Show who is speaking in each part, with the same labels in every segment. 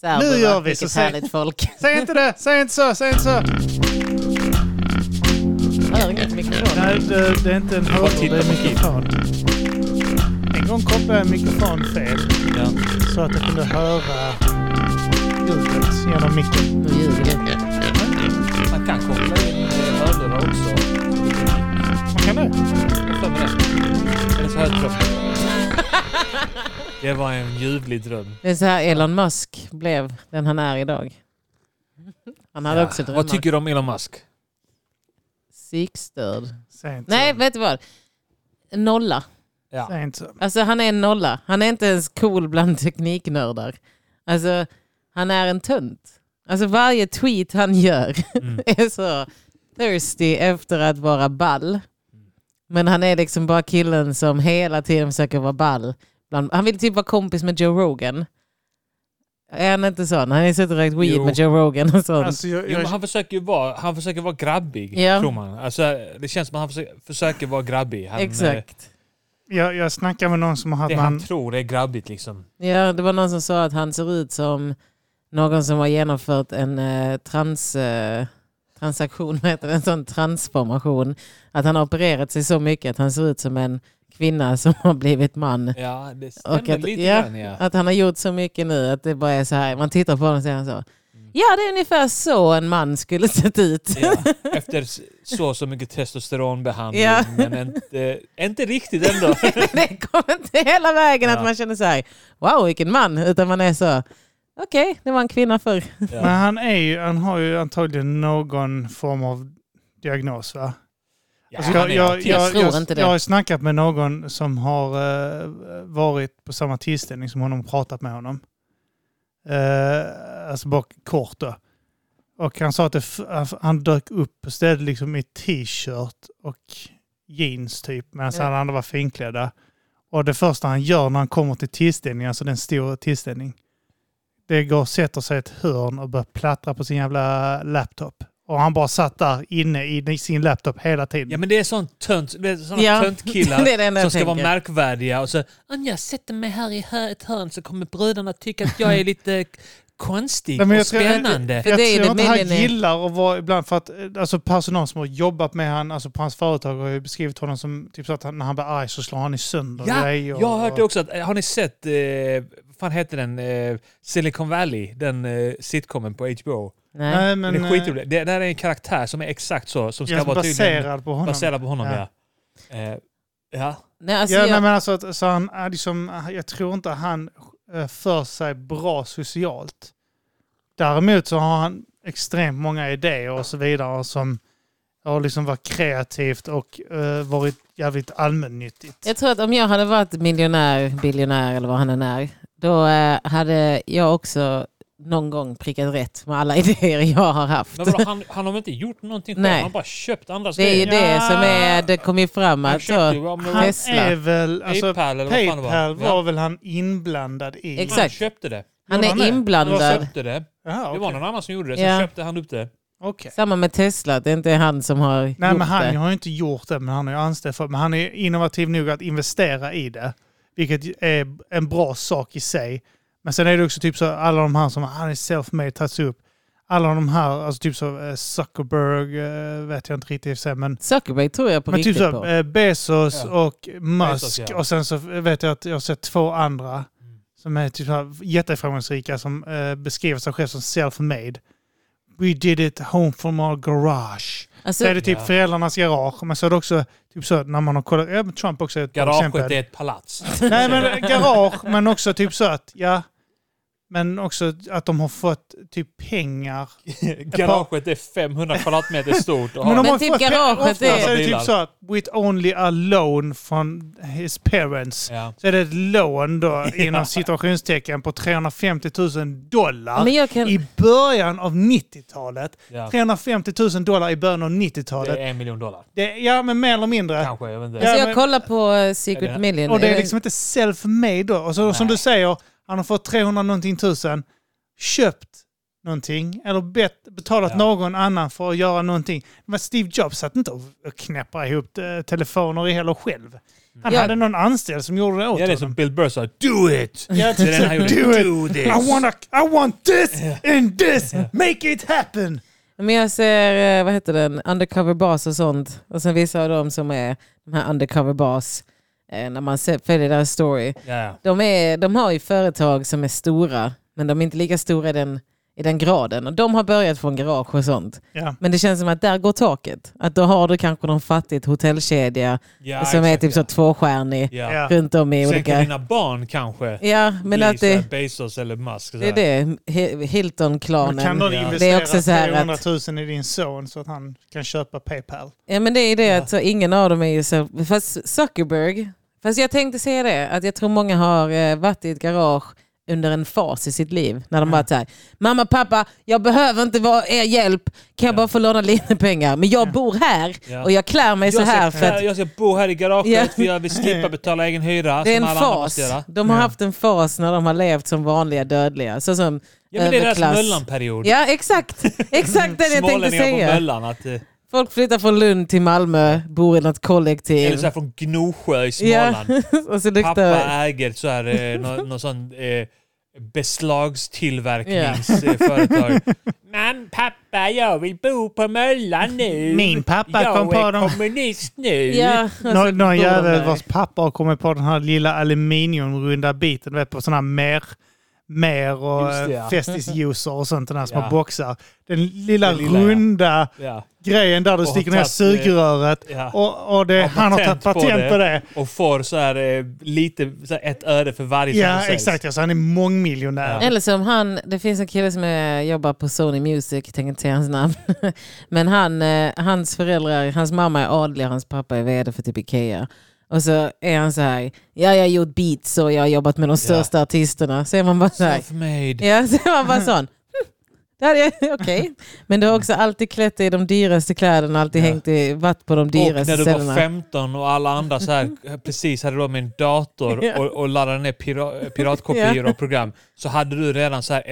Speaker 1: Serberna,
Speaker 2: Nu gör vi
Speaker 1: vilket
Speaker 2: så.
Speaker 1: härligt folk.
Speaker 2: Säg inte det! Säg inte så! Säg inte så!
Speaker 1: Hör inget i mikrofonen.
Speaker 2: Nej, det, det är inte en
Speaker 3: Bara
Speaker 2: hörlur,
Speaker 3: titta
Speaker 2: det är en
Speaker 3: på Kim.
Speaker 2: mikrofon. En gång kopplade jag en mikrofon fel
Speaker 3: Ja.
Speaker 2: så att jag kunde höra ljudet genom micken.
Speaker 1: Nu ljuger du.
Speaker 3: Man kan koppla in eh, hörlurar också.
Speaker 2: Man kan det.
Speaker 3: Jag får med det. Eller så högkroppen. Det var en ljuvlig dröm.
Speaker 1: Det är så här Elon Musk blev den han är idag. Han hade också drömmar.
Speaker 3: Vad tycker du om Elon Musk?
Speaker 1: Psykstörd.
Speaker 2: Säg inte
Speaker 1: Nej,
Speaker 2: så.
Speaker 1: vet du vad? Nolla.
Speaker 3: Ja.
Speaker 2: Säg inte så.
Speaker 1: Alltså han är en nolla. Han är inte ens cool bland tekniknördar. Alltså han är en tönt. Alltså varje tweet han gör
Speaker 3: Mm.
Speaker 1: är så thirsty efter att vara ball. Men han är liksom bara killen som hela tiden försöker vara ball. Bland, han vill typ vara kompis med Joe Rogan. Är han inte sån? Han är suttit och rökt weed
Speaker 3: Jo.
Speaker 1: med Joe Rogan och sånt.
Speaker 2: Alltså, jag,
Speaker 3: Jo, men
Speaker 2: jag,
Speaker 3: han försöker ju vara, han försöker vara grabbig,
Speaker 1: Ja.
Speaker 3: tror man. Alltså, det känns som att han försöker, försöker vara grabbig. Han, eh,
Speaker 1: Exakt.
Speaker 2: jag, jag snackade med någon som har
Speaker 3: Det
Speaker 2: haft
Speaker 3: han
Speaker 2: man...
Speaker 3: tror är grabbigt liksom.
Speaker 1: Ja, det var någon som sa att han ser ut som någon som har genomfört en eh, trans, eh, transaktion, vad heter det? en sån transformation. Att han har opererat sig så mycket att han ser ut som en kvinna som har blivit man.
Speaker 3: Ja, det
Speaker 1: Och
Speaker 3: stämmer
Speaker 1: att,
Speaker 3: lite
Speaker 1: ja,
Speaker 3: grann ja.
Speaker 1: att han har gjort så mycket nu att det bara är så här, man tittar på honom och säger han så. Ja, det är ungefär så en man skulle sett ut.
Speaker 3: Mm. ja. Efter s- så så mycket testosteronbehandling.
Speaker 1: Ja.
Speaker 3: Men inte, inte riktigt ändå.
Speaker 1: det kommer inte hela vägen
Speaker 3: Ja.
Speaker 1: att man känner så här, wow vilken man, utan man är så, okej, det var en kvinna förr.
Speaker 2: Men
Speaker 3: Ja.
Speaker 2: han, är ju, han har ju antagligen någon form av diagnos va?
Speaker 3: Ja,
Speaker 2: Alltså,
Speaker 3: han är autist.
Speaker 1: jag tror inte det.
Speaker 2: jag har snackat med någon som har eh, varit på samma tillställning som honom och pratat med honom. Eh, alltså bara kort då. Och han sa att det f- alltså, han dök upp på stället liksom i t-shirt och jeans typ medan
Speaker 1: Ja.
Speaker 2: alla andra var finklädda. Och det första han gör när han kommer till tillställningen, alltså den stora tillställningen, det går och sätter sig i ett hörn och börjar plattra på sin jävla laptop. Och han bara satt där inne i sin laptop hela tiden.
Speaker 3: Ja men det är sån tönt, det är såna
Speaker 1: Ja,
Speaker 3: töntkillar
Speaker 1: det är det enda
Speaker 3: som
Speaker 1: jag
Speaker 3: ska vara
Speaker 1: tänker.
Speaker 3: märkvärdiga och så om jag sätter mig här i hö- ett hörn så kommer bröderna tycka att jag är lite k- konstig
Speaker 2: Nej, men
Speaker 3: och
Speaker 2: jag tror-
Speaker 3: spännande.
Speaker 1: För
Speaker 2: jag
Speaker 1: det är ju
Speaker 2: tror
Speaker 1: det
Speaker 2: inte han
Speaker 1: Millen är.
Speaker 2: gillar att vara ibland för att eh, alltså personal som har jobbat med han, alltså på hans företag har ju beskrivit honom som typ så att han, när han blir arg så slår han i sönder
Speaker 3: Ja,
Speaker 2: grejer.
Speaker 3: jag har hört det
Speaker 2: och,
Speaker 3: också, att, eh, har ni sett, eh, vad fan heter den, eh, Silicon Valley, den eh, sitcomen på HBO?
Speaker 1: Nej.
Speaker 2: Nej,
Speaker 3: Men,
Speaker 2: men,
Speaker 3: det är skitroligt. Det där är en karaktär som är exakt så, som
Speaker 2: eh,
Speaker 3: ska
Speaker 2: ja,
Speaker 3: vara tydligen
Speaker 2: baserad på honom.
Speaker 3: baserad på honom.
Speaker 2: Ja.
Speaker 3: Ja. Eh, ja.
Speaker 1: Nej, alltså
Speaker 2: ja,
Speaker 1: jag,
Speaker 2: Nej, men alltså, att- så han är liksom, jag tror inte han eh, för sig bra socialt. Däremot så har han extremt många idéer och så vidare som har liksom varit kreativt och eh, varit jävligt allmännyttigt.
Speaker 1: jag tror att om jag hade varit miljonär, biljonär eller vad han än är, då eh, hade jag också någon gång prickat rätt med alla idéer jag har haft.
Speaker 3: Men vadå, han, han har väl inte gjort någonting själv,
Speaker 1: Nej.
Speaker 3: han har bara köpt andras
Speaker 1: det är ju alltså.
Speaker 3: grejer.
Speaker 1: det som är, det kom ju fram
Speaker 3: Han
Speaker 1: att
Speaker 3: köpte
Speaker 1: så,
Speaker 3: ju, ja, men det var
Speaker 2: Han
Speaker 1: Tesla.
Speaker 2: är väl, alltså
Speaker 3: Paypal eller vad fan det var.
Speaker 2: Paypal
Speaker 3: Ja.
Speaker 2: var väl han inblandad i?
Speaker 1: Exakt.
Speaker 3: Han köpte det.
Speaker 1: han
Speaker 2: Gjorde han det?
Speaker 1: är
Speaker 3: Han
Speaker 1: inblandad.
Speaker 3: köpte det.
Speaker 2: Jaha,
Speaker 3: Det var
Speaker 2: okej.
Speaker 3: någon annan som gjorde det, så
Speaker 1: Ja.
Speaker 3: köpte han upp det.
Speaker 2: Okej.
Speaker 1: Samma med Tesla, det är inte han som har
Speaker 2: Nej,
Speaker 1: gjort
Speaker 2: men han
Speaker 1: det.
Speaker 2: har ju inte gjort det, men han har ju anställt för Men han är innovativ nog att investera i det, vilket är en bra sak i sig. Men sen är det också typ så alla de här som han är self-made, tas upp. Alla de här, alltså typ så eh, Zuckerberg, eh, vet jag inte riktigt i och för sig, men
Speaker 1: Zuckerberg tror jag på
Speaker 2: Men typ
Speaker 1: riktigt
Speaker 2: så,
Speaker 1: på.
Speaker 2: eh, Bezos
Speaker 3: Ja.
Speaker 2: och Musk
Speaker 3: Bezos, ja. Mm.
Speaker 2: och sen så vet jag att jag har sett två andra som är typ så här jätteframgångsrika som eh, beskriver sig själv som self-made. We did it home from our garage.
Speaker 1: Alltså,
Speaker 2: Så är det typ
Speaker 3: Ja.
Speaker 2: föräldrarnas garage, men så är det också typ så när man har kollat, ja, men Trump också är ett bra
Speaker 3: Garaget
Speaker 2: exempel.
Speaker 3: är ett palats.
Speaker 2: Nej men eh, garage, men också typ så att, ja. Men också att de har fått typ pengar.
Speaker 3: Garaget är 500 kvadratmeter stort. Och
Speaker 2: Men de
Speaker 3: har-
Speaker 1: Men
Speaker 2: har
Speaker 1: typ
Speaker 2: fått pengar-
Speaker 1: garaget
Speaker 2: ofta
Speaker 1: är-
Speaker 2: så är det typ
Speaker 3: Bilar.
Speaker 2: så att, with only a loan from his parents.
Speaker 3: ja.
Speaker 2: så är det ett lån då inom situationstecken på 350 000 dollar
Speaker 1: men jag kan,
Speaker 2: i början av 90-talet.
Speaker 3: Ja.
Speaker 2: 350 000 dollar i början av
Speaker 3: Det
Speaker 2: 90-talet.
Speaker 3: är en miljon dollar.
Speaker 2: Det, ja, men mer eller mindre.
Speaker 3: Kanske, jag vet inte.
Speaker 1: alltså
Speaker 2: Ja,
Speaker 1: jag
Speaker 2: men-
Speaker 1: kollar på eh, Secret
Speaker 3: Är det-
Speaker 1: Million. Eh,
Speaker 2: Och det
Speaker 1: Är
Speaker 2: är
Speaker 1: det-
Speaker 2: liksom inte self-made då. Och så, som
Speaker 3: Nej.
Speaker 2: du säger, han har fått 300 någonting tusen, köpt någonting eller bett, betalat
Speaker 3: Ja.
Speaker 2: någon annan för att göra någonting. Men Steve Jobs satt inte och och knäppade ihop eh, telefoner i heller själv. Han
Speaker 1: Ja.
Speaker 2: hade någon anställd som gjorde det åt
Speaker 3: Ja, det är som
Speaker 2: honom.
Speaker 3: Bill Burr sa, do it!
Speaker 2: Ja,
Speaker 3: Det är den han gjorde.
Speaker 2: Do it!
Speaker 3: this!
Speaker 2: I, wanna, I want this and this! Make it happen!
Speaker 1: Men jag ser, eh, vad heter den, undercover bas och sånt. Och sen vissa av dem som är de här undercover bas, eh, när man ser, följer deras story.
Speaker 3: Ja.
Speaker 1: De, är, de har ju företag som är stora, men de är inte lika stora i den, i den graden. Och de har börjat från garage och sånt.
Speaker 2: Ja.
Speaker 1: Men det känns som att där går taket. Att då har du kanske någon fattigt hotellkedja
Speaker 3: Ja,
Speaker 1: som är
Speaker 3: exakt,
Speaker 1: typ så tvåstjärnig
Speaker 3: Ja.
Speaker 2: Ja.
Speaker 1: runt om i
Speaker 3: Sen kan
Speaker 1: olika...
Speaker 3: dina barn kanske
Speaker 1: Ja, men
Speaker 3: bli
Speaker 1: att
Speaker 3: så här
Speaker 1: det,
Speaker 3: Bezos eller Musk. så
Speaker 1: det är
Speaker 3: här.
Speaker 1: det. Hi-
Speaker 2: Men kan
Speaker 1: Hilton-klanen.
Speaker 2: någon
Speaker 3: Ja.
Speaker 1: Det
Speaker 2: investera
Speaker 1: är också så här
Speaker 2: 300
Speaker 1: att-
Speaker 2: 000 i din son så att han kan köpa Paypal?
Speaker 1: Ja men det är ju det
Speaker 3: Ja.
Speaker 1: att så ingen av dem är ju så... Fast Zuckerberg, fast jag tänkte säga det, att jag tror många har eh, varit i ett garage under en fas i sitt liv. När
Speaker 3: Mm.
Speaker 1: de bara såhär, mamma, pappa, jag behöver inte vara er hjälp. Kan jag
Speaker 3: Ja.
Speaker 1: bara få låna lite pengar? Men jag
Speaker 2: Ja.
Speaker 1: bor här
Speaker 3: Ja.
Speaker 1: och jag klär mig så
Speaker 3: Jag ska
Speaker 1: här för
Speaker 3: klä-
Speaker 1: att
Speaker 3: Jag ska bo här i garaget
Speaker 1: Ja.
Speaker 3: för jag vill slippa betala egen hyra
Speaker 1: det är en
Speaker 3: som alla andra
Speaker 1: fas.
Speaker 3: måste göra.
Speaker 1: De har
Speaker 2: Ja.
Speaker 1: haft en fas när de har levt som vanliga dödliga. Så som,
Speaker 3: Ja, men det är deras
Speaker 1: Överklass.
Speaker 3: möllanperiod.
Speaker 1: ja exakt, exakt det jag tänkte
Speaker 3: Smålänningar på
Speaker 1: säga.
Speaker 3: möllan. Att, eh,
Speaker 1: Folk flyttar från Lund till Malmö, bor i något
Speaker 3: eller
Speaker 1: kollektiv.
Speaker 3: så här från Gnosjö i
Speaker 1: Ja.
Speaker 3: Småland.
Speaker 1: och så
Speaker 3: Pappa
Speaker 1: luktar...
Speaker 3: äger så här, eh, någon, någon sån eh,
Speaker 1: Ja.
Speaker 3: beslagstillverkningsföretag. Men pappa, jag vill bo på möllan nu.
Speaker 2: Min pappa
Speaker 3: jag
Speaker 2: kom på
Speaker 3: är
Speaker 2: dem.
Speaker 3: kommunist nu.
Speaker 1: Ja, och så
Speaker 2: Nå-
Speaker 1: bor
Speaker 2: Någon
Speaker 1: de
Speaker 2: jävel
Speaker 1: där.
Speaker 2: vars pappa har kommit på den här lilla aluminiumrunda biten du vet, på sådana här mer, mer och
Speaker 3: Just det, ja.
Speaker 2: eh, festisjuicer och sånt, den här små
Speaker 3: Ja.
Speaker 2: boxar. Den lilla,
Speaker 3: Den lilla, ja.
Speaker 2: runda
Speaker 3: Ja.
Speaker 2: grejen där du
Speaker 3: Och
Speaker 2: sticker ner
Speaker 3: tagit,
Speaker 2: sugröret
Speaker 3: ja.
Speaker 2: och, och det,
Speaker 3: Och
Speaker 2: han har tagit patent på det.
Speaker 3: Och får så här, eh, lite, så här ett öre för varje som
Speaker 2: Ja,
Speaker 3: säljs.
Speaker 2: exakt. Alltså, han är mångmiljonär.
Speaker 3: Ja.
Speaker 1: Eller som han, det finns en kille som eh, jobbar på Sony Music, jag tänker inte säga hans namn. Men han, eh, hans föräldrar, hans mamma är adlig och hans pappa är vd för typ Ikea. Och så är han så här, ja jag har gjort beats och jag har jobbat med de största artisterna. Så är man bara så här,
Speaker 3: Self-made.
Speaker 1: ja, så är man bara sån. "Hm, det hade jag- Okej, men du har också alltid klätt dig i de dyraste kläderna, alltid
Speaker 3: Ja.
Speaker 1: hängt i, varit på de
Speaker 3: Och när
Speaker 1: dyraste
Speaker 3: du var
Speaker 1: ställena.
Speaker 3: 15 och alla andra så här, precis hade råd med en dator
Speaker 1: Ja.
Speaker 3: och, och laddade ner pira, piratkopior och program så hade du redan så här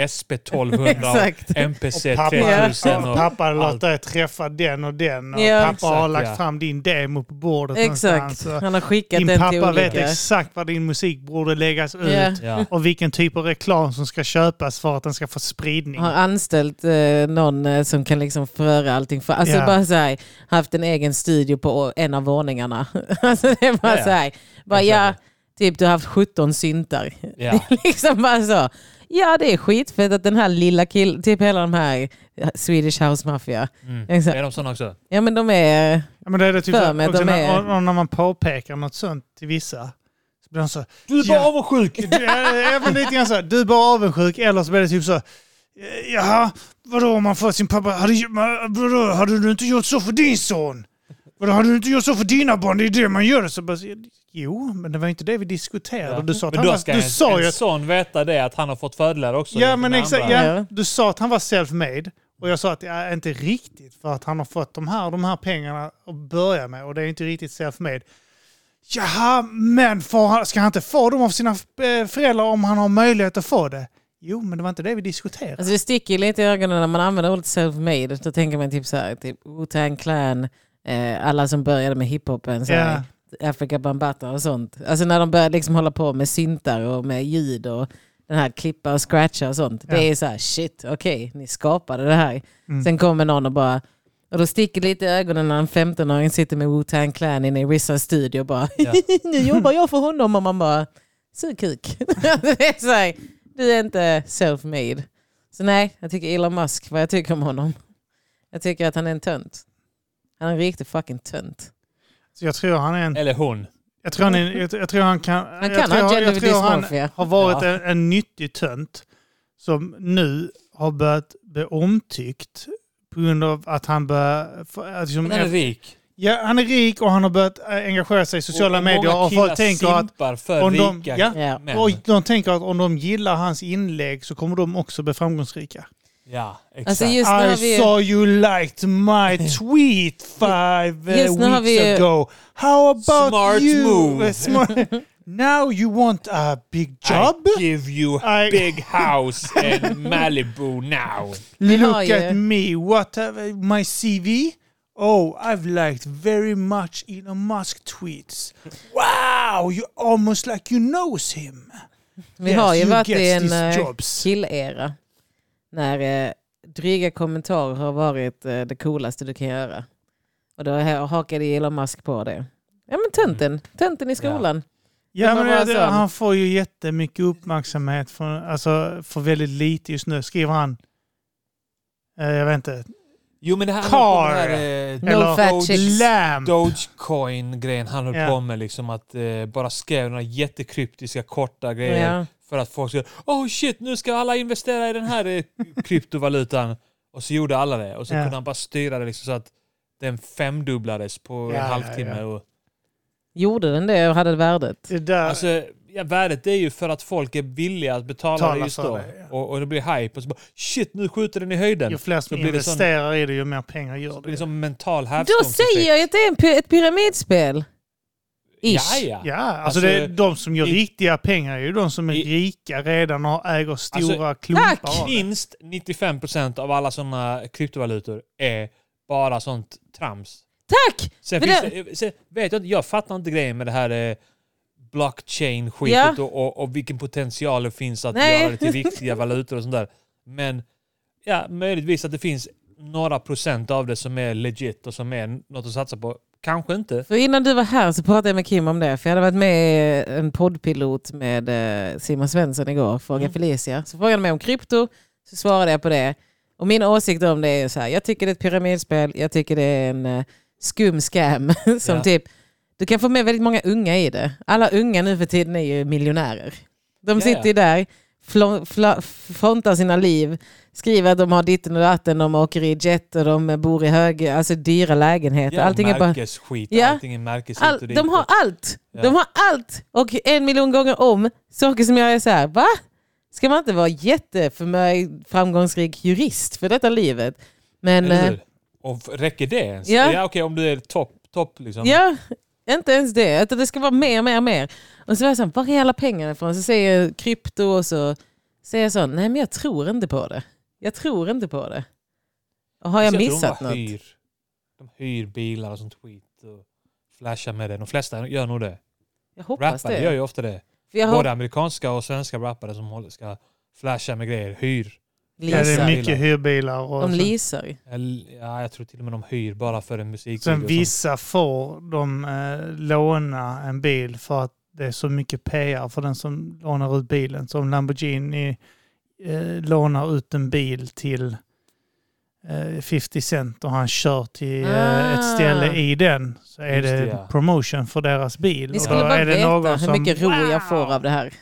Speaker 3: SP1200
Speaker 1: Exakt.
Speaker 3: och MPC
Speaker 2: Och pappa,
Speaker 3: 3000. Och,
Speaker 2: och pappa hade
Speaker 3: allt.
Speaker 2: låtit dig träffa den och den. Och
Speaker 1: Ja.
Speaker 2: pappa har
Speaker 3: Exakt,
Speaker 2: lagt
Speaker 3: ja.
Speaker 2: fram din demo på bordet
Speaker 1: Exakt,
Speaker 2: någonstans. Och
Speaker 1: han har skickat
Speaker 2: Din
Speaker 1: den till
Speaker 2: Alltså, pappa
Speaker 1: olika.
Speaker 2: vet exakt var din musik borde läggas ut.
Speaker 1: Ja.
Speaker 3: ja.
Speaker 2: och vilken typ av reklam som ska köpas för att den ska få spridning.
Speaker 1: har anställt eh, någon eh, som kan liksom föra allting. För, alltså
Speaker 2: Ja.
Speaker 1: bara så här, haft en egen studio på å- en av våningarna. alltså det är bara
Speaker 3: Ja, ja.
Speaker 1: så här, bara, ja,
Speaker 3: Exakt.
Speaker 1: typ du har haft 17 syntar.
Speaker 3: Ja.
Speaker 1: liksom bara så. Ja det är skitfett att den här lilla killen, typ hela de här eh, Swedish House Mafia.
Speaker 3: Mm.
Speaker 1: Exakt.
Speaker 3: Är de sådana också?
Speaker 1: Ja men de är,
Speaker 2: Ja, men det är det typ
Speaker 1: För mig,
Speaker 2: också
Speaker 1: de är-
Speaker 2: när, och när man påpekar något sånt till vissa. Så blir de så,
Speaker 3: Du
Speaker 2: är bara Ja.
Speaker 3: avundsjuk!
Speaker 2: du, eh, även lite grann så här, du är bara avundsjuk eller så blir det typ så, eh, jaha, vadå om man får sin pappa, hade, ju- ma- vadå, hade du inte gjort så för din son? Vadå, hade du inte gjort så för dina barn? Det är det man gör. Så bara, jo, men det var inte det vi diskuterade. Du sa att
Speaker 3: Men
Speaker 2: han
Speaker 3: då ska
Speaker 2: var, du
Speaker 3: en,
Speaker 2: sa ju
Speaker 3: en
Speaker 2: att
Speaker 3: son veta det, att han har fått fördelar också.
Speaker 2: Ja,
Speaker 3: jämfört
Speaker 2: men
Speaker 3: med
Speaker 2: exakt.
Speaker 3: andra.
Speaker 1: Ja.
Speaker 2: Ja, du sa att han var self-made och jag sa att jag inte riktigt för att han har fått de här, de här pengarna att börja med och det är inte riktigt self-made. Jaha, men får han, ska han inte få dem av sina eh, föräldrar om han har möjlighet att få det? Jo, men det var inte det vi diskuterade.
Speaker 1: alltså det sticker ju lite i ögonen när man använder ordet self-made. Då tänker man typ så här, typ Wu-Tang Clan, eh, alla som började med hiphopen. Så här,
Speaker 2: Ja.
Speaker 1: Afrika Bambata och sånt. Alltså när de börjar liksom hålla på med syntar och med ljud och den här klippa och scratcha och sånt.
Speaker 2: Ja. Mm.
Speaker 1: Det är så här shit, okej, ni skapade det här. Sen kommer någon och bara och då sticker det lite i ögonen när en 15-åring sitter med Wu-Tang Clan inne i Rissas studio och bara
Speaker 3: Ja.
Speaker 1: nu jobbar jag för honom och man bara sug kuk. Alltså, det är så här, du är inte self-made. Så nej, jag tycker Elon Musk, vad jag tycker om honom. Jag tycker att han är en tönt. Han är en riktig fucking tönt.
Speaker 2: Så jag tror han är en...
Speaker 3: Eller hon.
Speaker 2: Jag tror, han är, jag, jag tror han kan...
Speaker 1: Han
Speaker 2: jag
Speaker 1: kan
Speaker 2: tror,
Speaker 1: ha
Speaker 2: jag
Speaker 1: gender
Speaker 2: tror han
Speaker 1: dysmorphia.
Speaker 2: har varit
Speaker 3: Ja.
Speaker 2: en, en nyttig tönt som nu har börjat bli omtyckt på grund av att han börjar... för- att liksom-
Speaker 3: Men han är rik.
Speaker 2: Ja, han är rik och han har börjat eh, engagera sig i sociala
Speaker 3: Och- och
Speaker 2: medier.
Speaker 3: många
Speaker 2: Och folk
Speaker 3: killar
Speaker 2: tänker att,
Speaker 3: simpar för
Speaker 2: om de-
Speaker 3: rika
Speaker 2: ja.
Speaker 1: Ja.
Speaker 3: män.
Speaker 2: och de tänker att om de gillar hans inlägg så kommer de också bli framgångsrika.
Speaker 3: Ja, exakt.
Speaker 1: Alltså just nu har vi
Speaker 2: I
Speaker 1: ju-
Speaker 2: saw you liked my tweet five eh,
Speaker 1: Just nu har
Speaker 2: weeks
Speaker 1: vi ju-
Speaker 2: ago. How about
Speaker 3: Smart
Speaker 2: you?
Speaker 3: move.
Speaker 2: Eh, smart- Now you want a big job?
Speaker 3: I give you
Speaker 2: I-
Speaker 3: big house in Malibu now.
Speaker 1: Vi har
Speaker 2: Look
Speaker 1: ju-
Speaker 2: at me. What have I- my CV? Oh, I've liked very much Elon Musk tweets. Wow, you're almost like you knows him.
Speaker 1: Vi har ju
Speaker 2: you
Speaker 1: varit
Speaker 2: gets
Speaker 1: i en
Speaker 2: these
Speaker 1: eh,
Speaker 2: jobs.
Speaker 1: killera. När eh, dryga kommentarer har varit eh, det coolaste du kan göra. Och då ha- hakade Elon Musk på det. Ja men
Speaker 2: Mm.
Speaker 1: tönten, tönten i skolan.
Speaker 2: Ja,
Speaker 1: Men
Speaker 2: men
Speaker 1: vad
Speaker 2: det-
Speaker 1: sa han?
Speaker 2: han får ju jättemycket uppmärksamhet för, alltså, för väldigt lite just nu. Skriver han, eh, jag vet inte,
Speaker 3: Jo men det här
Speaker 2: Car.
Speaker 3: Car. Här, eh,
Speaker 1: No
Speaker 2: Eller-
Speaker 1: fat chicks.
Speaker 2: lamp.
Speaker 3: Dogecoin-grejen han höll
Speaker 2: Ja.
Speaker 3: på med liksom att eh, bara skrev några jättekryptiska korta grejer
Speaker 1: Ja.
Speaker 3: för att folk skulle oh shit nu ska alla investera i den här eh, kryptovalutan och så gjorde alla det och så
Speaker 2: Ja.
Speaker 3: kunde han bara styra det liksom så att den femdubblades på
Speaker 2: Ja, ja,
Speaker 3: en halvtimme.
Speaker 2: ja.
Speaker 3: Och,
Speaker 1: Gjorde den det och hade värdet?
Speaker 2: Det där,
Speaker 3: alltså, ja, värdet är ju för att folk är villiga att betala
Speaker 2: Betala
Speaker 3: det just
Speaker 2: för
Speaker 3: då.
Speaker 2: det, ja.
Speaker 3: och, och det blir hype och så bara shit nu skjuter den i höjden.
Speaker 2: ju fler som
Speaker 3: då blir det sån-
Speaker 2: investerar i det, ju mer pengar gör
Speaker 3: Det
Speaker 2: det.
Speaker 3: är liksom mental
Speaker 1: Då säger jag ju att det är en py- ett pyramidspel. Ish.
Speaker 3: Ja, ja.
Speaker 2: Ja, alltså,
Speaker 3: Alltså,
Speaker 2: det är de som gör
Speaker 3: i-
Speaker 2: riktiga pengar är ju de som är
Speaker 3: i-
Speaker 2: rika redan och äger stora klumpar
Speaker 1: Alltså, Tack!
Speaker 2: av det.
Speaker 3: Minst 95% av alla sådana kryptovalutor är bara sånt trams.
Speaker 1: Tack!
Speaker 3: Sen
Speaker 1: Men
Speaker 3: finns det, sen vet jag, inte, jag fattar inte grejen med det här eh, blockchain-skitet
Speaker 1: Ja.
Speaker 3: och, och, och vilken potential det finns att
Speaker 1: Nej.
Speaker 3: göra det till riktiga valutor och sånt där. Men ja, möjligtvis att det finns några procent av det som är legit och som är något att satsa på. Kanske inte.
Speaker 1: För innan du var här så pratade jag med Kim om det. För jag hade varit med i en poddpilot med eh, Simon Svensson igår, Fråga
Speaker 3: Mm.
Speaker 1: Felicia. Så frågade han mig om krypto, så svarade jag på det. Och min åsikt om det är så här, jag tycker det är ett pyramidspel, jag tycker det är en eh, skum scam. som
Speaker 3: Ja.
Speaker 1: typ, du kan få med väldigt många unga i det. Alla unga nu för tiden är ju miljonärer. De
Speaker 3: Ja,
Speaker 1: sitter ju där, flå- fla- frontar sina liv, skriver att de har ditten och datten, de åker i jet och de bor i höga, alltså dyra lägenheter.
Speaker 3: Ja,
Speaker 1: Allting är bara
Speaker 3: märkesskit,
Speaker 1: Ja.
Speaker 3: allting är märkes
Speaker 1: All, de har allt.
Speaker 3: Ja.
Speaker 1: De har allt och en miljon gånger om. Saker som jag är så här, va? Ska man inte vara jätteförmögen, framgångsrik jurist för detta livet? Men
Speaker 3: Eller
Speaker 1: eh,
Speaker 3: hur? Och f- räcker det ens?
Speaker 1: Ja.
Speaker 3: Ja, okej om du är topp, topp liksom.
Speaker 1: ja, inte ens det. Utan det ska vara mer, mer, mer. Och så var jag så här, var är alla pengarna ifrån? Så säger jag krypto och så säger jag så, nej men jag tror inte på det. Jag tror inte på det. Och har jag
Speaker 3: Så tror
Speaker 1: missat
Speaker 3: de
Speaker 1: något?
Speaker 3: bara Hyr, de hyr bilar och sånt skit och flashar med det. De flesta gör nog det.
Speaker 1: Jag hoppas
Speaker 3: Rappare gör
Speaker 1: det.
Speaker 3: ju ofta det.
Speaker 1: För jag
Speaker 3: Både
Speaker 1: har
Speaker 3: amerikanska och svenska rappare som håller, ska flasha med grejer. Hyr.
Speaker 2: Ja, det är
Speaker 1: leasar.
Speaker 2: mycket hyrbilar. Och
Speaker 1: De
Speaker 2: sånt.
Speaker 1: leasar.
Speaker 3: Eller, Ja, jag tror till och med de hyr bara för en musik.
Speaker 2: Sen vissa får de eh, låna en bil för att det är så mycket PR för den som lånar ut bilen. Som Lamborghini eh, lånar ut en bil till eh, 50 cent och han kör till eh,
Speaker 1: Ah.
Speaker 2: ett ställe i den så är
Speaker 3: Just
Speaker 2: det,
Speaker 3: det, ja.
Speaker 2: promotion för deras bil.
Speaker 1: Ni
Speaker 2: Och
Speaker 1: skulle
Speaker 2: då
Speaker 1: bara
Speaker 2: är det
Speaker 1: veta
Speaker 2: någon
Speaker 1: hur mycket ro
Speaker 2: som,
Speaker 1: jag får av det här.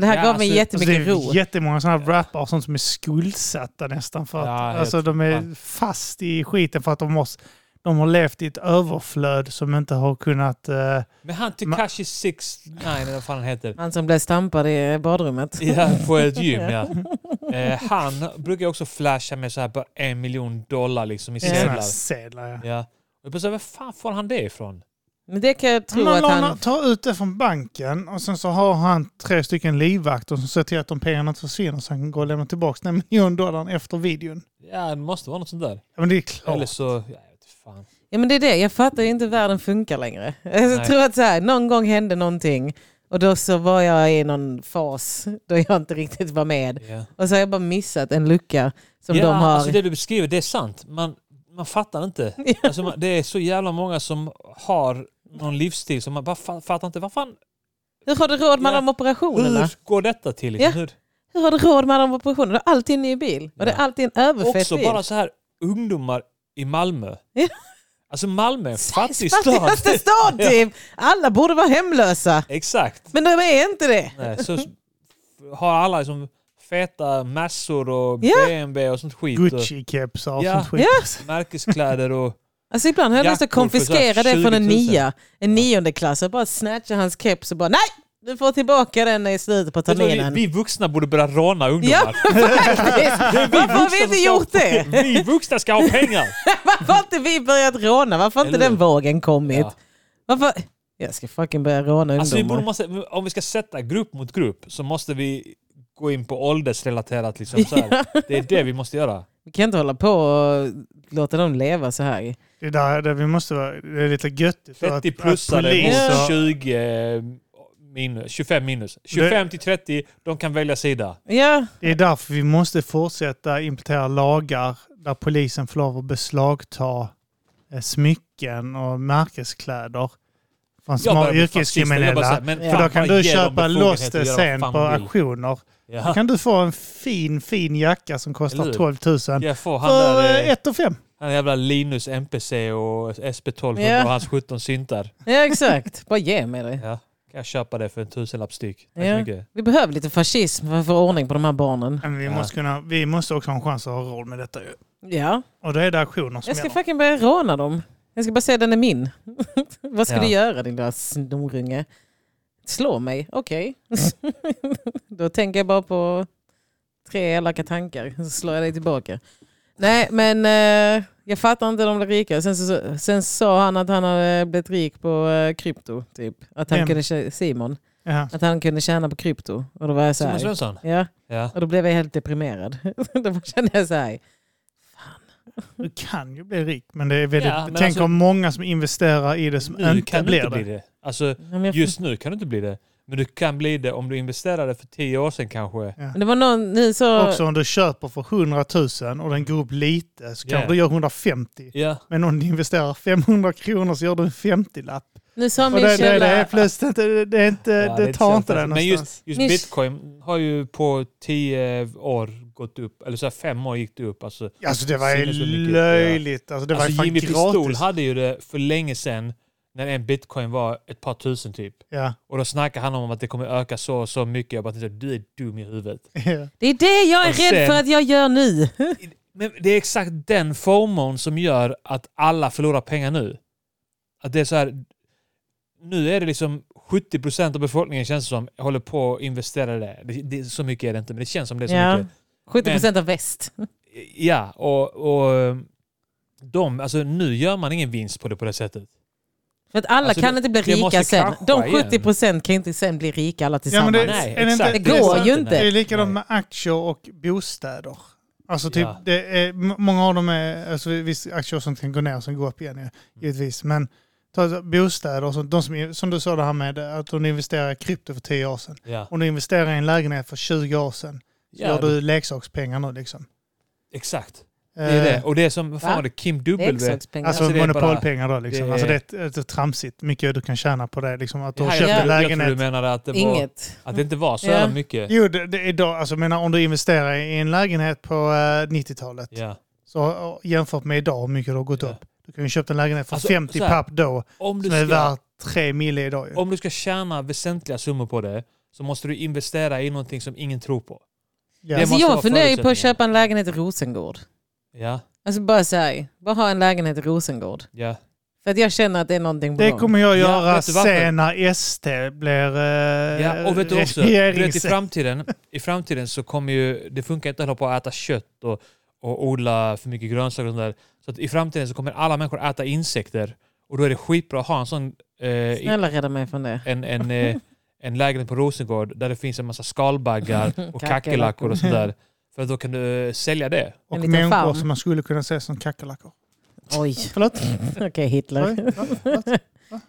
Speaker 1: Det här
Speaker 3: Ja,
Speaker 1: gav mig
Speaker 3: alltså-
Speaker 2: Alltså det
Speaker 1: jättemycket
Speaker 2: är
Speaker 1: ro.
Speaker 2: jättemånga sådana här rappare och sånt som är skuldsatta nästan. för att
Speaker 3: Ja, jag
Speaker 2: alltså, De är
Speaker 3: fan.
Speaker 2: fast i skiten för att de, måste, de har levt i ett överflöd som inte har kunnat... eh,
Speaker 3: Men han Tekashi 69 eller vad fan han heter.
Speaker 1: Han som blev stampad i badrummet.
Speaker 3: Ja, på ett gym ja. Eh, han brukar ju också flasha med så här bara en miljon dollar liksom i
Speaker 1: Ja.
Speaker 2: såna
Speaker 3: sedlar.
Speaker 2: sedlar. Ja.
Speaker 3: Ja. Och jag bara så här, var fan får han det ifrån?
Speaker 1: Men det kan jag tro
Speaker 2: Man
Speaker 1: att
Speaker 2: lånar,
Speaker 1: han...
Speaker 2: tar ut det från banken och sen så har han tre stycken livvakter som ser till att de pengarna inte försvinner så han kan gå och lämna tillbaka den miljon dollarn efter videon.
Speaker 3: Ja, det måste vara något sånt där.
Speaker 2: Ja, men det är
Speaker 3: Eller
Speaker 2: klart.
Speaker 3: så... Ja, jag vet inte fan.
Speaker 1: Ja men det är det, jag fattar ju inte hur världen funkar längre. Jag
Speaker 3: Nej.
Speaker 1: tror att så här, någon gång hände någonting och då så var jag i någon fas då jag inte riktigt var med.
Speaker 3: Ja.
Speaker 1: Och så har jag bara missat en lucka som
Speaker 3: ja,
Speaker 1: de har.
Speaker 3: alltså det du beskriver, det är sant. Man, man fattar inte. Alltså, man, det är så jävla många som har någon livsstil som man bara fa- fattar inte. Vad fan,
Speaker 1: Hur har du råd med
Speaker 3: Ja.
Speaker 1: de operationerna?
Speaker 3: hur går detta till? Liksom?
Speaker 1: Ja,
Speaker 3: Hur?
Speaker 1: Hur har du råd med de operationerna? Du har alltid en ny bil. Och det är
Speaker 3: Ja.
Speaker 1: alltid en överfett
Speaker 3: Också
Speaker 1: bil.
Speaker 3: bara så här ungdomar i Malmö.
Speaker 1: Ja.
Speaker 3: Alltså Malmö är en fattig stad.
Speaker 1: Fattigaste stad typ! Alla borde vara hemlösa.
Speaker 3: Exakt.
Speaker 1: Men de är inte det.
Speaker 3: Nej, så s- har alla liksom feta massor och
Speaker 1: Ja.
Speaker 3: BMW och sånt skit.
Speaker 2: Gucci-kepsar och
Speaker 3: Ja.
Speaker 2: sånt skit.
Speaker 1: Ja.
Speaker 3: Och märkeskläder och...
Speaker 1: Alltså ibland har jag lust att
Speaker 3: Jackor för
Speaker 1: konfiskera
Speaker 3: sådär
Speaker 1: det från en
Speaker 3: 20 000.
Speaker 1: nia, en niondeklassare. Bara snatcha hans keps och bara nej! Du får tillbaka den i slutet på
Speaker 3: Vet du vad,
Speaker 1: terminen.
Speaker 3: Vi, vi vuxna borde börja råna ungdomar.
Speaker 1: Ja, faktiskt. Varför har vi
Speaker 3: vuxna
Speaker 1: inte
Speaker 3: som ska ha
Speaker 1: gjort det?
Speaker 3: pengar. Vi vuxna ska ha pengar!
Speaker 1: Varför har inte vi börjat råna? Varför har inte
Speaker 3: Eller
Speaker 1: den
Speaker 3: hur?
Speaker 1: vågen kommit?
Speaker 3: Ja.
Speaker 1: Varför? Jag ska fucking börja råna
Speaker 3: Alltså, vi
Speaker 1: ungdomar.
Speaker 3: borde måste, om vi ska sätta grupp mot grupp så måste vi gå in på åldersrelaterat. Liksom, så här. Det är det vi måste göra.
Speaker 1: Vi kan inte hålla på och låta dem leva så här.
Speaker 2: Det, är där, där vi måste vara, det är lite göttigt. för att-
Speaker 3: 30
Speaker 2: att
Speaker 3: plussare
Speaker 2: polis
Speaker 1: Ja.
Speaker 3: mot
Speaker 2: har-
Speaker 3: 20 minus, 25 minus. 25 till 30, de kan välja sida.
Speaker 1: Ja,
Speaker 2: Det är därför vi måste fortsätta implementera lagar där polisen får lov att beslagta eh, smycken och märkeskläder från
Speaker 3: Jag
Speaker 2: små
Speaker 3: börjar bli fascist, jag bara
Speaker 2: yrkeskriminella.
Speaker 3: säger, men
Speaker 1: Ja.
Speaker 2: För då
Speaker 3: fan,
Speaker 2: kan
Speaker 3: bara
Speaker 2: du
Speaker 3: ge dem
Speaker 2: köpa loss
Speaker 3: befogenheter
Speaker 2: det
Speaker 3: att göra
Speaker 2: sen
Speaker 3: vad fan
Speaker 2: på
Speaker 3: de vill.
Speaker 2: auktioner. Då
Speaker 3: Ja.
Speaker 2: kan du få en fin, fin jacka som kostar
Speaker 3: Eller hur?
Speaker 2: 12 000. För
Speaker 3: Jag får han där, eh,
Speaker 2: 1 5.
Speaker 3: han jävla Linus MPC och SP1200
Speaker 1: Ja.
Speaker 3: och hans 17 syntar.
Speaker 1: ja exakt. Bara ge mig det.
Speaker 3: Ja. Kan jag köpa det för en tusenlapp styck? Tack så
Speaker 1: Ja.
Speaker 3: mycket.
Speaker 1: Vi behöver lite fascism för att få ordning på de här barnen.
Speaker 2: Men vi,
Speaker 3: Ja.
Speaker 2: måste kunna, vi måste också ha en chans att ha råd med detta. ju.
Speaker 1: Ja,
Speaker 2: Och då är det auktioner som
Speaker 1: jag ska
Speaker 2: gäller.
Speaker 1: fucking börja råna dem. Jag ska bara säga den är min. Vad ska
Speaker 3: Ja.
Speaker 1: du göra din lilla snorunge? Slå mig? Okej. Då tänker jag bara på tre elaka tankar. Så slår jag dig tillbaka. Nej, men eh, jag fattar inte de blir rika. Sen, så, sen sa han att han hade blivit rik på eh, krypto. Typ. Att han
Speaker 2: Vem?
Speaker 1: kunde, tjä- Simon.
Speaker 2: Ja.
Speaker 1: Att han kunde tjäna på krypto. Och då var jag så
Speaker 3: Simon
Speaker 1: här.
Speaker 3: Svensson?
Speaker 1: Ja,
Speaker 3: Ja.
Speaker 1: och då blev jag helt deprimerad. då kände jag så här.
Speaker 2: Du kan ju bli rik, men det är väldigt...
Speaker 3: Ja, men
Speaker 2: tänk
Speaker 3: alltså-
Speaker 2: om många som investerar i det som
Speaker 3: Nu
Speaker 2: inte
Speaker 3: kan du
Speaker 2: blir
Speaker 3: inte
Speaker 2: det.
Speaker 3: bli det. Alltså,
Speaker 1: "Ja, men jag-
Speaker 3: just nu kan du inte bli det. Men du kan bli det om du investerade för tio år sedan kanske.
Speaker 1: Men det var någon, ni så...
Speaker 2: Också om du köper för 100 000 och den går upp lite så kanske
Speaker 3: Ja.
Speaker 2: du gör 150.
Speaker 3: Ja.
Speaker 2: Men om du investerar 500 kronor så gör du en 50-lapp.
Speaker 1: Nu sa
Speaker 2: Och
Speaker 1: min
Speaker 2: det, det, det är
Speaker 1: källa...
Speaker 2: plötsligt inte, det, är inte,
Speaker 3: Ja,
Speaker 2: det tar
Speaker 3: så
Speaker 2: inte det
Speaker 3: jävla- alltså. Men
Speaker 2: någonstans.
Speaker 3: just, just
Speaker 1: Ni-
Speaker 3: bitcoin har ju på tio år gått upp, eller så här fem år gick det upp. Alltså,
Speaker 2: alltså det var ju
Speaker 3: Sinnes så mycket,
Speaker 2: löjligt. Alltså det var ju
Speaker 3: alltså
Speaker 2: fan
Speaker 3: Jimmy Pistol
Speaker 2: gratis.
Speaker 3: hade ju det för länge sedan när en bitcoin var ett par tusen typ.
Speaker 2: Ja.
Speaker 3: Och då snackar han om att det kommer öka så och så mycket. Jag bara tänkte, du är dum i huvudet.
Speaker 2: Ja.
Speaker 1: Det är det jag är
Speaker 3: Och sen-
Speaker 1: rädd för att jag gör nu.
Speaker 3: Men det är exakt den FOMOn som gör att alla förlorar pengar nu. Att det är så här, nu är det liksom 70 procent av befolkningen känns det som håller på att investera i det. det, det så mycket är det inte, men det känns som det är så
Speaker 1: Ja.
Speaker 3: mycket.
Speaker 1: 70 procent av väst.
Speaker 3: Ja, och, och de, alltså nu gör man ingen vinst på det på det sättet.
Speaker 1: För att alla
Speaker 3: Alltså,
Speaker 1: kan
Speaker 3: det-
Speaker 1: inte bli
Speaker 3: det måste
Speaker 1: rika sen.
Speaker 3: krascha
Speaker 1: De
Speaker 3: igen.
Speaker 1: 70 procent kan inte sen bli rika alla
Speaker 2: Ja, men
Speaker 1: tillsammans.
Speaker 2: det,
Speaker 3: Nej,
Speaker 2: är det, inte,
Speaker 3: exakt.
Speaker 1: Det går
Speaker 2: är-
Speaker 1: ju inte.
Speaker 2: Det är likadant
Speaker 3: Nej.
Speaker 2: med aktier och bostäder. Alltså typ,
Speaker 3: Ja.
Speaker 2: det är, m- många av dem är, alltså visst aktier som kan gå ner och sen gå upp igen
Speaker 3: Mm.
Speaker 2: ju, givetvis. Men ta så- bostäder och sånt, de som, som du sa det här med att om du investerar i krypto för 10 år sedan.
Speaker 3: Ja,
Speaker 2: Om du investerar i en lägenhet för 20 år sedan så
Speaker 3: Ja,
Speaker 2: gör du leksakspengar nu liksom. Eh,
Speaker 3: exakt. Det är det. Och det är som, vad fan
Speaker 1: Va?
Speaker 3: var det, Kim
Speaker 1: Det är
Speaker 3: W?
Speaker 1: exoxpengar.
Speaker 2: Alltså,
Speaker 3: Alltså, det är
Speaker 2: monopolpengar då liksom.
Speaker 3: det är-
Speaker 2: alltså, det, är, ett- ett- ett tramsigt mycket du kan tjäna på det. Liksom, att du
Speaker 3: Ja,
Speaker 2: har
Speaker 3: jag
Speaker 2: köpt en
Speaker 3: trodde- jag trodde
Speaker 2: lägenhet.
Speaker 3: Du menade att det, var,
Speaker 1: Inget.
Speaker 3: att det inte var så
Speaker 1: Ja.
Speaker 3: jävla mycket.
Speaker 2: Jo, det, det är då, alltså, jag menar, om du investerar i en lägenhet på eh, 90-talet
Speaker 3: Ja.
Speaker 2: så och jämfört med idag hur mycket det har gått
Speaker 3: Ja.
Speaker 2: upp. Du kan ju köpa en lägenhet för
Speaker 3: Alltså,
Speaker 2: 50
Speaker 3: så här,
Speaker 2: papp då
Speaker 3: Om du
Speaker 2: som är
Speaker 3: ska
Speaker 2: värt 3 mil idag. Ju.
Speaker 3: om du ska tjäna väsentliga summor på det så måste du investera i någonting som ingen tror på.
Speaker 2: ja.
Speaker 3: det
Speaker 1: Alltså,
Speaker 3: måste
Speaker 1: jag
Speaker 3: vara
Speaker 1: funderar ju på att
Speaker 3: förutsättningen.
Speaker 1: köpa en lägenhet i Rosengård.
Speaker 3: Ja,
Speaker 1: Alltså bara säg, bara ha en lägenhet i Rosengård.
Speaker 3: ja.
Speaker 1: För att jag känner att det är någonting på
Speaker 2: Det
Speaker 1: gång.
Speaker 2: kommer jag
Speaker 3: Ja,
Speaker 2: göra
Speaker 3: vet du varför?
Speaker 2: sen när SD blir eh,
Speaker 3: ja. Och vet du också, du vet, i,
Speaker 2: regerings-
Speaker 3: framtiden, i framtiden så kommer ju, det funkar inte att hålla på att äta kött och, och odla för mycket grönsaker och sånt där. Så att i framtiden så kommer alla människor äta insekter och då är det skitbra att ha en sån eh, i-
Speaker 1: Snälla rädda mig från det.
Speaker 3: en, en, eh, en lägenhet på Rosengård där det finns en massa skalbaggar och
Speaker 1: Kackerlackor.
Speaker 3: kackerlackor och sånt där. För att då kan du eh, sälja det.
Speaker 2: Och
Speaker 1: En liten
Speaker 2: människor
Speaker 1: farm.
Speaker 2: som man skulle kunna se som kackerlackor.
Speaker 1: Oj,
Speaker 2: Förlåt?
Speaker 1: okej Hitler.
Speaker 2: Oj, va? Förlåt?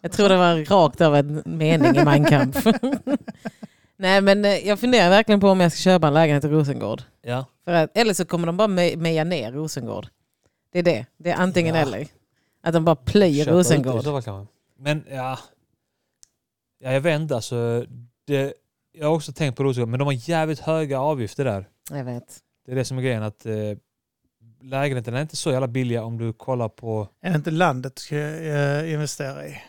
Speaker 1: Jag tror det var rakt av en mening i Mein Kampf. Nej men eh, jag funderar verkligen på om jag ska köpa en lägenhet i Rosengård.
Speaker 3: Ja.
Speaker 1: För att, eller så kommer de bara me- meja ner Rosengård. Det är det. Det är antingen
Speaker 3: Ja.
Speaker 1: eller. Att de bara plöjer
Speaker 3: Köpa ut det i
Speaker 1: Rosengård.
Speaker 3: så fall kanske. Men ja. ja, jag vet inte alltså. Det, jag har också tänkt på Rosengård, men de har jävligt höga avgifter där.
Speaker 1: Jag vet.
Speaker 3: Det är det som är grejen att eh, lägenheterna är inte så jävla billiga om du kollar på...
Speaker 2: Är det inte landet du ska eh, investera i?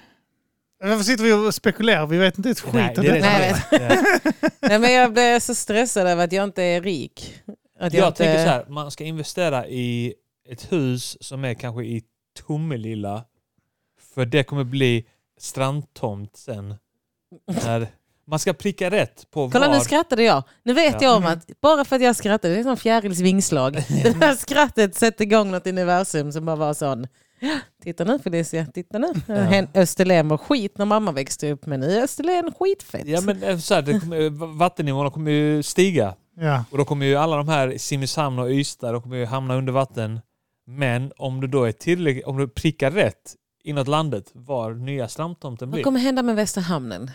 Speaker 2: Varför sitter vi och spekulerar? Vi vet inte ett skit om
Speaker 3: det är det
Speaker 2: detta.
Speaker 3: som
Speaker 1: Nej,
Speaker 3: är grejen. Ja.
Speaker 1: Nej, men jag blev så stressad över att jag inte är rik. Att
Speaker 3: Jag
Speaker 1: inte...
Speaker 3: tänker så här, man ska investera i ett hus som är kanske i Tomelilla. För det kommer bli strandtomt sen. När man ska pricka rätt på
Speaker 1: Kolla
Speaker 3: var...
Speaker 1: nu skrattade jag. Nu vet
Speaker 3: Ja.
Speaker 1: jag om
Speaker 2: Mm.
Speaker 1: att bara för att jag skrattade, det är som fjärils vingslag. Det där skrattet sätter igång något universum som bara var sån. "Ja, Titta nu Felicia, titta nu. Hen- Österlen var skit när mamma växte upp men nu är Österlen skitfett.
Speaker 3: Ja, men eh, så här, det kommer, eh, vattennivåerna kommer ju stiga.
Speaker 2: Ja.
Speaker 3: Och då kommer ju alla de här Simrishamn och Ystad, de kommer ju hamna under vatten. Men om du då är tillräckligt, om du prickar rätt inåt landet var nya slamtomten
Speaker 1: Vad
Speaker 3: blir
Speaker 1: kommer hända med Västra hamnen?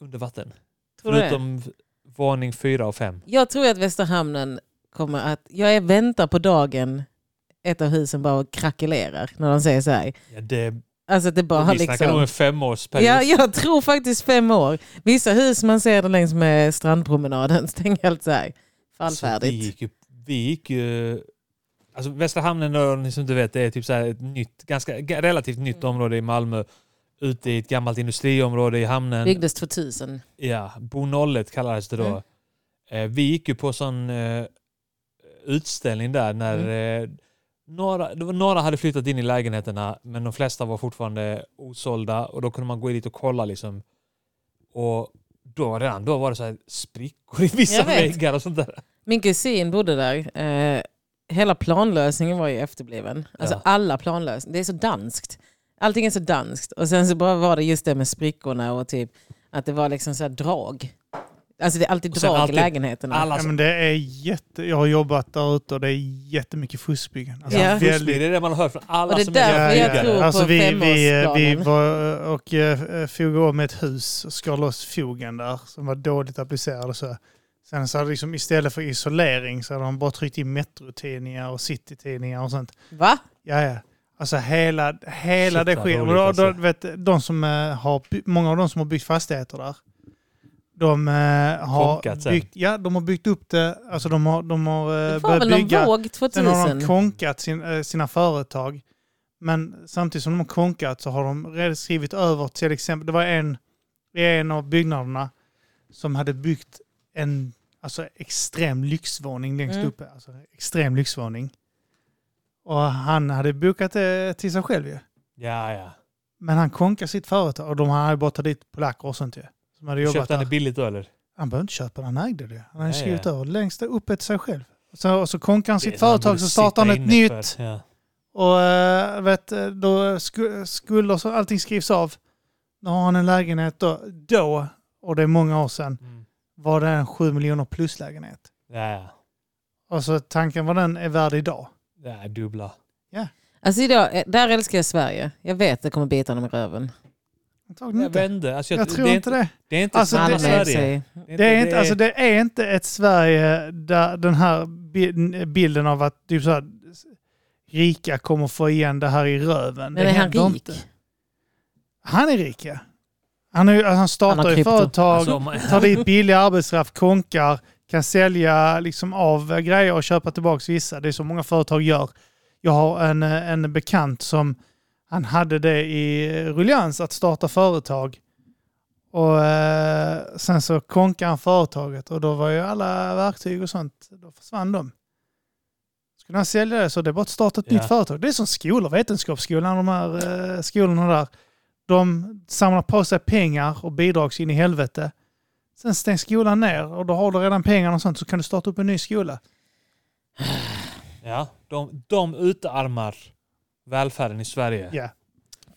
Speaker 3: under vatten.
Speaker 1: Tror du det?
Speaker 3: Förutom varning 4 och 5.
Speaker 1: Jag tror att Västra hamnen kommer att... Jag är väntar på dagen ett av husen bara krackelerar när de säger så här.
Speaker 3: Ja, det,
Speaker 1: Alltså att det bara
Speaker 3: vi snackar
Speaker 1: liksom...
Speaker 3: nog en femårsperiod.
Speaker 1: Ja, jag tror faktiskt fem år. Vissa hus man ser där längs med strandpromenaden stänger helt så här.
Speaker 3: Så Vi
Speaker 1: Fallfärdigt.
Speaker 3: gick ju... Vi gick ju alltså Västra hamnen, då, ni som inte vet, det är typ så här ett nytt, ganska g- relativt nytt
Speaker 1: Mm.
Speaker 3: område i Malmö. Ute i ett gammalt industriområde i hamnen.
Speaker 1: Byggdes 2000.
Speaker 3: Ja, Bo 01 kallades det då.
Speaker 1: Mm.
Speaker 3: Eh, vi gick ju på sån eh, utställning där när
Speaker 1: Mm.
Speaker 3: eh, några, det var, några hade flyttat in i lägenheterna men de flesta var fortfarande osålda och då kunde man gå dit och kolla liksom. Och då redan då var det så här sprickor i vissa
Speaker 1: Jag vet.
Speaker 3: väggar och sånt där.
Speaker 1: Min kusin bodde där. Eh, hela planlösningen var ju efterbliven. Alltså
Speaker 3: Ja.
Speaker 1: alla planlösningar. Det är så danskt. Allting är så danskt. Och sen så bara var det just det med sprickorna och typ att det var liksom så här drag. Alltså det är alltid
Speaker 3: Och sen
Speaker 1: drag
Speaker 3: alltid
Speaker 1: i lägenheterna.
Speaker 3: Alla
Speaker 2: ja,
Speaker 3: som
Speaker 2: men det är jätte... Jag har jobbat där ute och det är jättemycket fuskbyggen. Alltså,
Speaker 1: Ja.
Speaker 3: det
Speaker 2: väldigt-
Speaker 3: är det man har hört från alla
Speaker 1: Och det är
Speaker 3: som
Speaker 1: därför
Speaker 3: är
Speaker 1: jag
Speaker 3: byggare.
Speaker 1: tror- på
Speaker 2: alltså, vi, vi, vi
Speaker 1: femårsplanen.
Speaker 2: var och eh, fog om ett hus och skar loss fogen där som var dåligt applicerad. Och så. Sen så hade liksom, istället för isolering så hade de bara tryckt in metrotidningar och citytidningar och sånt.
Speaker 3: eh,
Speaker 1: Va?
Speaker 2: Ja, ja. Alltså hela, hela
Speaker 3: Shit,
Speaker 2: det
Speaker 3: vad
Speaker 2: skiten. Och
Speaker 3: roligt
Speaker 2: då,
Speaker 3: alltså.
Speaker 2: då, vet, de som eh, har, by- många av de som har byggt fastigheter där, de eh,
Speaker 3: Konkat
Speaker 2: har
Speaker 3: sen.
Speaker 2: byggt, ja, de har byggt upp det, alltså de har, de har
Speaker 1: Det
Speaker 2: eh,
Speaker 1: var
Speaker 2: börjat
Speaker 1: väl någon
Speaker 2: bygga.
Speaker 1: våg
Speaker 2: Sen har de
Speaker 1: 2000?
Speaker 2: konkat sin, eh, sina företag. Men samtidigt som de har konkat så har de redan skrivit över till exempel, det var en i en av byggnaderna som hade byggt en alltså, extrem lyxvåning längst
Speaker 1: Mm.
Speaker 2: uppe. Alltså, extrem lyxvåning. Och han hade bokat det till sig själv ju.
Speaker 3: Ja, ja.
Speaker 2: Men han konkade sitt företag och de hade bara tagit dit polacker och sånt ju. Som hade jobbat
Speaker 3: Köpte han det
Speaker 2: där.
Speaker 3: billigt då eller?
Speaker 2: Han behövde inte köpa den, han ägde det. Han hade
Speaker 3: Nej,
Speaker 2: skrivit
Speaker 3: ja.
Speaker 2: över längst uppe till sig själv. Så, och så konkade han
Speaker 3: Det
Speaker 2: sitt
Speaker 3: är så man borde
Speaker 2: företag så startade han
Speaker 3: sitta
Speaker 2: ett
Speaker 3: inne
Speaker 2: nytt.
Speaker 3: för. Ja.
Speaker 2: Och eh, vet, då sku- skulder så allting skrivs av. Nu har han en lägenhet då, då, och det är många år sedan,
Speaker 3: Mm.
Speaker 2: var det en 7 miljoner plus lägenhet.
Speaker 3: Ja, ja.
Speaker 2: Och så tanken vad den är värd idag.
Speaker 3: Ja, dubbla.
Speaker 1: Alltså idag, eh, där älskar jag Sverige. Jag vet det kommer bita dem i röven.
Speaker 2: Antagligen
Speaker 3: Jag
Speaker 2: inte.
Speaker 3: vände. Alltså,
Speaker 2: Jag,
Speaker 3: jag,
Speaker 2: tror
Speaker 3: det är
Speaker 2: inte det.
Speaker 3: Det är inte
Speaker 2: Alltså,
Speaker 3: samma
Speaker 1: Malmö
Speaker 2: det-
Speaker 1: i
Speaker 3: Sverige.
Speaker 1: sig.
Speaker 2: Det är, inte, alltså, det är inte ett Sverige där den här bi- bilden av att typ så här, rika kommer få igen det här i röven.
Speaker 1: Men
Speaker 2: det
Speaker 1: är han
Speaker 2: händer
Speaker 1: rik?
Speaker 2: Inte. Han är rik ja. Han, är, ju- han startar
Speaker 1: Han har
Speaker 2: ju
Speaker 1: krypto.
Speaker 2: företag.
Speaker 3: Alltså, om man-
Speaker 2: tar dit billig arbetskraft, konkar, kan sälja liksom av eh, grejer och köpa tillbaka vissa. Det är så många företag gör. Jag har en, eh, en bekant som han hade det i eh, ruljans att starta företag. Och eh, sen så konkade han företaget och då var ju alla verktyg och sånt, då försvann de. Skulle han sälja det så det är bara att starta ett
Speaker 3: Ja.
Speaker 2: nytt företag. Det är som skolor, vetenskapsskolan, de här eh, skolorna där. De samlar på sig pengar och bidrag så in i helvete. Sen stängs skolan ner och då har du redan pengarna och sånt så kan du starta upp en ny skola.
Speaker 3: Ja, de, de utarmar välfärden i Sverige.
Speaker 2: Ja. alltså.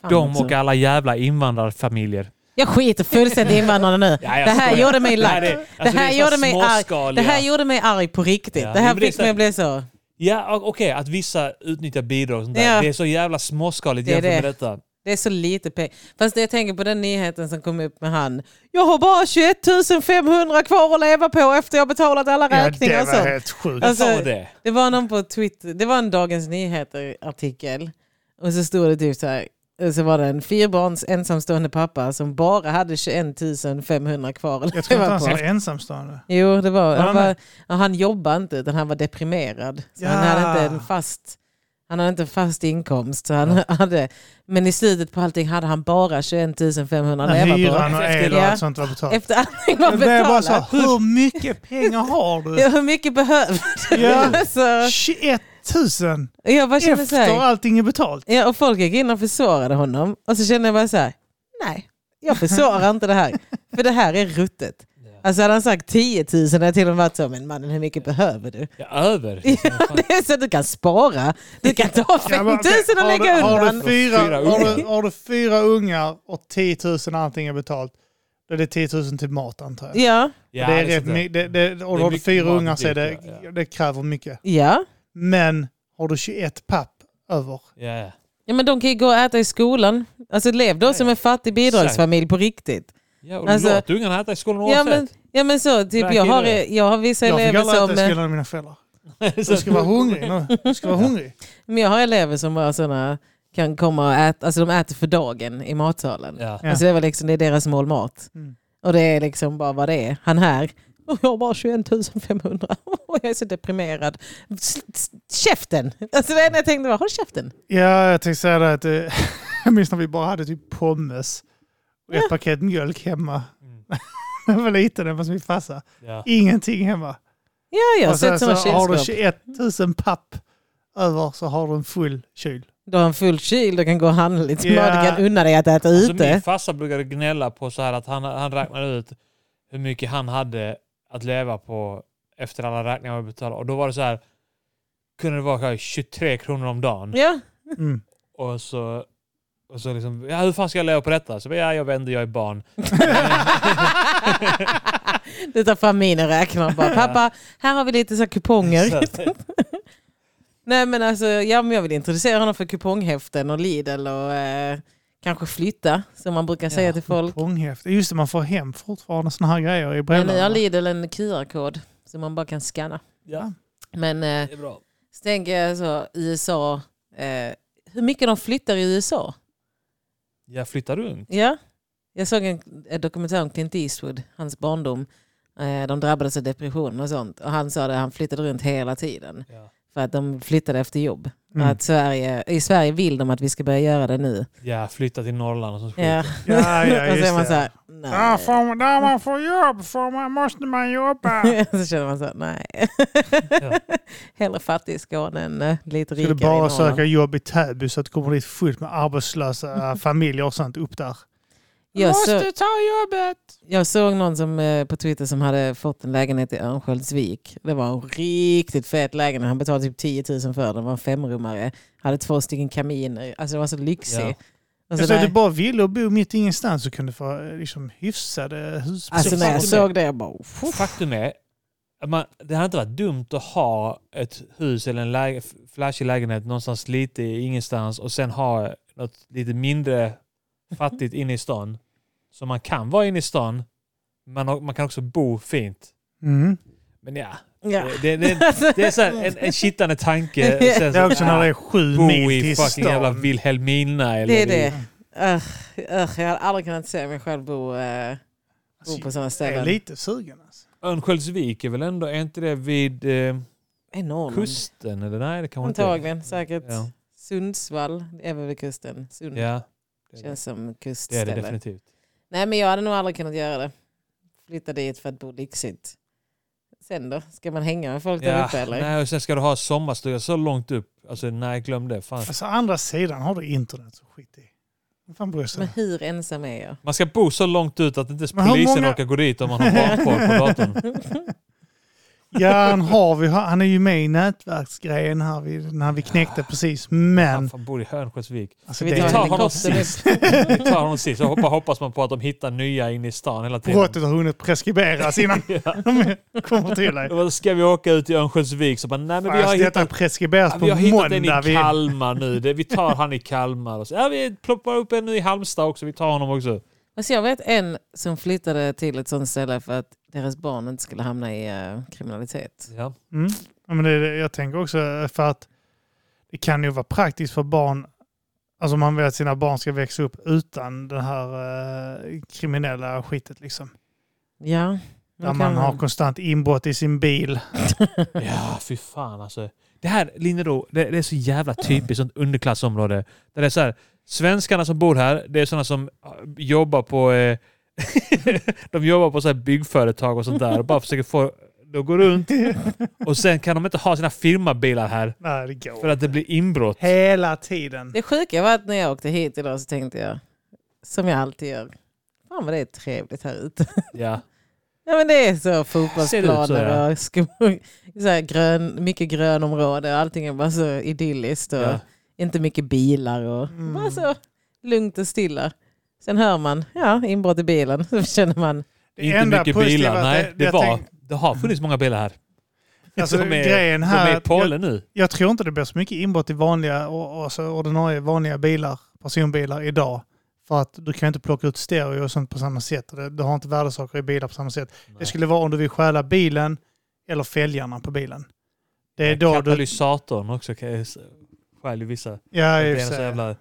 Speaker 1: Fan
Speaker 3: De
Speaker 1: också.
Speaker 3: och alla jävla invandrarfamiljer.
Speaker 1: alltså. Jag skiter fullständigt i invandrarna nu.
Speaker 3: Ja, jag
Speaker 1: det här
Speaker 3: skojar.
Speaker 1: gjorde mig lack.
Speaker 3: det, alltså,
Speaker 1: här
Speaker 3: är så
Speaker 1: gjorde mig arg. Det
Speaker 3: småskaliga.
Speaker 1: här gjorde mig arg på riktigt.
Speaker 3: Ja,
Speaker 1: det här
Speaker 3: men det är
Speaker 1: fick
Speaker 3: så-
Speaker 1: mig att bli så.
Speaker 3: Ja, o- okej, att vissa utnyttjar bidrag och sånt där.
Speaker 1: Ja.
Speaker 3: Det är så jävla småskaligt
Speaker 1: Det är
Speaker 3: jämfört med
Speaker 1: det.
Speaker 3: detta.
Speaker 1: Det är så lite pengar. Fast jag tänker på den nyheten som kom upp med han. Jag har bara 21 500 kvar att leva på efter jag betalat alla räkningar
Speaker 2: det
Speaker 1: och sånt.
Speaker 2: var helt sjukt.
Speaker 1: Alltså,
Speaker 3: Alltså, det.
Speaker 1: Det var någon på Twitter, det var en Dagens Nyheter-artikel. Och så stod det typ så här, och så var det en fyrbarns ensamstående pappa som bara hade 21 500 kvar att
Speaker 2: jag tror inte
Speaker 1: leva
Speaker 2: han
Speaker 1: på.
Speaker 2: var ensamstående.
Speaker 1: Jo, det var, han,
Speaker 2: han
Speaker 1: var,
Speaker 2: med?
Speaker 1: ja, han jobbade inte utan han var deprimerad. Så
Speaker 2: Ja.
Speaker 1: han, hade inte en fast, han hade inte en fast inkomst. Så han hade, men i slutet på allting hade han bara 21 500 att
Speaker 2: När
Speaker 1: leva på.
Speaker 2: hyran och
Speaker 3: Efter-
Speaker 2: el och
Speaker 1: ja.
Speaker 2: allt sånt var betalt.
Speaker 1: Efter allting var
Speaker 2: Men det är bara så här,
Speaker 1: betalat.
Speaker 2: hur mycket pengar har du?
Speaker 1: Ja, hur mycket behövde du?
Speaker 2: Ja.
Speaker 1: Alltså,
Speaker 2: 21 000
Speaker 1: jag bara känner så
Speaker 2: efter
Speaker 1: här,
Speaker 2: allting är betalt.
Speaker 1: Ja, och folk gick in och försvarade honom. Och så kände jag bara så här, nej, jag försvarar inte det här. För det här är ruttet. Alltså hade han sagt 10 000 hade jag till och med varit så, men mannen hur mycket behöver du?
Speaker 3: Ja, över.
Speaker 1: Ja, det är så att du kan spara. Du kan ta 5 000
Speaker 2: men, okej,
Speaker 1: och
Speaker 2: har,
Speaker 1: lägga
Speaker 2: du, har,
Speaker 1: undan.
Speaker 2: du fyra,
Speaker 3: Fyra
Speaker 2: har, du,
Speaker 3: ungar.
Speaker 2: har du fyra ungar och 10 000 allting är betalt, Då är det 10 000 till mat antar jag.
Speaker 1: Ja,
Speaker 3: Ja,
Speaker 2: det är
Speaker 3: det är
Speaker 2: rätt
Speaker 3: sånt där.
Speaker 2: my- det, det, och
Speaker 3: Det är
Speaker 2: har du
Speaker 3: mycket
Speaker 2: fyra
Speaker 3: mat
Speaker 2: ungar så är det,
Speaker 3: dit, ja, ja.
Speaker 2: det kräver mycket.
Speaker 1: ja.
Speaker 2: Men har du 21 papp över,
Speaker 3: Ja, ja.
Speaker 1: Ja men de kan ju gå och äta i skolan. Alltså lev då som en fattig bidragsfamilj på riktigt.
Speaker 3: ja och
Speaker 1: Alltså-
Speaker 3: låt ungarna äta i skolan
Speaker 1: Ja men,
Speaker 3: oavsett.
Speaker 1: ja men så, typ
Speaker 3: Verkar
Speaker 1: jag har,
Speaker 3: det.
Speaker 1: jag har vissa
Speaker 2: jag fick
Speaker 1: elever
Speaker 2: aldrig äta i
Speaker 1: som... eh,
Speaker 2: skolan av mina föräldrar.
Speaker 3: Så-
Speaker 2: Du ska vara hungrig nu. Du ska vara hungrig.
Speaker 1: Men jag har elever som bara sådana kan komma och äta, alltså de äter för dagen i matsalen.
Speaker 3: ja.
Speaker 2: Ja.
Speaker 1: Alltså det, var liksom, det är deras mål mat.
Speaker 2: Mm.
Speaker 1: Och det är liksom bara vad det är. Han här, och jag har bara 21 500 och jag är så deprimerad. S- s- Käften! Alltså det enda jag tänkte var håll käften.
Speaker 2: Ja, jag tänkte säga det att eh, jag minns när vi bara hade typ pommes och ett
Speaker 1: Ja.
Speaker 2: paket mjölk hemma.
Speaker 3: Mm.
Speaker 2: Jag var liten, det var som min farsa.
Speaker 3: Ja.
Speaker 2: Ingenting hemma.
Speaker 1: Ja, jag har
Speaker 2: och sen
Speaker 1: sett
Speaker 2: så
Speaker 1: sådana
Speaker 2: har du
Speaker 1: kylskåp.
Speaker 2: 21 000 papp över så har du en full kyl.
Speaker 1: Du har en full kyl, du kan gå och handla lite smör,
Speaker 2: Ja.
Speaker 1: du kan unna dig att äta
Speaker 3: Alltså,
Speaker 1: ute.
Speaker 3: min farsa brukade gnälla på så här att han, han räknade ut hur mycket han hade att leva på efter alla räkningar man betalade. Och då var det så här, kunde det vara kanske 23 kronor om dagen.
Speaker 1: Ja,
Speaker 2: Mm.
Speaker 3: Och så, och så liksom, ja hur fan ska jag leva på detta? Så ja, jag vänder, jag är barn.
Speaker 1: du tar fram min och räknar och bara pappa, här har vi lite så här kuponger.
Speaker 3: Så,
Speaker 1: Nej men alltså, ja, men jag vill introducera honom för kuponghäften och Lidl och eh, kanske flytta som man brukar säga
Speaker 3: Ja,
Speaker 1: till folk.
Speaker 2: Prånghäfte. Just det, man får hem fortfarande såna här grejer i
Speaker 1: Men nu har
Speaker 2: brevlådan.
Speaker 1: Lidl en QR-kod som man bara kan scanna.
Speaker 3: ja,
Speaker 1: Men eh,
Speaker 3: det är bra.
Speaker 1: så tänker jag så, USA, eh, hur mycket de flyttar i USA.
Speaker 3: Jag flyttar runt.
Speaker 1: Ja. Jag såg en en dokumentär om Clint Eastwood, hans barndom. Eh, De drabbades av depression och sånt. Och han sa det, han flyttade runt hela tiden.
Speaker 3: Ja.
Speaker 1: För att de flyttade efter jobb.
Speaker 2: Mm.
Speaker 1: Att Sverige, I Sverige vill de att vi ska börja göra det nu.
Speaker 3: Jag flyttar till Norrland och sånt skit.
Speaker 1: Ja.
Speaker 2: Ja, ja,
Speaker 1: och så är man
Speaker 2: just
Speaker 1: så
Speaker 2: det. Ah,
Speaker 1: här, nej.
Speaker 2: Ja, får, där man får jobb får man, måste man jobba.
Speaker 1: så känner man så här, nej.
Speaker 3: Ja.
Speaker 1: Hellre fattig i Skåne än eh, lite
Speaker 2: Skulle
Speaker 1: rikare i
Speaker 2: bara
Speaker 1: Norrland.
Speaker 2: söka jobb i Täby så att det kommer dit fullt med arbetslösa familjer och sånt upp där.
Speaker 1: Jag, så,
Speaker 2: ta jobbet!
Speaker 1: jag såg någon som, eh, på Twitter som hade fått en lägenhet i Örnsköldsvik. Det var en riktigt fet lägenhet. Han betalade typ 10 000 för den. Det var en femrummare. Hade två stycken kaminer. Alltså det var så lyxig.
Speaker 3: Ja.
Speaker 1: Och så
Speaker 2: Alltså,
Speaker 1: där-
Speaker 2: du bara ville och bo mitt ingenstans så kunde du få eh, liksom, hyfsade hus.
Speaker 1: alltså när jag
Speaker 3: Faktum
Speaker 1: såg det, jag bara... Uff.
Speaker 3: Faktum är, att man, det hade inte varit dumt att ha ett hus eller en läge, flashig lägenhet någonstans lite i ingenstans och sen ha något lite mindre
Speaker 1: Mhm.
Speaker 3: fattigt inne i stan. Så man kan vara inne i stan, men man kan också bo fint.
Speaker 1: alltså-
Speaker 2: Mm.
Speaker 3: Men ja,
Speaker 1: Ja.
Speaker 3: det, det, det, det är så här en, en kittlande tanke. och
Speaker 2: Det
Speaker 3: sen så- "Ah,
Speaker 2: är också när det är sju
Speaker 3: bo
Speaker 2: mil
Speaker 3: i
Speaker 2: till
Speaker 3: fucking jävla
Speaker 2: stan.
Speaker 3: Vilhelmina. Eller
Speaker 1: Det är
Speaker 3: i-
Speaker 1: det. Ugh, ugh, jag hade aldrig kunnat se mig själv bo, eh, bo på
Speaker 2: Alltså,
Speaker 1: sådana
Speaker 2: Jag är
Speaker 1: ställen.
Speaker 2: lite sugen. Alltså.
Speaker 3: Örnsköldsvik är väl ändå, är inte det vid eh,
Speaker 1: Enormt.
Speaker 3: kusten? Eller nej, det kanske inte är.
Speaker 1: Antagligen, säkert.
Speaker 3: Ja.
Speaker 1: Sundsvall är väl vid kusten. Sund
Speaker 3: Ja, det är det.
Speaker 1: känns som
Speaker 3: det är det
Speaker 1: kustställe.
Speaker 3: definitivt.
Speaker 1: Nej men jag hade nog aldrig kunnat göra det. Flytta dit för att bo lyxigt. Sen då? Ska man hänga med folk där uppe eller?
Speaker 3: Nej, och sen ska du ha sommarstuga så långt upp. Alltså, nej, glöm det. Fan.
Speaker 2: Alltså, å andra sidan har du internet så skit i. Vem fan bryr
Speaker 1: Men
Speaker 2: sig?
Speaker 1: hur ensam är jag?
Speaker 3: Man ska bo så långt ut att inte ens
Speaker 2: Men hur
Speaker 3: polisen
Speaker 2: många-
Speaker 3: orkar gå dit om man har barnporr på datorn.
Speaker 2: Ja, han, har vi, han är ju med i nätverksgrejen här vi, när vi knäckte precis. Men
Speaker 3: Han fan bor i Hörnsköldsvik.
Speaker 2: alltså,
Speaker 1: Ska vi ta
Speaker 2: det
Speaker 3: tar honom
Speaker 1: helikoptern
Speaker 3: sist.
Speaker 1: upp?
Speaker 3: Vi tar honom sist. Så hoppas, hoppas man på att de hittar nya inne i stan hela tiden.
Speaker 2: brottet har hunnit preskriberas innan de kommer till dig.
Speaker 3: Då ska vi åka ut till Örnsköldsvik så bara, nej men vi har
Speaker 2: Fast detta
Speaker 3: hittat,
Speaker 2: preskriberas på
Speaker 3: vi har hittat en
Speaker 2: måndag.
Speaker 3: i
Speaker 2: Vi,
Speaker 3: Kalmar nu. Det, vi tar han i Kalmar. Och så, ja, vi ploppar upp en nu i Halmstad också. Vi tar honom också.
Speaker 1: Alltså jag vet en som flyttade till ett sånt ställe för att deras barn inte skulle hamna i eh, kriminalitet.
Speaker 3: Ja.
Speaker 2: Mm. Ja, men det, är det- jag tänker också eh, för att det kan ju vara praktiskt för barn, alltså om man vill att sina barn ska växa upp utan det här eh, kriminella skitet liksom.
Speaker 1: Ja.
Speaker 2: Där man har konstant inbrott i sin bil.
Speaker 3: Ja, fy fan alltså. Det här, Linnero, det, det är så jävla typiskt sånt underklassområde. Där det är så här, svenskarna som bor här, det är sådana som ah, jobbar på eh, de jobbar på så här byggföretag och sånt där och bara försöker få de går runt och sen kan de inte ha sina firmabilar här
Speaker 2: Nej, det
Speaker 3: för
Speaker 2: går.
Speaker 3: att det blir inbrott.
Speaker 2: Hela tiden.
Speaker 1: Det sjuka var att när jag åkte hit idag så tänkte jag, som jag alltid gör, fan vad det är trevligt här ute.
Speaker 3: Ja.
Speaker 1: Ja men det är så
Speaker 3: Ser det ut så,
Speaker 1: fotbollsplaner
Speaker 3: ja.
Speaker 1: och skog, så här grön, mycket grönområde och allting är bara så idylliskt och
Speaker 3: Ja.
Speaker 1: inte mycket bilar och
Speaker 2: Mm.
Speaker 1: bara så lugnt och stilla. Sen hör man ja, inbrott i bilen. Så känner man
Speaker 2: Det
Speaker 3: Inte
Speaker 2: enda
Speaker 3: mycket
Speaker 2: positiva
Speaker 3: bilar.
Speaker 2: att
Speaker 3: Nej,
Speaker 2: det-
Speaker 3: det,
Speaker 2: jag
Speaker 3: var,
Speaker 2: tänk-
Speaker 3: det har funnits många bilar här.
Speaker 2: Alltså,
Speaker 3: de är,
Speaker 2: grejen här
Speaker 3: de är
Speaker 2: är
Speaker 3: i
Speaker 2: att
Speaker 3: Polen nu.
Speaker 2: Jag tror inte det blir så mycket inbrott i vanliga, och, och så ordinarie vanliga bilar, personbilar idag. För att du kan inte plocka ut stereo och sånt på samma sätt. Och Det, du har inte värdesaker i bilar på samma sätt. Det skulle vara om du vill stjäla bilen eller fälgarna på bilen. Det är då du...
Speaker 3: Katalysatorn också kan ju s- stjäl ju vissa.
Speaker 2: Ja,
Speaker 3: Det
Speaker 2: i och
Speaker 3: är
Speaker 2: för
Speaker 3: så
Speaker 2: sig.
Speaker 3: jävla...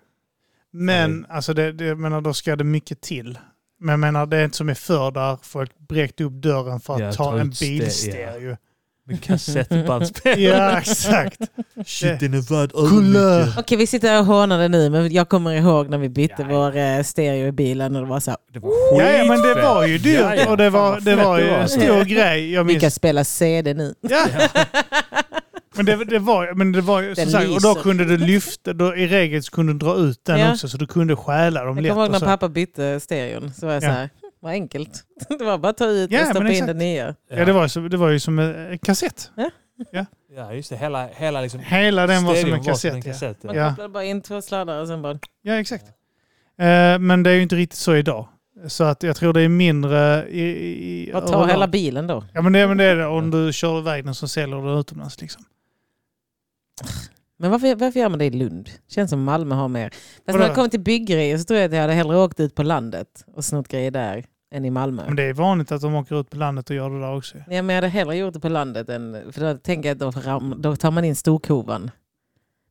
Speaker 2: Men alltså det, det, jag menar, då ska det mycket till. Men jag menar, det är inte som i förr där folk bräckte upp dörren för att
Speaker 3: Ja, ta
Speaker 2: ta en
Speaker 3: ut ste- ja.
Speaker 2: bilstereo.
Speaker 3: Med kassettbandspelare.
Speaker 2: Ja, exakt.
Speaker 3: Shit, den är värd
Speaker 2: Kolla!
Speaker 1: Okej, vi sitter här och hånar det nu, men jag kommer ihåg när vi bytte
Speaker 3: Ja, ja.
Speaker 1: vår eh, stereo i bilen och det var så här,
Speaker 3: Det var
Speaker 2: Ja, ja, men det
Speaker 3: skitfett.
Speaker 2: var ju dyrt
Speaker 3: Ja, ja.
Speaker 2: och det
Speaker 3: Fan,
Speaker 2: var,
Speaker 3: vad
Speaker 2: det
Speaker 3: fett
Speaker 2: var ju en stor grej. Jag
Speaker 1: vi
Speaker 2: minns.
Speaker 1: kan spela CD nu.
Speaker 2: Ja. Men det, det var men det var ju som
Speaker 1: Den
Speaker 2: sagt, och då
Speaker 1: lyser.
Speaker 2: kunde du lyfta, då, i regel så kunde du dra ut den
Speaker 1: Ja.
Speaker 2: också så du kunde stjäla dem
Speaker 1: Jag
Speaker 2: lätt.
Speaker 1: kommer ihåg
Speaker 2: Och
Speaker 1: när
Speaker 2: så.
Speaker 1: pappa bytte stereon, så var jag
Speaker 2: Ja.
Speaker 1: så här, "Hm, vad enkelt. Det var bara att ta ut
Speaker 2: Ja,
Speaker 1: och
Speaker 2: men
Speaker 1: stoppa in
Speaker 2: exakt.
Speaker 1: den nya.
Speaker 2: Ja, det, var, ju som- det var ju som en en kassett.
Speaker 3: Ja, just det. Hela, hela liksom...
Speaker 2: Hela den var som
Speaker 3: stereon
Speaker 2: en kassett. ja.
Speaker 3: kassett, ja.
Speaker 1: Man
Speaker 2: Ja.
Speaker 1: kopplade bara in två sladdar och sen bara...
Speaker 2: ja, exakt. Eh, men det är ju inte riktigt så idag. Så att jag tror det är mindre i... i
Speaker 1: Bara ta
Speaker 2: överlag.
Speaker 1: hela bilen då.
Speaker 2: Ja men det, men det är det. Om du kör iväg den så säljer du den utomlands liksom.
Speaker 1: Men varför, varför gör man det i Lund? Känns som Malmö har mer. Fast
Speaker 2: Vadå?
Speaker 1: när jag kom till byggrejer så tror jag att jag hade hellre åkt ut på landet och snott grejer där än i Malmö.
Speaker 2: Men det är vanligt att de åker ut på landet och gör det där också.
Speaker 1: Nej, men jag hade hellre gjort det på landet än... För då tänker jag att då, får ram- då tar man in storkovan.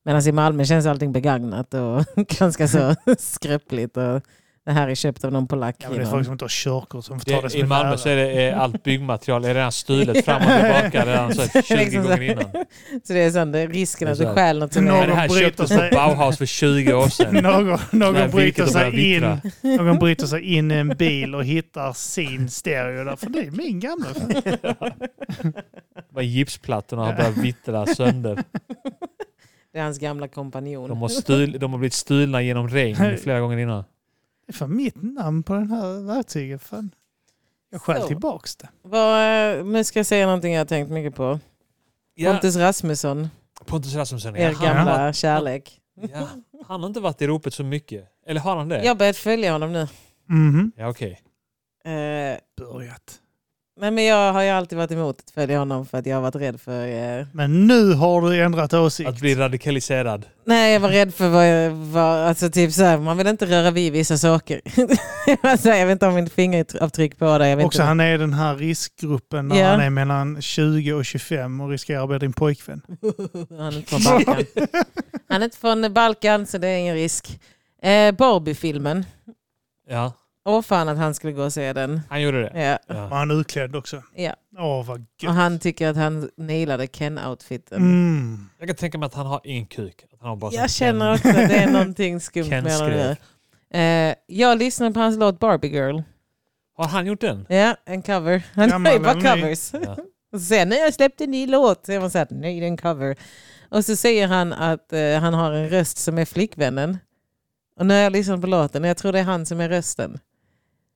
Speaker 1: Medan i Malmö känns allting begagnat och ganska så skräpligt. Och det här är köpt av någon polack.
Speaker 2: Ja, men det är
Speaker 1: innan.
Speaker 2: folk som inte har körkort som får ta det
Speaker 3: Det,
Speaker 2: som
Speaker 3: I
Speaker 2: en
Speaker 3: Malmö
Speaker 2: ära.
Speaker 3: så är det, eh, allt byggmaterial är redan stulet fram och tillbaka redan så här 20
Speaker 1: Liksom så här.
Speaker 3: gånger innan.
Speaker 1: Så det är sån, det är risken
Speaker 3: Det
Speaker 1: att
Speaker 3: är
Speaker 1: du
Speaker 3: så här.
Speaker 1: stjäl något som
Speaker 2: Någon
Speaker 3: Men
Speaker 1: är...
Speaker 3: det här
Speaker 2: bryter
Speaker 3: köptes
Speaker 2: sig.
Speaker 3: på Bauhaus för 20 år sedan.
Speaker 2: Någon,
Speaker 3: När
Speaker 2: någon, bryter
Speaker 3: virket har
Speaker 2: sig
Speaker 3: börjat
Speaker 2: in, någon bryter sig in i en bil och hittar sin stereo där. För det är min gamla.
Speaker 3: Bara Gipsplattorna har börjat vittra sönder.
Speaker 1: Det är hans gamla kompanjon.
Speaker 3: De har, stul, de har blivit stulna genom regn flera gånger innan.
Speaker 2: Det är för mitt namn på den här verktygen. Fan. Jag stjäl
Speaker 1: Så.
Speaker 2: tillbaks det.
Speaker 1: Vad, eh, nu ska jag säga någonting jag har tänkt mycket på.
Speaker 3: Ja,
Speaker 1: Pontus Rasmusson,
Speaker 3: Pontus Rasmusson.
Speaker 1: er
Speaker 3: Ja, han, har,
Speaker 1: gamla kärlek.
Speaker 3: ja, han har inte varit i ropet så mycket. Eller har han det?
Speaker 1: Jag har börjat följa honom nu.
Speaker 2: Mhm.
Speaker 3: Ja, okej.
Speaker 1: Eh,
Speaker 2: Börjat.
Speaker 1: nej, men jag har ju alltid varit emot att följa honom för att jag har varit rädd för... Eh,
Speaker 2: Men nu har du ändrat åsikt.
Speaker 3: Att bli radikaliserad.
Speaker 1: nej, jag var rädd för vad jag var... Alltså typ så här, man vill inte röra vid vissa saker. alltså, jag vet inte om mitt fingeravtryck på det. Jag vet
Speaker 2: Också
Speaker 1: inte.
Speaker 2: han är i den här riskgruppen när
Speaker 1: Ja.
Speaker 2: han är mellan 20 och 25 och riskerar att bli din pojkvän.
Speaker 1: Mm. Han är inte från Balkan. Han är inte från Balkan så det är ingen risk. Eh, Barbie-filmen.
Speaker 3: Ja,
Speaker 1: Åh fan att han skulle gå och se den.
Speaker 3: han gjorde det.
Speaker 1: Ja.
Speaker 2: Och
Speaker 3: Ja.
Speaker 2: han är utklädd också.
Speaker 1: Ja.
Speaker 2: Åh, vad
Speaker 1: Och
Speaker 2: gött.
Speaker 1: han tycker att han nailade Ken-outfiten.
Speaker 2: Mm.
Speaker 3: Jag kan tänka mig att han har ingen kuk. Att han har bara
Speaker 1: Jag
Speaker 3: sån Ken-
Speaker 1: känner också att det är någonting skumt
Speaker 3: Ken
Speaker 1: med honom nu.
Speaker 3: skrev.
Speaker 1: Eh, jag lyssnade på hans låt Barbie Girl.
Speaker 3: Har han gjort den?
Speaker 1: Ja, en cover. Han
Speaker 2: Gammal
Speaker 1: gör ju bara
Speaker 2: eller ny?
Speaker 1: covers.
Speaker 3: Ja.
Speaker 1: Och så säger han, nej jag släppte en ny låt. Så är man så här, nej det är en cover. Och så säger han att eh, han har en röst som är flickvännen. Och nu har jag lyssnat på låten och jag tror det är han som är rösten.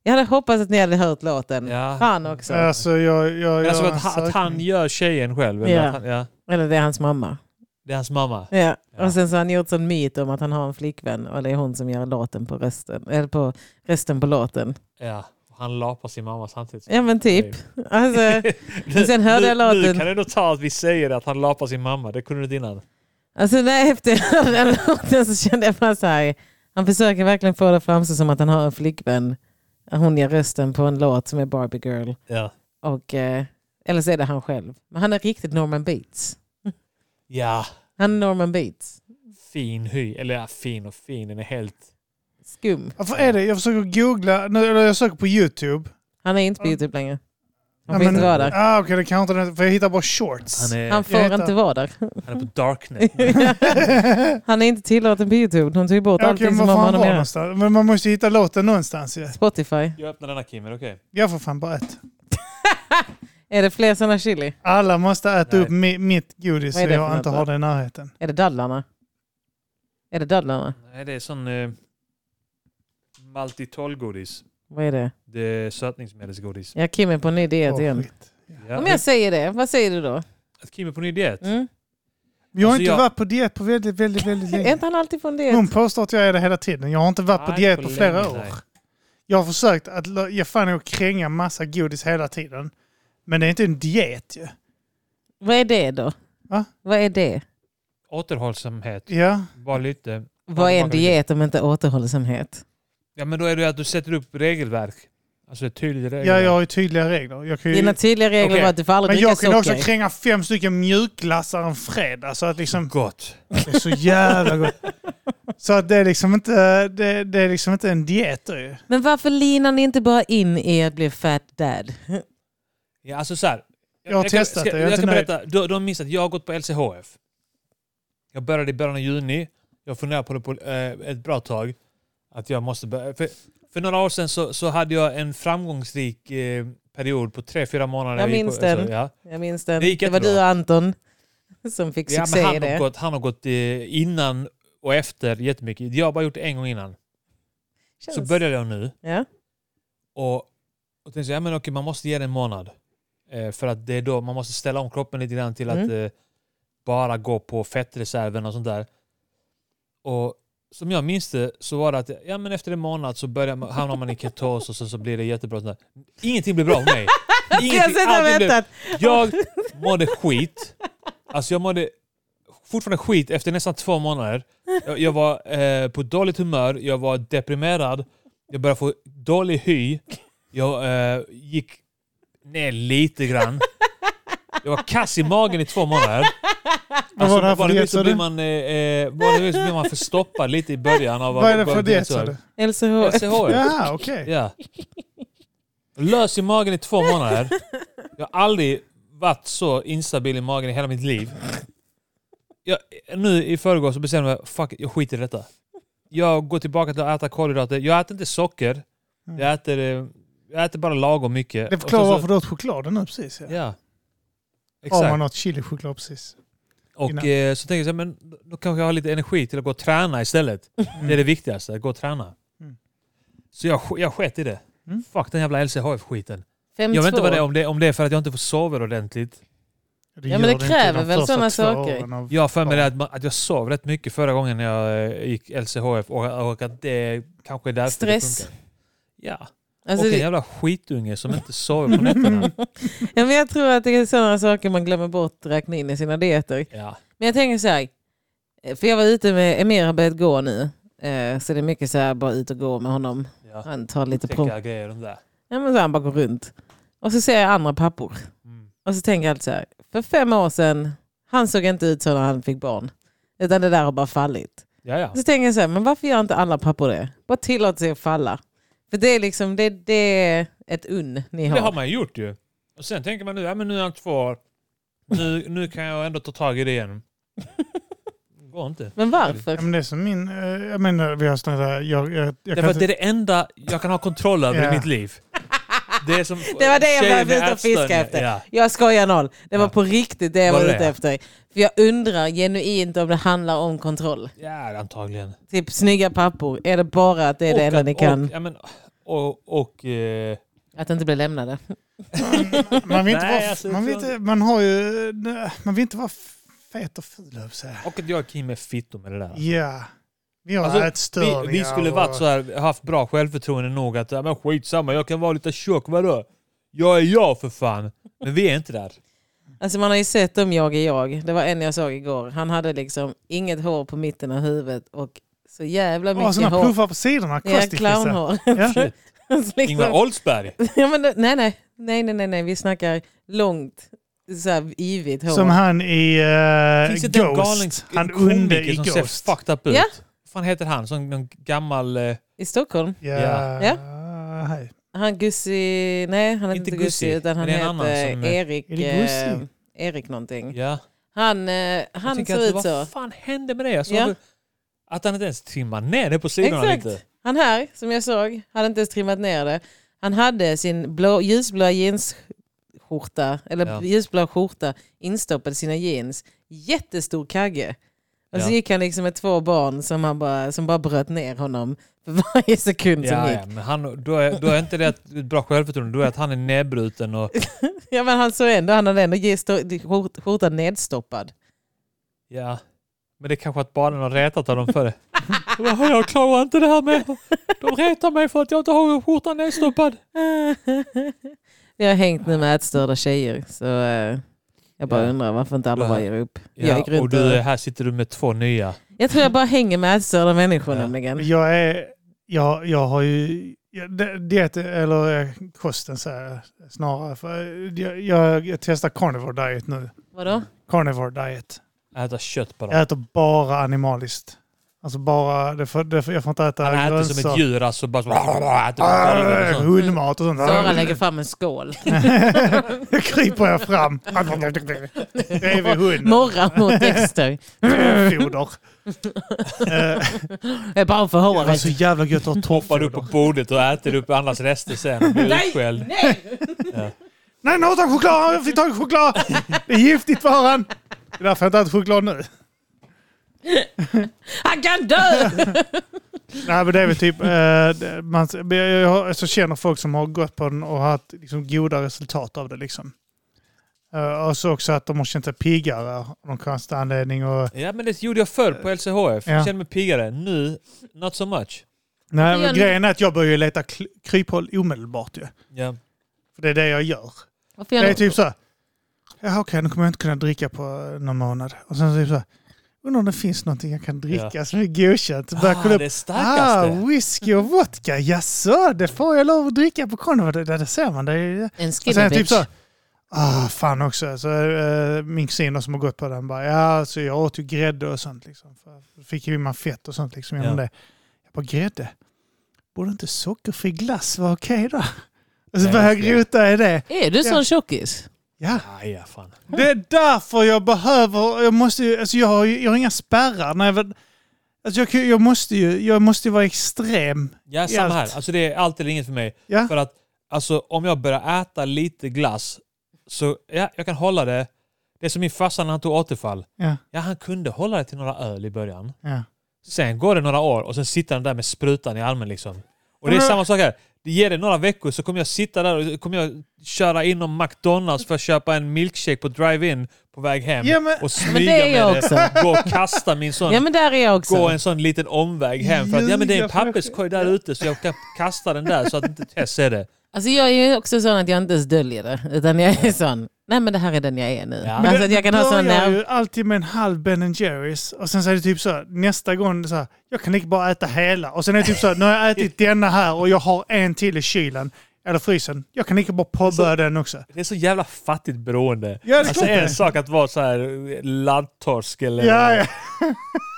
Speaker 1: Jag hade hoppats att ni hade hört låten.
Speaker 3: Ja.
Speaker 1: Fan också.
Speaker 2: Alltså, jag, jag, jag,
Speaker 3: Men alltså
Speaker 2: jag
Speaker 3: att, han- att han gör tjejen själv? Eller
Speaker 1: Ja.
Speaker 3: Att han, ja.
Speaker 1: Eller det är hans mamma.
Speaker 3: Det är hans mamma.
Speaker 1: Ja.
Speaker 3: Ja.
Speaker 1: Och sen så har han gjort sån myt om att han har en flickvän och det är hon som gör låten på rösten. Eller på rösten på låten.
Speaker 3: Ja. Han lapar sin mamma samtidigt.
Speaker 1: Ja men typ. Alltså,
Speaker 3: Nu-
Speaker 1: sen hörde
Speaker 3: nu,
Speaker 1: jag låten.
Speaker 3: Nu kan det nog ta att vi säger att han lapar sin mamma. Det kunde du inte innan.
Speaker 1: alltså när jag efter jag hörde den låten så kände jag bara så här. Han försöker verkligen få det att framstå som att han har en flickvän. Hon gör rösten på en låt som är Barbie Girl.
Speaker 3: Ja.
Speaker 1: Och, eh, eller så är det han själv. Men han är riktigt Norman Bates.
Speaker 3: ja.
Speaker 1: Han är Norman Bates.
Speaker 3: Fin hy. Eller ja, fin och fin. Den är helt...
Speaker 1: Skum.
Speaker 2: Varför är det? Jag försöker googla, nu- eller jag söker på YouTube.
Speaker 1: Han är inte på Youtube längre. Han
Speaker 2: Ja,
Speaker 1: får inte
Speaker 2: men-
Speaker 1: vara där.
Speaker 2: Ah, Okej, det kan inte, för jag hittar bara shorts.
Speaker 3: Han är,
Speaker 1: Han
Speaker 3: han...
Speaker 1: får
Speaker 2: Jag hittar-
Speaker 1: inte vara där.
Speaker 3: är på darknet.
Speaker 1: han är inte tillåten på Youtube. De tog bort
Speaker 2: Ja, Okej,
Speaker 1: allting som
Speaker 2: men vad
Speaker 1: har med honom
Speaker 2: fan var
Speaker 1: att göra.
Speaker 2: någonstans? Men man måste ju hitta låten någonstans ju.
Speaker 1: Spotify.
Speaker 3: Jag öppnar denna Kimmer, okej.
Speaker 2: Jag får fan bara ett.
Speaker 1: Är det fler sådana chili?
Speaker 2: Alla måste äta
Speaker 3: Nej.
Speaker 2: upp mi, mitt godis
Speaker 1: Vad är
Speaker 2: så
Speaker 1: det för
Speaker 2: jag
Speaker 1: något
Speaker 2: inte
Speaker 1: då?
Speaker 2: har det i närheten.
Speaker 1: Är det dadlarna? Är det dadlarna?
Speaker 3: Nej, det är sån... Eh, Maltitolgodis.
Speaker 1: Vad är det?
Speaker 3: Det är sötningsmedelsgodis.
Speaker 1: Jag Kim är på en ny diet
Speaker 2: Åh,
Speaker 1: igen.
Speaker 2: skit.
Speaker 3: Ja.
Speaker 1: Om jag säger det, vad säger du då?
Speaker 3: Att Kim är på ny diet.
Speaker 1: Mm?
Speaker 2: Jag har
Speaker 3: Alltså,
Speaker 2: inte
Speaker 3: jag-
Speaker 2: varit på diet på väldigt, väldigt, väldigt
Speaker 1: Är
Speaker 2: länge.
Speaker 1: inte han alltid på en
Speaker 2: Hon
Speaker 1: diet?
Speaker 2: påstår att jag är det hela tiden. Jag har inte varit på
Speaker 3: Nej,
Speaker 2: diet på
Speaker 3: länge,
Speaker 2: flera år.
Speaker 3: nej.
Speaker 2: Jag har försökt att lö- ge fan i att kränga massa godis hela tiden. Men det är inte en diet ju.
Speaker 1: Vad är det då?
Speaker 2: Va?
Speaker 1: Vad är det?
Speaker 3: Återhållsamhet.
Speaker 2: Ja,
Speaker 3: Bara lite.
Speaker 1: Vad är en
Speaker 3: bakar lite.
Speaker 1: diet om inte återhållsamhet?
Speaker 3: Ja, men då är det ju att du sätter upp regelverk. Alltså ett tydligt regelverk.
Speaker 2: ja jag har ju tydliga regler. Jag kan ju...
Speaker 1: Dina tydliga regler
Speaker 3: Okej.
Speaker 1: var att du får aldrig
Speaker 2: Mm. Men
Speaker 1: dricka
Speaker 2: jag kunde också
Speaker 1: socker.
Speaker 2: kränga fem stycken mjukglassar en fredag. Så att liksom,
Speaker 3: Gott.
Speaker 2: det är så jävla gott. Så att det är liksom inte, det, det är liksom inte en diet ju.
Speaker 1: Men varför linar ni inte bara in i att bli fat dad?
Speaker 3: Ja, alltså så här.
Speaker 2: Jag har
Speaker 3: kan,
Speaker 2: testat det, jag är
Speaker 3: Jag,
Speaker 2: inte
Speaker 3: kan
Speaker 2: nöjd.
Speaker 3: berätta. Du, du har missat. Jag har gått på LCHF. Jag började i början av juni. Jag funderade på det på eh, ett bra tag. Att jag måste börja. För, för några år sedan så, så hade jag en framgångsrik eh, period på tre, fyra månader.
Speaker 1: Jag
Speaker 3: gick
Speaker 1: minns
Speaker 3: på, alltså,
Speaker 1: den.
Speaker 3: ja.
Speaker 1: Jag minns den.
Speaker 3: Det
Speaker 1: Det,
Speaker 3: gick
Speaker 1: var
Speaker 3: jättebra.
Speaker 1: du och Anton som fick
Speaker 3: Ja,
Speaker 1: succé
Speaker 3: men
Speaker 1: i
Speaker 3: han,
Speaker 1: det.
Speaker 3: har gått, han har gått eh, innan och efter jättemycket. Jag har bara gjort det en gång innan.
Speaker 1: Känns.
Speaker 3: Så började jag nu.
Speaker 1: Ja.
Speaker 3: Och, och tänkte så, ja men okej, man måste ge det en månad. Eh, för att det är då man måste ställa om kroppen lite grann till att
Speaker 1: Mm.
Speaker 3: eh, bara gå på fettreserven och sånt där. Och som jag minns det så var det att ja, men efter en månad så börjar man, hamnar man i ketos och så, så blir det jättebra. och Sånt där. Ingenting blir bra för mig.
Speaker 1: Jag har
Speaker 3: Ingenting,
Speaker 1: sett och
Speaker 3: allting blev,
Speaker 1: väntat.
Speaker 3: jag mådde skit. Alltså jag mådde fortfarande skit efter nästan två månader. Jag, jag var eh, på dåligt humör, jag var deprimerad, jag började få dålig hy, jag eh, gick ner lite grann. Jag var kass i magen i två månader. Alltså,
Speaker 2: Vad var det här för diet,
Speaker 3: vanligtvis
Speaker 2: sa du?
Speaker 3: så blir man, eh, eh, vanligtvis så blir man förstoppad lite i början av
Speaker 2: Vad är det för
Speaker 3: av-
Speaker 2: diet sa du?
Speaker 1: LCH.
Speaker 3: LCHF.
Speaker 2: Ja, okej.
Speaker 3: Ja. Lös i magen i två månader. Jag har aldrig varit så instabil i magen i hela mitt liv. Jag, nu i förrgår så bestämde jag mig, fuck it, jag skiter i detta. Jag går tillbaka till att äta kolhydrater. Jag äter inte socker. Jag äter, eh, jag äter bara lagom mycket.
Speaker 2: Mm. Det förklarar
Speaker 3: Och sen så-
Speaker 2: varför du åt chokladen nu precis. Ja.
Speaker 3: Ja.
Speaker 2: Om
Speaker 3: Exakt.
Speaker 2: man åt chilichoklad precis.
Speaker 3: Och
Speaker 2: innan.
Speaker 3: eh, så tänker jag så här, men då kanske jag har lite energi till att gå och träna istället. Det är det viktigaste, att gå och träna.
Speaker 2: Mm.
Speaker 3: Så jag, sk- jag sket i det.
Speaker 2: Mm.
Speaker 3: Fuck den jävla LCHF-skiten.
Speaker 1: Fem,
Speaker 3: Jag vet
Speaker 1: två.
Speaker 3: inte vad det är, om det, om det är för att jag inte får sova ordentligt.
Speaker 2: Det
Speaker 1: Ja, men
Speaker 2: gör
Speaker 1: det
Speaker 2: inte
Speaker 1: kräver
Speaker 2: de
Speaker 1: väl
Speaker 2: första
Speaker 1: sådana
Speaker 2: två
Speaker 1: saker.
Speaker 2: åren av-
Speaker 3: Jag har för mig det att, man, att jag sov rätt mycket förra gången när jag eh, gick LCHF och, och att det kanske är därför det
Speaker 1: Stress.
Speaker 3: funkar. Ja.
Speaker 1: Alltså,
Speaker 3: och
Speaker 1: det-
Speaker 3: en jävla skitunge som inte sover på nätterna.
Speaker 1: ja, men jag tror att det är sådana saker man glömmer bort räkna in i sina dieter.
Speaker 3: Ja.
Speaker 1: Men jag tänker så här, eh, för jag var ute med Emir har börjat gå nu. Eh, Så det är mycket så här, bara ut och gå med honom.
Speaker 3: ja.
Speaker 1: Han tar lite prov.
Speaker 3: Täcka grejer och de där.
Speaker 1: Ja, men så han bara går runt. Och så ser jag andra pappor.
Speaker 3: Mm.
Speaker 1: Och så tänker jag alltid så här, för fem år sedan, han såg inte ut så när han fick barn. Utan det där har bara fallit.
Speaker 3: Ja, ja.
Speaker 1: Så tänker jag så här, men varför gör inte alla pappor det? Bara tillåt sig att falla. För det är liksom, det, det är ett unn ni
Speaker 3: Det har
Speaker 1: har.
Speaker 3: man ju gjort ju. Och sen tänker man nu, ja men nu är han två år. Nu, nu kan jag ändå ta tag i det igen. Det går inte.
Speaker 1: Men
Speaker 2: Ja,
Speaker 1: varför?
Speaker 2: men det är som min... eh, Jag menar, vi har sådana där... Jag, jag, jag
Speaker 3: Därför
Speaker 2: kan
Speaker 3: att det är
Speaker 2: inte,
Speaker 3: det enda jag kan ha kontroll över
Speaker 2: Ja.
Speaker 3: i mitt liv. Det, är som
Speaker 1: Det var det jag
Speaker 3: tjejen
Speaker 1: behövde
Speaker 3: med
Speaker 1: ut och fiska
Speaker 3: ätstörningar.
Speaker 1: efter.
Speaker 3: Ja.
Speaker 1: Jag skojar noll. Det var
Speaker 3: Ja.
Speaker 1: på riktigt det jag
Speaker 3: Var
Speaker 1: var
Speaker 3: det
Speaker 1: ute
Speaker 3: det?
Speaker 1: efter. För jag undrar genuint om det handlar om kontroll.
Speaker 3: ja, antagligen.
Speaker 1: Typ snygga pappor, är det bara att det är det
Speaker 3: Och
Speaker 1: enda
Speaker 3: att-
Speaker 1: ni kan?
Speaker 3: Och, ja, men, och, och, eh,
Speaker 1: Att inte bli lämnade.
Speaker 2: man, vill inte
Speaker 3: Nej,
Speaker 2: vara,
Speaker 3: alltså,
Speaker 2: man, vill
Speaker 3: jag-
Speaker 2: inte, man har ju... Man vill inte vara fet och ful, höll jag på att säga.
Speaker 3: och att jag och Kim är fitto med det där.
Speaker 2: Ja. Vi har
Speaker 3: Alltså,
Speaker 2: ätstörningar.
Speaker 3: Vi, vi skulle varit så här, haft bra självförtroende nog att ja, men skitsamma, jag kan vara lite tjock, vadå? Jag är jag för fan. Men vi är inte där.
Speaker 1: Alltså man har ju sett om jag är jag. Det var en jag såg igår. Han hade liksom inget hår på mitten av huvudet och så jävla
Speaker 2: Och
Speaker 1: mycket
Speaker 2: sådana
Speaker 1: hår.
Speaker 2: pluffar på sidorna.
Speaker 1: Ja,
Speaker 2: Ja,
Speaker 1: clownhår.
Speaker 2: ja. Eh,
Speaker 1: Alltså liksom-
Speaker 3: Ingvar Oldsberg.
Speaker 1: ja, men det, nej, nej, nej, nej, nej, nej, vi snackar långt, så här ivigt hår.
Speaker 2: Som han i eh,
Speaker 3: Finns det inte en galen
Speaker 2: Ghost. Han onde i
Speaker 3: komiker som ser
Speaker 2: Ghost.
Speaker 3: fucked up ut?
Speaker 1: Ja.
Speaker 3: Vad fan heter han? Som någon gammal... eh,
Speaker 1: I Stockholm.
Speaker 2: Ja.
Speaker 1: Ja.
Speaker 2: Hej.
Speaker 1: Han Gussi, nej han heter
Speaker 3: Inte
Speaker 1: inte
Speaker 3: Gussi.
Speaker 1: Gussi utan han
Speaker 3: Det är en annan
Speaker 1: heter
Speaker 3: som-
Speaker 1: Erik,
Speaker 2: Är det Gussi?
Speaker 1: eh, Erik någonting.
Speaker 3: Ja.
Speaker 1: Han, eh,
Speaker 3: Jag
Speaker 1: han
Speaker 3: tänker
Speaker 1: ser
Speaker 3: att,
Speaker 1: ut så.
Speaker 3: Vad fan hände med det? Jag såg
Speaker 1: Ja.
Speaker 3: Att han inte ens trimmar ner det på sidorna
Speaker 1: Exakt.
Speaker 3: lite.
Speaker 1: Han här, som jag såg, hade inte ens trimmat ner det. Han hade sin blå, ljusblå jeansskjorta, eller
Speaker 3: Ja.
Speaker 1: ljusblå skjorta instoppad i sina jeans. Jättestor kagge. Och så
Speaker 3: Ja.
Speaker 1: gick han liksom med två barn som, han bara, som bara bröt ner honom för varje sekund som
Speaker 3: Ja,
Speaker 1: gick.
Speaker 3: ja, men han, då, är, då är inte det ett ett bra självförtroende, då är att han är nedbruten och...
Speaker 1: Ja men han såg ändå, han hade ändå ge- stå- skjort- skjortan nedstoppad.
Speaker 3: Ja. Men det är kanske att barnen har retat honom för det. Jag bara, Jag klarar inte det här med... De retar mig för att jag inte har skjortan nedstoppad.
Speaker 1: Jag har hängt nu med ätstörda tjejer. Så eh, jag bara
Speaker 3: Ja.
Speaker 1: undrar varför inte alla
Speaker 3: Ja.
Speaker 1: bara ger upp. Jag gick runt
Speaker 3: och du,
Speaker 1: och-
Speaker 3: här sitter du med två nya.
Speaker 1: Jag tror jag bara hänger med ätstörda människor
Speaker 3: Ja.
Speaker 1: nämligen.
Speaker 2: Jag är... Jag, jag har ju... jag- di- Diet, eller eh, kosten så här, snarare. För jag, jag, jag testar carnivore diet nu.
Speaker 1: Vadå?
Speaker 2: Carnivore diet.
Speaker 3: Äta kött bara.
Speaker 2: Jag äter bara animaliskt. Alltså bara... Det får, det får, jag får inte äta
Speaker 3: Han äter som ett
Speaker 2: grönsaker.
Speaker 3: djur alltså. Bara så, äter golvet och sånt.
Speaker 2: Hundmat och sånt.
Speaker 1: Sara lägger fram en skål.
Speaker 2: Då kryper jag fram. Bredvid hunden.
Speaker 1: Morrar mot Dexter.
Speaker 2: Torrfoder. Eh,
Speaker 1: Jag är bara för
Speaker 2: Det var
Speaker 1: håret.
Speaker 2: så jävla gött att ha
Speaker 3: Hoppar upp
Speaker 2: torrfoder.
Speaker 3: på bordet och äter upp andras rester sen och blir utskälld.
Speaker 2: Nej, nu åt han choklad! Jag fick tag i choklad! Det är giftigt för han! Det är därför jag inte äter choklad nu.
Speaker 1: Han kan dö!
Speaker 2: Nej, men det är väl typ... eh, det- man, jag, jag, jag känner folk som har gått på den och haft liksom, goda resultat av det. Liksom. Eh, och så också att de har känt sig piggare av någon konstig anledning. Och,
Speaker 3: Ja men det gjorde jag förr på LCHF.
Speaker 2: Ja.
Speaker 3: Jag kände mig piggare. Nu, not so much.
Speaker 2: nej,
Speaker 1: gör
Speaker 2: men
Speaker 1: ni?
Speaker 2: grejen är att jag börjar ju leta kl- kryphål omedelbart ju.
Speaker 3: Ja.
Speaker 2: För det är det jag gör.
Speaker 1: Varför gör
Speaker 2: Det
Speaker 1: du-
Speaker 2: är typ så här. Ja, okej, nu kommer jag inte kunna dricka på eh, någon månad. Och sen typ så här. Undrar om det finns någonting jag kan dricka som är godkänt. Börjar
Speaker 3: Ah,
Speaker 2: kolla
Speaker 3: det
Speaker 2: upp.
Speaker 3: är
Speaker 2: Ah,
Speaker 3: starkaste.
Speaker 2: whisky och vodka. Jaså, det får jag lov att dricka på konven. Det, det, det ser man. Det är...
Speaker 1: En
Speaker 2: Och sen
Speaker 1: skinny
Speaker 2: är det typ
Speaker 1: bitch.
Speaker 2: så här. Ah, fan också. Så, eh, min kusin som har gått på den bara. Ja, så jag åt ju grädde och sånt. Liksom. För då fick ju man fett och sånt liksom genom
Speaker 3: Ja.
Speaker 2: det. Jag bara, grädde? Borde inte sockerfri glass vara okej då? Alltså, Och så
Speaker 3: Nej,
Speaker 2: började jag
Speaker 3: just det.
Speaker 2: grota i det.
Speaker 1: Är du
Speaker 2: Ja.
Speaker 1: sån tjockis?
Speaker 2: Ja,
Speaker 3: Ah, ja, fan.
Speaker 2: det är därför jag behöver, jag måste ju, alltså jag har, ju- jag har inga spärrar. När jag, väl- alltså jag, kan- jag måste ju, jag måste ju vara extrem.
Speaker 3: Ja, samma
Speaker 2: Allt.
Speaker 3: här. Alltså det är allt eller inget för mig.
Speaker 2: Ja.
Speaker 3: För att alltså, om jag börjar äta lite glass så ja, jag kan hålla det. Det är som min farsa när han tog återfall.
Speaker 2: Ja,
Speaker 3: Ja, han kunde hålla det till några öl i början.
Speaker 2: ja.
Speaker 3: Sen går det några år och sen sitter han där med sprutan i armen liksom. Och det är
Speaker 2: Men-
Speaker 3: samma sak här. Det ger det några veckor så kommer jag sitta där och kommer jag köra inom McDonalds för att köpa en milkshake på drive-in på väg hem.
Speaker 2: Ja, men-
Speaker 3: och
Speaker 1: Men
Speaker 3: smyga
Speaker 1: det är jag
Speaker 3: med
Speaker 1: också.
Speaker 3: det. Gå och kasta min sån
Speaker 1: Ja men där är jag också.
Speaker 3: gå en sån liten omväg hem för att ja, men det är en
Speaker 2: Ljuga för-
Speaker 3: papperskorg där ute så jag kan kasta den där så att inte Tess ser det.
Speaker 1: Alltså jag är ju också sån att jag inte ens döljer det. Utan jag är sån, nej men det här är den jag är nu.
Speaker 3: Ja.
Speaker 1: Alltså att jag kan ha sån
Speaker 2: börjar
Speaker 1: nerv.
Speaker 2: ju alltid med en halv Ben Jerrys och sen så är det typ så här, nästa gång så här, jag kan lika bara äta hela. Och sen är det typ så här, nu har jag ätit denna här och jag har en till i kylen, eller frysen. Jag kan lika bara påbörja den också.
Speaker 3: Det är så jävla fattigt beroende.
Speaker 2: Ja, det är
Speaker 3: alltså
Speaker 2: klart
Speaker 3: det är
Speaker 2: det.
Speaker 3: en sak att vara så här eh, laddtorsk eller
Speaker 2: Ja, ja.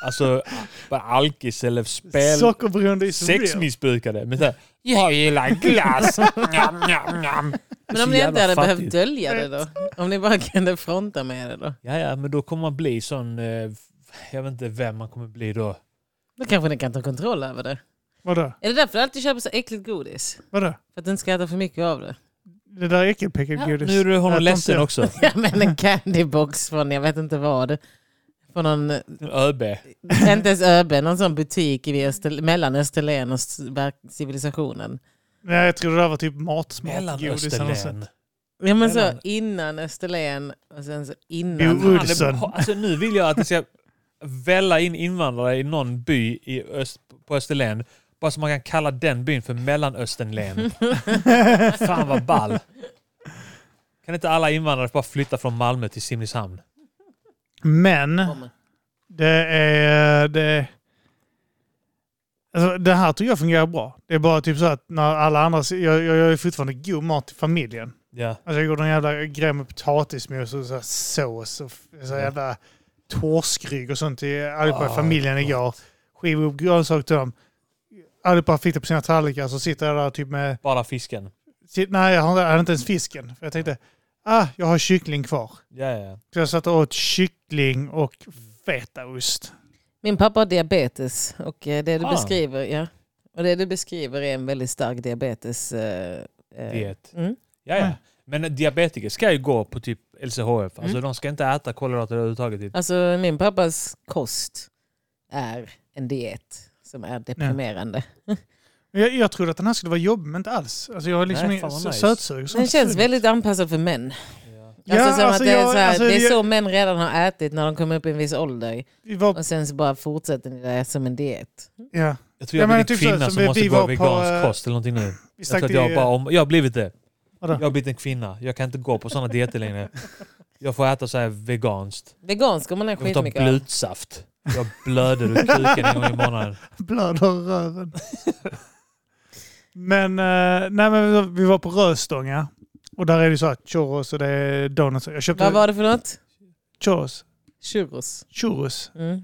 Speaker 3: Alltså, bara alkis eller spel.
Speaker 2: Sockerberoende is real.
Speaker 3: Sexmissbrukare. Men så här, jag gillar glass. Njam, njam, njam.
Speaker 1: Men om
Speaker 3: Så
Speaker 1: ni
Speaker 3: jävla
Speaker 1: inte hade
Speaker 3: fattigt.
Speaker 1: behövt dölja det då? Om ni bara kunde fronta med det då?
Speaker 3: Ja, ja, men då kommer man bli sån... Eh, jag vet inte vem man kommer bli då.
Speaker 1: Då kanske ni kan ta kontroll över det.
Speaker 2: Vadå?
Speaker 1: Är det därför du alltid köper så äckligt godis?
Speaker 2: Vadå?
Speaker 1: För att du inte ska äta för mycket av det?
Speaker 2: Det där är äckelpeckargodis.
Speaker 3: Nu är du honom
Speaker 2: Ät
Speaker 3: ledsen
Speaker 2: inte.
Speaker 3: också.
Speaker 1: Ja men en candybox från jag vet inte vad. Från någon,
Speaker 3: ÖB.
Speaker 1: inte ens ÖB, någon sån butik vid Öster, mellan Österlen och s- verk- civilisationen.
Speaker 2: Nej, jag tror det där var typ matsmakgodis. eller något sånt.
Speaker 3: Mellanösternlän.
Speaker 1: Ja men så
Speaker 3: Mellan-
Speaker 1: innan Österlen och sen så
Speaker 2: Jo,
Speaker 1: innan.
Speaker 2: jo.
Speaker 3: Fan,
Speaker 2: Uddsen.
Speaker 3: det- Alltså, nu vill jag att det ska välla in invandrare i någon by i öst, på Österlen. Bara så man kan kalla den byn för Mellanösternlen. Fan vad ball. Kan inte alla invandrare bara flytta från Malmö till Simrishamn?
Speaker 2: Men det är... Det, alltså, det här tror jag fungerar bra. Det är bara typ så att när alla andra... Jag, jag, jag gör ju fortfarande god mat till familjen.
Speaker 3: Ja.
Speaker 2: Alltså jag gjorde en jävla grej med potatismos och så här sås och f- så här jävla torskrygg och sånt till allihopa i
Speaker 3: Ah,
Speaker 2: familjen
Speaker 3: gott.
Speaker 2: igår. Skivade upp grönsaker till dem. Allihopa fick det på sina tallrikar så sitter jag där typ med
Speaker 3: Bara fisken.
Speaker 2: Shit, nej, jag hade jag hade inte ens fisken. För jag tänkte, ah, jag har kyckling kvar.
Speaker 3: Ja, ja.
Speaker 2: Så jag satt och åt kyckling och fetaost.
Speaker 1: Min pappa har diabetes och eh, det du
Speaker 3: Ah.
Speaker 1: beskriver ja. och det du beskriver är en väldigt stark diabetes. Eh, eh,
Speaker 3: Diet.
Speaker 1: Mm.
Speaker 3: ja, ja. Men diabetiker ska ju gå på typ LCHF. Alltså,
Speaker 2: Mm.
Speaker 3: De ska inte äta kolhydrater överhuvudtaget. Typ.
Speaker 1: Alltså min pappas kost är en diet som är deprimerande.
Speaker 2: Men Jag, jag trodde att den här skulle vara jobbig, men inte alls. Alltså jag har liksom
Speaker 3: Nej,
Speaker 2: ingen
Speaker 3: fan vad
Speaker 2: s-
Speaker 3: nice.
Speaker 2: sötsug. och sånt.
Speaker 1: Den känns väldigt anpassad för män.
Speaker 3: Ja.
Speaker 1: Alltså, som
Speaker 2: alltså,
Speaker 1: att det, är
Speaker 2: jag-
Speaker 1: så här,
Speaker 2: alltså,
Speaker 1: det är
Speaker 2: jag-
Speaker 1: så män redan har ätit när de kommer upp i en viss ålder.
Speaker 2: Vi var,
Speaker 1: Och sen så bara fortsätter ni det som en diet.
Speaker 2: ja.
Speaker 3: Jag tror
Speaker 2: Ja, men
Speaker 3: jag blir
Speaker 2: jag tycker så,
Speaker 3: en kvinna
Speaker 2: som
Speaker 3: som
Speaker 2: vi-
Speaker 3: måste
Speaker 2: vi
Speaker 3: gå
Speaker 2: var på,
Speaker 3: vegansk
Speaker 2: eh,
Speaker 3: kost eller någonting nu.
Speaker 2: Vi
Speaker 3: Jag tror
Speaker 2: stack
Speaker 3: Alltså,
Speaker 2: eh,
Speaker 3: att jag
Speaker 2: till-
Speaker 3: bara om... Jag har blivit det.
Speaker 2: Vadå?
Speaker 3: Jag har blivit en kvinna. Jag kan inte gå på sådana dieter längre. Jag får äta så här veganskt.
Speaker 1: Vegansk kommer man
Speaker 3: Jag får ta
Speaker 1: skitmycket av.
Speaker 3: blutsaft. Jag blöder ur kuken en gång i månaden.
Speaker 2: blöder ur röven. men, eh, nej, men vi var på Röstånga. Och där är det så här churros och det är donuts. Jag köpte
Speaker 1: Vad var det för något?
Speaker 2: churros.
Speaker 1: Churros.
Speaker 2: Churros.
Speaker 1: Mm.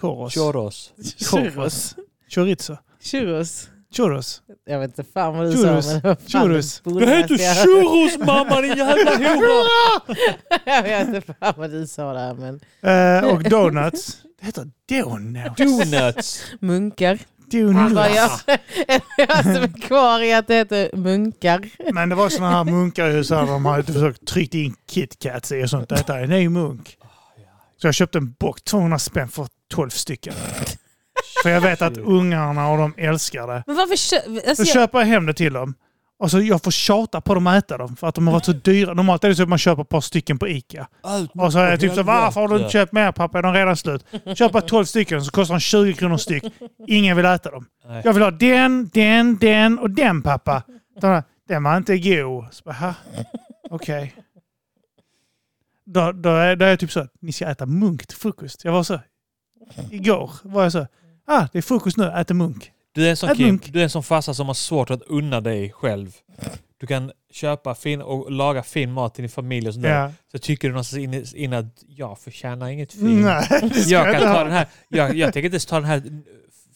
Speaker 2: Churros.
Speaker 3: Choros.
Speaker 2: Churros. Chorizo.
Speaker 1: Churros.
Speaker 2: Churros.
Speaker 1: Jag vet inte fan vad du
Speaker 2: Churros.
Speaker 1: sa. Men det var fan
Speaker 2: Churros.
Speaker 1: det
Speaker 3: Det heter
Speaker 1: bolaste jag-
Speaker 3: churros mamma din jävla hora!
Speaker 1: Jag vet inte fan vad du sa där. Men...
Speaker 2: Eh, och donuts. Det heter donuts.
Speaker 3: Donuts!
Speaker 1: Munkar.
Speaker 2: Donuts.
Speaker 1: Vad jag, jag som är kvar i att det heter munkar.
Speaker 2: Men det var såna här munkar ju så här, de hade försökt tryckt in KitKats i och sånt. Detta är en ny munk. Så jag köpte en bock, 200 spänn för 12 stycken. För jag vet att ungarna och de älskar det.
Speaker 1: Men varför kö-
Speaker 2: Så
Speaker 1: alltså, jag,
Speaker 2: köper jag hem det till dem. Och så jag får tjata på dem att äta dem för att de har varit så dyra. Normalt är det så att man köper ett par stycken på Ica.
Speaker 3: Allt
Speaker 2: Och så är jag typ så varför har du inte
Speaker 3: Ja.
Speaker 2: köpt mer pappa? Är de redan slut? Köp bara 12 stycken så kostar de 20 kronor styck. Ingen vill äta dem.
Speaker 3: Nej.
Speaker 2: Jag vill ha den, den, den och den pappa. Den, här, den var inte god. Så bara, "Ha, Okej. Då, då, är, då är jag typ så, ni ska äta munk till frukost. Jag var så, igår var jag så, ah det är frukost nu, äter munk.
Speaker 3: Du är en sån
Speaker 2: Ett
Speaker 3: Kim,
Speaker 2: munk.
Speaker 3: du är en sån farsa som har svårt att unna dig själv. Du kan köpa fin och laga fin mat till din familj och sådär.
Speaker 2: Ja.
Speaker 3: Så tycker du någonstans inne in att jag förtjänar inget fint.
Speaker 2: Nej, det ska
Speaker 3: Jag kan
Speaker 2: inte
Speaker 3: ta
Speaker 2: ha.
Speaker 3: den här. Jag, jag tänker inte ens ta den här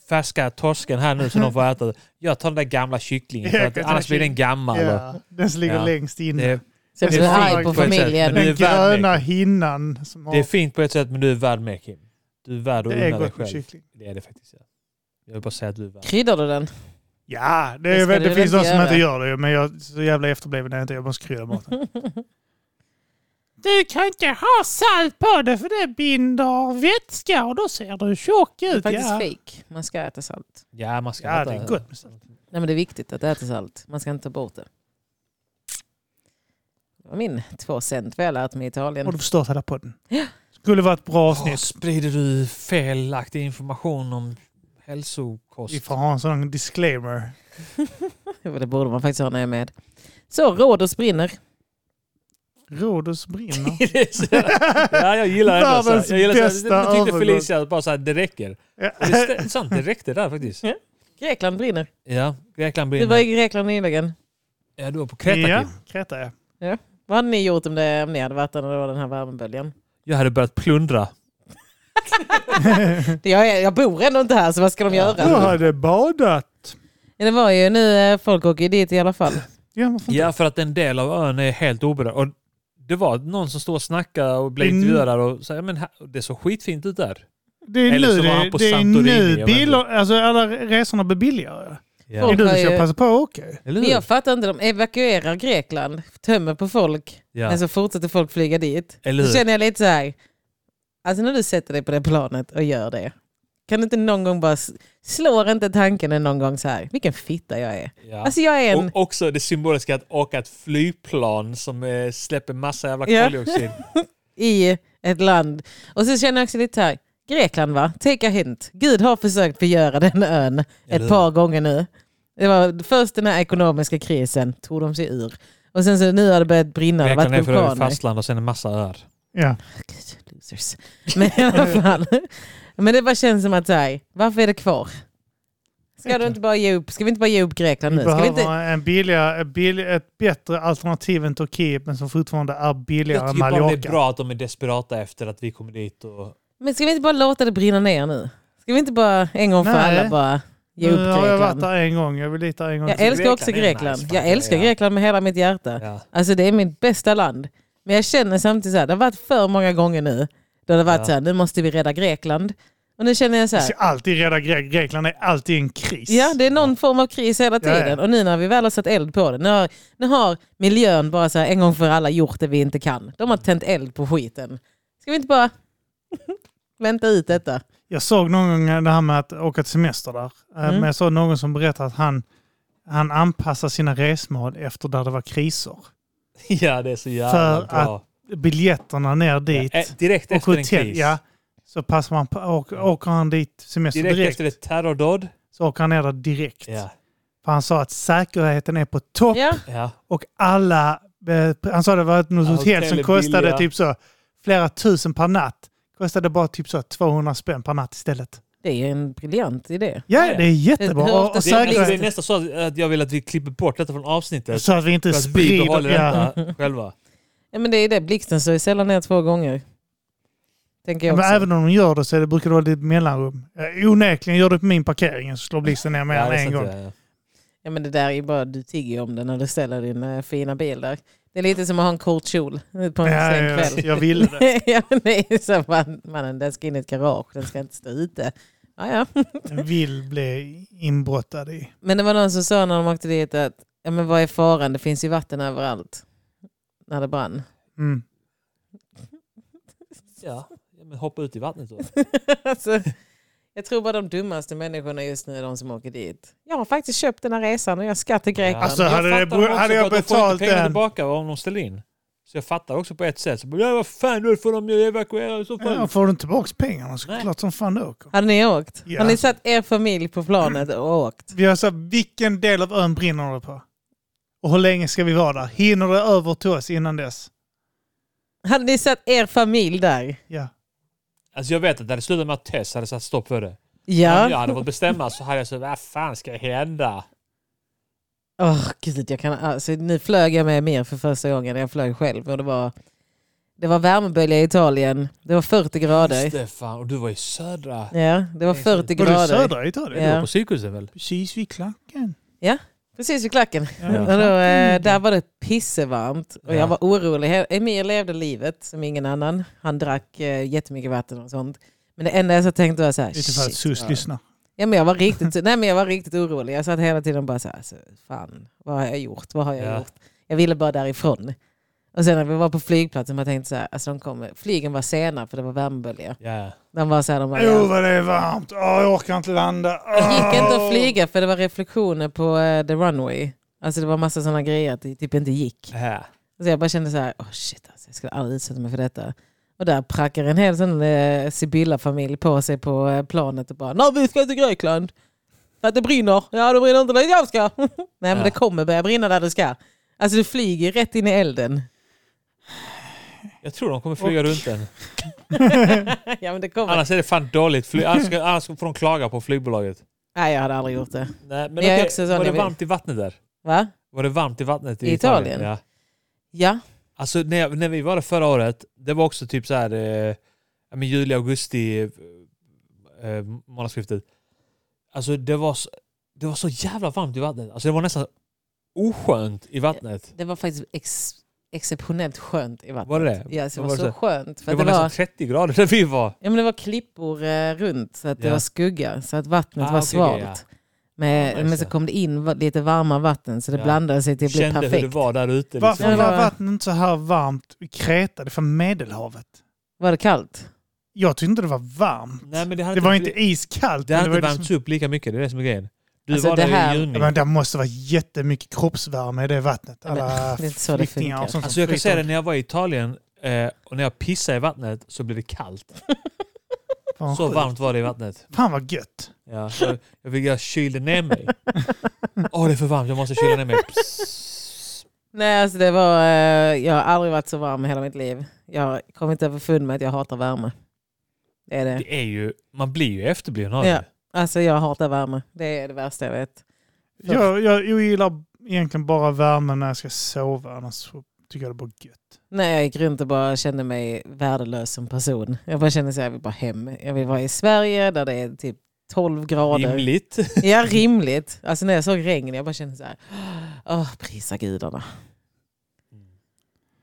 Speaker 3: färska torsken här nu som de får äta. Jag tar den där gamla kycklingen för
Speaker 2: Jag
Speaker 3: att
Speaker 2: kan ta
Speaker 3: annars blir den gammal.
Speaker 2: Ja, Mm. den som ligger
Speaker 3: Ja.
Speaker 2: längst
Speaker 3: Det,
Speaker 2: inne.
Speaker 3: är,
Speaker 1: så jag
Speaker 2: det
Speaker 1: blir
Speaker 2: är
Speaker 1: arg
Speaker 2: fint
Speaker 1: på
Speaker 3: på ett sätt, men
Speaker 1: familjen.
Speaker 3: du
Speaker 2: Den
Speaker 3: är värd
Speaker 2: gröna hinnan som har...
Speaker 3: det är fint på ett sätt men du är värd mer Kim. Du är värd att
Speaker 2: det är
Speaker 3: unna dig
Speaker 2: gott med
Speaker 3: själv.
Speaker 2: kyckling.
Speaker 3: Det är det faktiskt. Ja. Jag vill bara säga att du är värd.
Speaker 1: Kryddar du den?
Speaker 2: Ja, det,
Speaker 1: Det
Speaker 2: är,
Speaker 1: ska
Speaker 2: det,
Speaker 1: du väl
Speaker 2: finns de
Speaker 1: inte
Speaker 2: som
Speaker 1: göra?
Speaker 2: inte gör det. Men jag så jävla efterbliven är jag inte. Jag måste krydda maten. Du kan inte ha salt på det för det binder vätska och då ser du tjock
Speaker 1: Det är
Speaker 2: ut.
Speaker 1: faktiskt
Speaker 2: Ja.
Speaker 1: fake. Man ska äta salt.
Speaker 3: Ja, man ska
Speaker 2: ja,
Speaker 3: äta.
Speaker 2: det är gott med salt.
Speaker 1: Nej, men det är viktigt att äta salt. Man ska inte ta bort det. Det var min två cent vad jag lärt mig i
Speaker 2: Har du
Speaker 1: Italien.
Speaker 2: förstört hela podden? Skulle vara ett bra
Speaker 3: Åh,
Speaker 2: avsnitt.
Speaker 3: sprider du felaktig information om hälsokost?
Speaker 2: Vi får ha en sån disclaimer.
Speaker 1: Det borde man faktiskt ha när jag är med. Så, Rhodos brinner.
Speaker 2: Rhodos brinner.
Speaker 3: Det är så jävla- ja, jag gillar det. ändå så här.
Speaker 2: Världens
Speaker 3: Jag gillar så här-
Speaker 2: bästa
Speaker 3: Nu tyckte
Speaker 2: övergång.
Speaker 3: Felicia bara så här, det räcker.
Speaker 2: Ja.
Speaker 3: Och det är st- sant, det räckte där faktiskt.
Speaker 1: Grekland brinner.
Speaker 3: Ja, Grekland
Speaker 1: Du var i
Speaker 3: brinner.
Speaker 1: Grekland nyligen.
Speaker 3: Ja, du var på Kreta,
Speaker 2: Ja,
Speaker 3: Kim.
Speaker 2: Kreta ja.
Speaker 1: Vad hade ni gjort om, det, om ni hade varit där när det var den här värmeböljan?
Speaker 3: Jag hade börjat plundra.
Speaker 2: Mm.
Speaker 1: Jag, är, jag bor ändå inte här, så vad ska de
Speaker 3: Ja.
Speaker 1: göra?
Speaker 2: Du hade badat.
Speaker 1: Det var ju nu, eh, folk åker ju dit i alla fall.
Speaker 2: Ja, varför inte?
Speaker 3: Ja, för att en del av ön är helt oberörd. Och det var någon som stod och snackade och blev
Speaker 2: Mm.
Speaker 3: intervjuad och sa ja, men här- det såg skitfint ut där.
Speaker 2: Det är
Speaker 3: Eller
Speaker 2: nu,
Speaker 3: så var
Speaker 2: det,
Speaker 3: han på
Speaker 2: det är
Speaker 3: Santorini, jag vet
Speaker 2: nu
Speaker 3: inte.
Speaker 2: bilar, alltså alla resorna blir billigare. Det
Speaker 3: Ja.
Speaker 2: är du
Speaker 1: Folk har
Speaker 2: som ska
Speaker 1: ju-
Speaker 2: passa på att åka ju.
Speaker 3: Eller
Speaker 1: Men
Speaker 3: hur?
Speaker 1: jag fattar inte, de evakuerar Grekland, tömmer på folk,
Speaker 3: Ja.
Speaker 1: men så fortsätter folk flyga dit.
Speaker 3: Eller
Speaker 1: Då
Speaker 3: hur?
Speaker 1: alltså, känner jag lite så här, alltså när du sätter dig på det planet och gör det, kan du inte någon gång bara, s- slår inte tanken en någon gång så här, vilken fitta jag är.
Speaker 3: Ja.
Speaker 1: Alltså jag är en,
Speaker 3: Och också det symboliska att åka ett flygplan som eh, släpper massa jävla
Speaker 1: Ja.
Speaker 3: koldioxid.
Speaker 1: i ett land. Och så känner jag också lite så här, Grekland va, take a hint. Gud har försökt förgöra den ön
Speaker 3: Eller
Speaker 1: ett
Speaker 3: hur?
Speaker 1: par gånger nu. Det var först den här ekonomiska krisen, tog de sig ur. Och sen så nu har det börjat brinna, det har
Speaker 3: Grekland är
Speaker 1: varit
Speaker 3: för övrigt
Speaker 1: vulkaner.
Speaker 3: fastland och sen en massa öar.
Speaker 2: Ja.
Speaker 1: Gud, losers. Men i alla fall. Men det bara känns som att så här, varför är det kvar? Ska, du inte bara ge upp? Ska vi inte bara ge upp Grekland
Speaker 2: Vi
Speaker 1: nu? Ska vi
Speaker 2: behöver
Speaker 1: inte...
Speaker 2: en billigare, en billig, ett bättre alternativ än Turkiet men som fortfarande är billigare
Speaker 3: Jag
Speaker 2: än
Speaker 3: tycker bara det är
Speaker 2: Mallorca.
Speaker 3: bra att de är desperata efter att vi kommer dit och...
Speaker 1: Men ska vi inte bara låta det brinna ner nu? Ska vi inte bara en gång för
Speaker 2: Nej.
Speaker 1: alla bara ge
Speaker 2: Nu
Speaker 1: upp
Speaker 2: har jag varit
Speaker 1: Grekland?
Speaker 2: där en gång. Jag vill dit där en gång
Speaker 1: Jag
Speaker 2: till.
Speaker 1: älskar också
Speaker 3: Grekland är nice,
Speaker 1: Grekland.
Speaker 3: fan,
Speaker 1: Jag älskar
Speaker 3: ja.
Speaker 1: Grekland med hela mitt hjärta.
Speaker 3: Ja.
Speaker 1: Alltså det är mitt bästa land. Men jag känner samtidigt så här, det har varit för många gånger nu. Då det har varit
Speaker 3: Ja.
Speaker 1: så här, nu måste vi rädda Grekland. Och nu känner jag så
Speaker 2: Vi
Speaker 1: här,
Speaker 2: ska alltid rädda Grekland. Grekland är alltid en kris.
Speaker 1: Ja, det är någon form av kris hela
Speaker 2: Ja, ja.
Speaker 1: tiden. Och nu när vi väl har satt eld på det, nu har, nu har miljön bara så här, en gång för alla gjort det vi inte kan. De har tänt eld på skiten. Ska vi inte bara vänta ut detta?
Speaker 2: Jag såg någon gång det här med att åka till semester där. Eh,
Speaker 1: Mm.
Speaker 2: Men jag såg någon som berättade att han, han anpassar sina resmål efter där det var kriser.
Speaker 3: ja, det är så jävla
Speaker 2: För
Speaker 3: bra.
Speaker 2: biljetterna ner dit.
Speaker 3: Eh, direkt
Speaker 2: och
Speaker 3: efter en
Speaker 2: hotell,
Speaker 3: kris.
Speaker 2: ja. Alltså, Så passar man på, och, åker han dit semester
Speaker 3: direkt,
Speaker 2: direkt,
Speaker 3: efter ett terrordåd.
Speaker 2: så åker han ner där direkt.
Speaker 3: Ja.
Speaker 2: För han sa att säkerheten är på topp
Speaker 1: Ja,
Speaker 3: Ja.
Speaker 2: och alla... eh, Han sa det var ett något
Speaker 3: Ja,
Speaker 2: hotell
Speaker 3: hotell
Speaker 2: som
Speaker 3: är
Speaker 2: kostade
Speaker 3: billiga.
Speaker 2: typ så flera tusen per natt. Kostade bara typ så 200 spänn per natt istället.
Speaker 1: det är en briljant idé.
Speaker 2: Ja,
Speaker 3: Ja, ja.
Speaker 2: det är jättebra.
Speaker 1: Hur
Speaker 2: Och,
Speaker 1: ofta
Speaker 2: och
Speaker 3: Det, är, nästan- det är
Speaker 2: säkerhet,
Speaker 3: nästan så att jag vill att vi klipper bort detta från avsnittet.
Speaker 2: så att vi inte
Speaker 3: För att vi
Speaker 2: sprider...
Speaker 3: behåller
Speaker 2: Ja.
Speaker 3: detta själva.
Speaker 1: Ja, men det är det. Blixten slår ju sällan ner två gånger. Tänker jag
Speaker 2: Men
Speaker 1: också.
Speaker 2: även om de gör det så är det, brukar det vara lite mellanrum. Eh, Onekligen gör det på min parkering så slår blixten ner mer
Speaker 3: Ja,
Speaker 2: än
Speaker 3: det är
Speaker 2: en
Speaker 3: sant,
Speaker 2: gång.
Speaker 3: ja, ja.
Speaker 1: Ja, men det där är ju bara, du tigger ju om det när du ställer din eh, fina bil där. Det är lite som att ha en kort kjol eh, på en
Speaker 2: Ja,
Speaker 1: sen
Speaker 2: jag,
Speaker 1: kväll.
Speaker 2: jag ville det.
Speaker 1: ja, men det är så man, mannen, den ska in i ett garage, den ska inte stå ute. Ja, ja.
Speaker 2: Jag vill bli inbrottad i.
Speaker 1: Men det var någon som sa när de åkte dit att ja, men vad är faran, det finns ju vatten överallt. När det brann.
Speaker 2: Mm.
Speaker 3: Ja, ja, men hoppa ut i vattnet då.
Speaker 1: alltså, jag tror bara de dummaste människorna just nu är de som åker dit. Jag har faktiskt köpt den här resan och jag ska till Grekland.
Speaker 2: Alltså,
Speaker 3: Jag
Speaker 2: hade det-
Speaker 3: fattar dem också
Speaker 2: hade jag
Speaker 3: för att de får
Speaker 2: betalt
Speaker 3: inte pengar
Speaker 2: en-
Speaker 3: tillbaka om de ställer in. Så jag fattar också på ett sätt. Så, bara, ja, vad fan, nu får de ju evakuera i så fall.
Speaker 2: Ja, får du inte tillbaka pengarna så
Speaker 3: Nej.
Speaker 2: klart som fan du åker.
Speaker 1: Hade ni åkt?
Speaker 2: Ja.
Speaker 1: Har ni satt er familj på planet och åkt?
Speaker 2: Vi har sagt, vilken del av ön brinner det på? Och hur länge ska vi vara där? Hinner det över till oss innan dess?
Speaker 1: Hade ni satt er familj där?
Speaker 2: Ja.
Speaker 3: Alltså jag vet att det hade slutat med att Tess hade satt stopp för det.
Speaker 1: Ja.
Speaker 3: Om jag hade fått bestämma så hade jag sagt vad fan ska hända?
Speaker 1: Åh gud, jag kan, alltså, nu flög jag med mer för första gången. Jag flög själv och det var, det var värmebölja i Italien. Det var 40 grader.
Speaker 3: Stefan, och du var i södra.
Speaker 1: Ja, det var
Speaker 3: Det är så-
Speaker 1: 40
Speaker 2: Var du i
Speaker 1: grader.
Speaker 2: södra Italien?
Speaker 1: Ja.
Speaker 3: På cirkusen väl?
Speaker 2: Precis vid klacken.
Speaker 1: Precis vid klacken.
Speaker 3: Ja.
Speaker 1: Och då, eh, där var det pissevarmt och
Speaker 3: Ja.
Speaker 1: jag var orolig. He- Emil levde livet som ingen annan. Han drack eh, jättemycket vatten och sånt. Men det enda jag tänkte var så här,
Speaker 2: Lite för att
Speaker 1: shit.
Speaker 2: Sus lyssnar.
Speaker 1: Ja, men jag, var riktigt, nej, men jag var riktigt orolig. Jag satt hela tiden och bara så här, alltså, fan, vad har jag gjort? Vad har jag
Speaker 3: Ja.
Speaker 1: gjort? Jag ville bara därifrån. Och sen när vi var på flygplatsen, man tänkte så här, alltså, de kommer, flygen var sena för det var värmebölja.
Speaker 3: Ja.
Speaker 1: De var så här, de
Speaker 2: Åh
Speaker 1: bara, ja.
Speaker 2: vad det är varmt! Åh, jag orkar inte landa!
Speaker 1: Det gick inte
Speaker 2: Åh.
Speaker 1: att flyga för det var reflektioner på eh, the runway. Alltså det var massa sådana grejer att det typ inte gick.
Speaker 3: ja.
Speaker 1: Så jag bara kände så här, oh shit alltså, jag skulle aldrig utsätta mig för detta. Och där prackar en hel sån eh, Sibylla-familj på sig på eh, planet och bara, nej vi ska till Grekland. För att det brinner. Ja det brinner inte där jag ska. nej men
Speaker 3: Ja.
Speaker 1: det kommer börja brinna där du ska. Alltså du flyger rätt in i elden.
Speaker 3: Jag tror de kommer flyga runt den.
Speaker 1: ja men det kommer.
Speaker 3: Annars är det fan dåligt. Fly- annars, ska- annars får de klaga på flygbolaget.
Speaker 1: Nej jag hade aldrig gjort det.
Speaker 3: Nej,
Speaker 1: Jag
Speaker 3: men
Speaker 1: är
Speaker 3: okej,
Speaker 1: också sån,
Speaker 3: var det
Speaker 1: jag vill-
Speaker 3: varmt i vattnet där?
Speaker 1: Va?
Speaker 3: Var det varmt i vattnet i,
Speaker 1: I Italien?
Speaker 3: Ja.
Speaker 1: Ja.
Speaker 3: Alltså när, jag, när vi var där förra året, det var också typ så här, eh, ja, men juli, augusti, eh, eh, månadsskiftet. Alltså det var, så, det var så jävla varmt i vattnet. Alltså det var nästan oskönt i vattnet.
Speaker 1: Det var faktiskt ex exceptionellt skönt i vattnet.
Speaker 3: Var det det?
Speaker 1: Ja, alltså, det
Speaker 3: Vad
Speaker 1: var
Speaker 3: var
Speaker 1: så
Speaker 3: det
Speaker 1: skönt. För
Speaker 3: Det
Speaker 1: att
Speaker 3: var
Speaker 1: det, var,
Speaker 3: nästan 30 grader där vi var.
Speaker 1: ja, men det var klippor eh, runt så att det
Speaker 3: Ja.
Speaker 1: var skugga. Så att vattnet
Speaker 3: Ah,
Speaker 1: var
Speaker 3: okej, okej,
Speaker 1: svalt.
Speaker 3: ja.
Speaker 1: Men,
Speaker 3: Ja,
Speaker 1: men
Speaker 3: just
Speaker 1: så
Speaker 3: det.
Speaker 1: kom det in va- lite varma vatten så det
Speaker 3: Ja.
Speaker 1: blandade sig till att bli
Speaker 3: Kände hur
Speaker 1: perfekt.
Speaker 3: det
Speaker 1: var.
Speaker 3: var där ute. liksom.
Speaker 2: Varför
Speaker 1: Ja, det
Speaker 2: var
Speaker 1: var-
Speaker 2: vattnet inte så här varmt i Kreta? Det är från Medelhavet.
Speaker 1: det kallt?
Speaker 2: Jag tyckte inte det var varmt.
Speaker 3: Nej, men det hade
Speaker 2: Det var
Speaker 3: inte,
Speaker 2: inte iskallt.
Speaker 3: det
Speaker 2: men
Speaker 3: hade
Speaker 2: det var
Speaker 3: inte
Speaker 2: liksom-
Speaker 3: värmts upp lika mycket, det är det som är grejen. Du
Speaker 1: Alltså,
Speaker 3: var
Speaker 1: det
Speaker 3: där
Speaker 1: här-
Speaker 3: i
Speaker 2: Ja,
Speaker 3: juni.
Speaker 2: men det måste vara jättemycket kroppsvärme i det vattnet.
Speaker 1: Ja, men,
Speaker 2: Alla
Speaker 1: det är inte så det
Speaker 2: flyktingar och
Speaker 1: funkar.
Speaker 2: sånt som
Speaker 3: Alltså jag kan
Speaker 2: flyter
Speaker 3: säga det, när jag var i Italien eh, och när jag pissade i vattnet så blev det kallt.
Speaker 2: Fan,
Speaker 3: Så
Speaker 2: sjukt.
Speaker 3: varmt var det i vattnet.
Speaker 2: Fan vad gött.
Speaker 3: Ja, jag, jag, fick, jag kylde ner mig. Åh, det är för varmt. Jag måste kyla ner mig. Psst.
Speaker 1: Nej, alltså det var, eh, jag har aldrig varit så varm i hela mitt liv. Jag kom inte överfund med att jag hatar värme. Det är det.
Speaker 3: Det är ju, man blir ju efterbliven av
Speaker 1: Ja.
Speaker 3: det.
Speaker 1: Alltså jag hatar värme. Det är det värsta jag vet. Ja.
Speaker 2: Jag, jag, jag gillar egentligen bara värmen när jag ska sova. Annars så tycker jag det är bara gött.
Speaker 1: Nej, jag gick runt och bara kände mig värdelös som person. Jag bara kände att jag vill bara hem. Jag vill vara i Sverige där det är typ 12 grader.
Speaker 3: Rimligt.
Speaker 1: Ja, rimligt. Alltså när jag såg regn, jag bara kände så här, åh, prisa gudarna.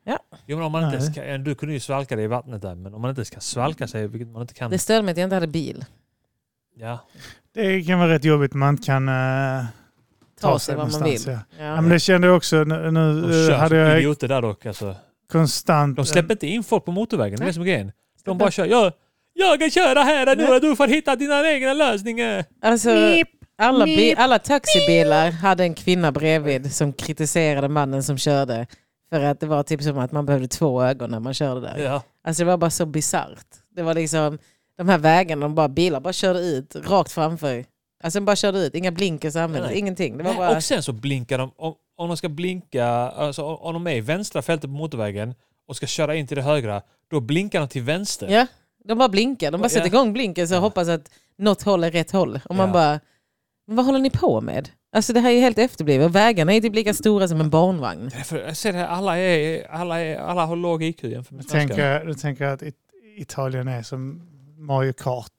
Speaker 1: Ja.
Speaker 3: Jo, men om man inte
Speaker 2: Nej.
Speaker 3: ska, du kunde ju svalka dig i vattnet där, men om man inte ska svalka sig, vilket man inte kan.
Speaker 1: Det störde mig att jag inte hade bil.
Speaker 3: Ja.
Speaker 2: Det kan vara rätt jobbigt om man inte kan eh,
Speaker 1: Ta, sig vad man vill.
Speaker 2: någonstans,
Speaker 1: Ja.
Speaker 2: Ja. Ja, men det kände jag också. Nu, nu
Speaker 3: De
Speaker 2: eh,
Speaker 3: kör
Speaker 2: hade
Speaker 3: som
Speaker 2: jag
Speaker 3: idioter där dock. Alltså.
Speaker 2: konstant... eh,
Speaker 3: De släpper inte in folk på motorvägen, det är det som är grejen. De bara kör. Jag, jag kan köra här nu
Speaker 1: Nej.
Speaker 3: och du får hitta dina egna lösningar.
Speaker 1: Alltså,
Speaker 2: Beep.
Speaker 1: alla, bi-
Speaker 2: Beep.
Speaker 1: alla taxibilar hade en kvinna bredvid som kritiserade mannen som körde För att det var typ som att man behövde två ögon när man körde där.
Speaker 3: Ja.
Speaker 1: Alltså det var bara så bisarrt. Det var liksom de här vägarna, de bara, bilar bara körde ut rakt framför. Alltså de bara körde ut, inga blinkers användes,
Speaker 3: Nej.
Speaker 1: ingenting. Det var
Speaker 3: Nej,
Speaker 1: bara...
Speaker 3: Och sen så blinkar de, om, om de ska blinka, alltså om om de är i vänstra fältet på motorvägen och ska köra in till det högra, då blinkar de till vänster.
Speaker 1: Ja, de bara blinkar. De bara sätter
Speaker 3: Ja.
Speaker 1: igång blinkers och
Speaker 3: Ja.
Speaker 1: hoppas att något håll är rätt håll. Och man
Speaker 3: Ja.
Speaker 1: bara, "Men vad håller ni på med? Alltså det här är ju helt efterblivet. Och Vägarna är typ lika stora som en barnvagn.
Speaker 3: Det är för- Jag ser det, här, alla, är, alla, är, alla har låg IQ jämfört med
Speaker 2: Jag tänker,
Speaker 3: svenskar.
Speaker 2: jag tänker att it, Italien är som Mario Kart.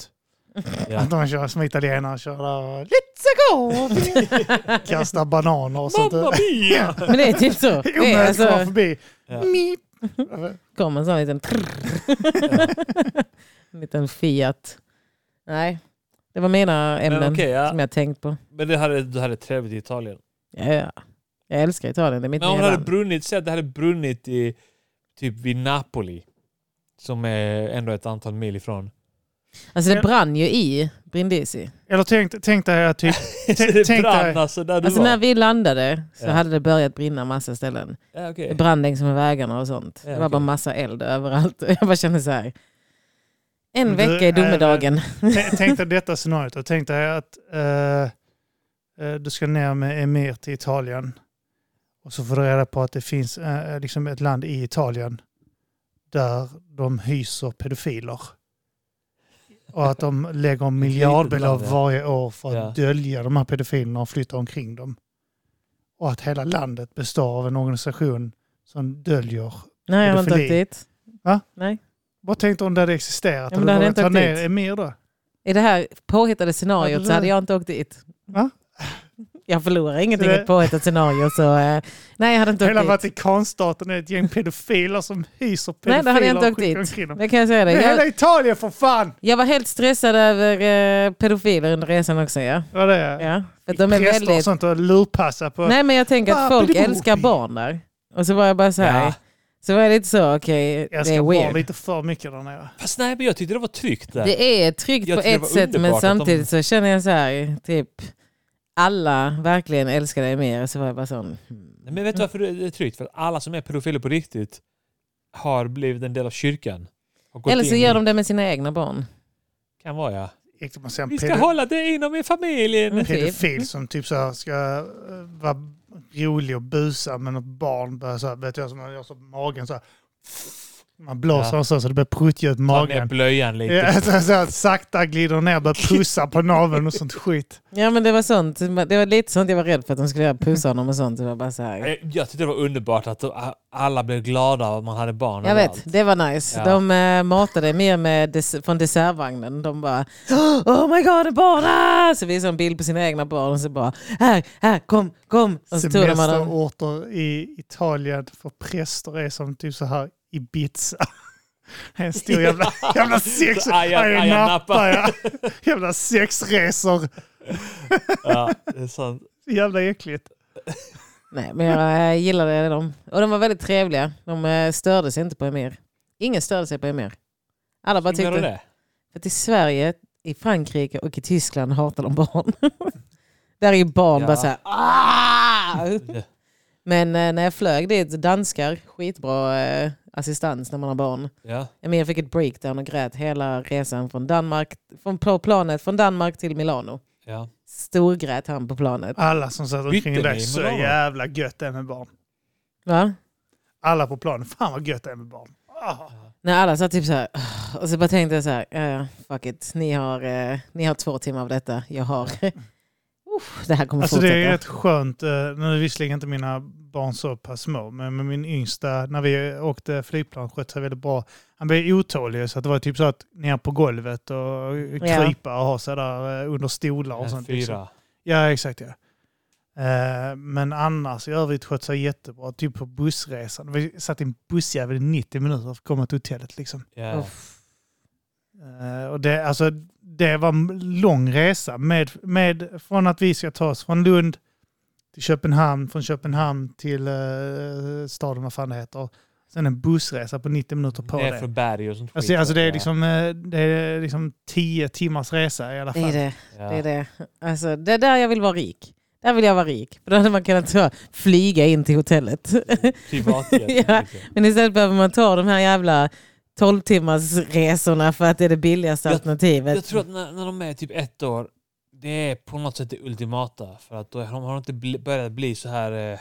Speaker 3: Ja.
Speaker 2: Att de kör som italienare och kör där och let's go! Kastar bananer och sånt.
Speaker 3: Mamma mia!
Speaker 1: Men det är typ så. Det är,
Speaker 2: Omöjligt att komma
Speaker 1: alltså,
Speaker 2: förbi.
Speaker 3: Ja.
Speaker 2: Mip.
Speaker 1: kom en sån liten,
Speaker 3: Ja.
Speaker 1: en liten Fiat. Nej, det var mina ämnen
Speaker 3: Men okej, ja.
Speaker 1: som jag tänkt på.
Speaker 3: Men det här är, det här är trevligt i Italien.
Speaker 1: Ja, ja. Jag älskar Italien, det är mitt
Speaker 3: Men om
Speaker 1: nya
Speaker 3: det hade
Speaker 1: land.
Speaker 3: brunnit, säg att det hade brunnit i, typ vid Napoli, som är ändå ett antal mil ifrån.
Speaker 1: Alltså det brann ju i Brindisi.
Speaker 2: Eller tänk, tänk dig att typ...
Speaker 3: Så
Speaker 2: Tänk-
Speaker 3: det
Speaker 2: tänk dig-
Speaker 3: brann alltså där du
Speaker 1: Alltså
Speaker 3: var.
Speaker 1: när vi landade så
Speaker 3: Ja.
Speaker 1: hade det börjat brinna massa ställen.
Speaker 3: Ja, okej.
Speaker 1: Det brann längs med vägarna och sånt.
Speaker 3: Ja,
Speaker 1: det var
Speaker 3: okej.
Speaker 1: bara massa eld överallt. Jag bara kände så här. En
Speaker 2: Men du,
Speaker 1: vecka i
Speaker 2: är det-
Speaker 1: domedagen.
Speaker 2: T- Tänk dig detta scenariot och tänk dig att eh, eh, du ska ner med Emir till Italien. Och så får du reda på att det finns eh, liksom ett land i Italien där de hyser pedofiler. Och att de lägger miljardbelopp
Speaker 3: land, ja.
Speaker 2: varje år för att
Speaker 3: Ja.
Speaker 2: dölja de här pedofilerna och flytta omkring dem. Och att hela landet består av en organisation som döljer.
Speaker 1: Nej, jag har inte åkt
Speaker 2: pedofili.
Speaker 1: dit.
Speaker 2: Va?
Speaker 1: Nej.
Speaker 2: Vad tänkte om det hade existerat?
Speaker 1: Ja, men
Speaker 2: Hade du
Speaker 1: det hade
Speaker 2: vågat
Speaker 1: inte
Speaker 2: ta
Speaker 1: åkt
Speaker 2: ner
Speaker 1: dit.
Speaker 2: Emir då?
Speaker 1: I det här påhittade
Speaker 2: Ja,
Speaker 1: scenariot
Speaker 2: det
Speaker 1: så hade
Speaker 2: där-
Speaker 1: jag inte åkt dit.
Speaker 2: Va?
Speaker 1: Jag förlorar ingenting i
Speaker 2: Det-
Speaker 1: ett påhittat scenario. Så, eh, nej, jag hade inte åkt
Speaker 2: Hela
Speaker 1: dit.
Speaker 2: Vatikanstaten är ett gäng pedofiler som hyser pedofiler.
Speaker 1: Nej, det hade jag inte
Speaker 2: och
Speaker 1: åkt
Speaker 2: skickar
Speaker 1: dit.
Speaker 2: omkring dem.
Speaker 1: Det kan jag säga
Speaker 2: Det
Speaker 1: dig.
Speaker 2: är hela
Speaker 1: Jag,
Speaker 2: Italien för fan!
Speaker 1: jag var helt stressad över eh, pedofiler under resan också. Ja.
Speaker 2: Ja, det är.
Speaker 1: Ja, för att de är
Speaker 2: Präster och
Speaker 1: väldigt...
Speaker 2: sånt och lurpassar på... Ah,
Speaker 1: Nej, men jag tänker att folk
Speaker 2: Papegopi.
Speaker 1: älskar barn där. Och så var jag bara så här.
Speaker 3: Ja.
Speaker 1: Så var jag lite så, okej,
Speaker 2: jag
Speaker 1: det
Speaker 2: ska
Speaker 1: är
Speaker 2: vara
Speaker 1: weird.
Speaker 2: lite för mycket där nere.
Speaker 3: Fast nej, men jag tyckte det var tryggt där.
Speaker 1: Det är tryggt
Speaker 3: Jag
Speaker 1: på
Speaker 3: tycker det
Speaker 1: ett
Speaker 3: var
Speaker 1: sätt
Speaker 3: underbart
Speaker 1: men
Speaker 3: att de-
Speaker 1: samtidigt så känner jag så här, typ alla verkligen älskar dig mer. Så var jag bara sån. hmm.
Speaker 3: Nej, Men vet du varför det är tryggt? För att alla som är pedofiler på riktigt har blivit en del av kyrkan. Har gått
Speaker 1: Eller så
Speaker 3: in
Speaker 1: gör
Speaker 3: i-
Speaker 1: de det med sina egna barn.
Speaker 3: Kan vara ja.
Speaker 2: Gick det på sen
Speaker 3: Vi ska
Speaker 2: pedo-
Speaker 3: hålla det inom i familjen.
Speaker 1: Mm.
Speaker 2: pedofil som typ så här ska eh, vara rolig och busa men något barn börjar så här, vet jag, som man gör så på magen så här. Man blåser
Speaker 3: Ja.
Speaker 2: och så, så det blir pruttljud i
Speaker 3: Ta ner
Speaker 2: magen.
Speaker 3: blöjan lite.
Speaker 2: Ja, så, så här, sakta glider ner, börjar pussa på naveln och sånt skit.
Speaker 1: Ja men det var sånt. Det var lite sånt jag var rädd för att de skulle göra, pussa honom och sånt. Det var bara så här.
Speaker 3: Eh, Jag tyckte det var underbart att de- alla blev glada av att man hade barn.
Speaker 1: Jag
Speaker 3: överallt.
Speaker 1: vet, det var nice.
Speaker 3: Ja.
Speaker 1: De eh, matade mer med des- från dessertvagnen. De bara Oh my god, barn! ah!" Så visade de bild på sina egna barn och så bara Här, här, kom, kom! Och så tog de med dem.
Speaker 2: Semesterorter i Italien för präster är som typ så här Ibiza. En stor jävla, jävla sex...
Speaker 3: Så Ayia-
Speaker 2: Ayia
Speaker 3: Ayia Napa.
Speaker 2: ja. Jävla sexresor.
Speaker 3: Ja, det är sant.
Speaker 2: Jävla äckligt.
Speaker 1: Nej, men jag eh, gillade dem. Och de var väldigt trevliga. De eh, störde sig inte på Emir. Ingen störde sig på Emir. Alla bara
Speaker 3: Menar du
Speaker 1: tyckte
Speaker 3: det?
Speaker 1: att i Sverige, i Frankrike och i Tyskland hatar de barn. Där är ju barn
Speaker 3: Ja.
Speaker 1: bara såhär "Ah!" Men eh, när jag flög dit, danskar, skitbra eh, assistans när man har barn.
Speaker 3: Ja.
Speaker 1: Emir fick ett breakdown och grät hela resan från Danmark, från på planet från Danmark till Milano.
Speaker 3: ja.
Speaker 1: Storgrät han på planet.
Speaker 2: Alla som satt omkring
Speaker 3: Bytte
Speaker 2: dig,
Speaker 3: ni
Speaker 2: så
Speaker 3: med barn?
Speaker 2: jävla gött det är med barn.
Speaker 1: Va?
Speaker 2: Alla på planen, fan vad gött det är med barn. Ah.
Speaker 1: När alla satt typ så här, "Åh", och så bara tänkte jag så här, "Ja, ja, fuck it, ni har, eh, ni har två timmar av detta, jag har... Uff, det här kommer
Speaker 2: Alltså det
Speaker 1: fortsätta.
Speaker 2: är rätt skönt, eh, nu är visserligen inte mina barn så pass små, men med min yngsta, när vi åkte flygplan sköt sig väldigt bra. Han blev otålig så att det var typ så att ner på golvet och krypa och ha sig där eh, under stolar och sånt. liksom.
Speaker 3: Fyra.
Speaker 2: Ja exakt ja. Eh, Men annars i övrigt sköt sig jättebra, typ på bussresan. Vi satt i en bussjävel i 90 minuter för att komma till hotellet liksom.
Speaker 3: Ja.
Speaker 1: Uff.
Speaker 2: Eh, Och det, alltså, det var en lång resa. Med, med, från att vi ska ta oss från Lund till Köpenhamn, från Köpenhamn till eh, staden, vad fan det heter. Sen en bussresa på 90 minuter på
Speaker 3: Ner för
Speaker 2: det.
Speaker 3: berg och sånt
Speaker 2: Alltså, alltså det, är
Speaker 3: Ja.
Speaker 2: liksom, eh, det är liksom tio timmars resa i alla
Speaker 1: Det är
Speaker 2: fall.
Speaker 1: det,
Speaker 3: Ja.
Speaker 1: det är det. Alltså, det är där jag vill vara rik. Där vill jag vara rik. För då hade man kunnat så, flyga in till hotellet.
Speaker 3: Privatjet.
Speaker 1: Ja.
Speaker 3: liksom.
Speaker 1: Men istället behöver man ta de här jävla 12 timmars resorna för att det är det billigaste
Speaker 3: Jag-
Speaker 1: alternativet.
Speaker 3: Jag tror att när, när de är typ ett år, det är på något sätt det ultimata. För att då har de har inte bli, börjat bli så här... Eh,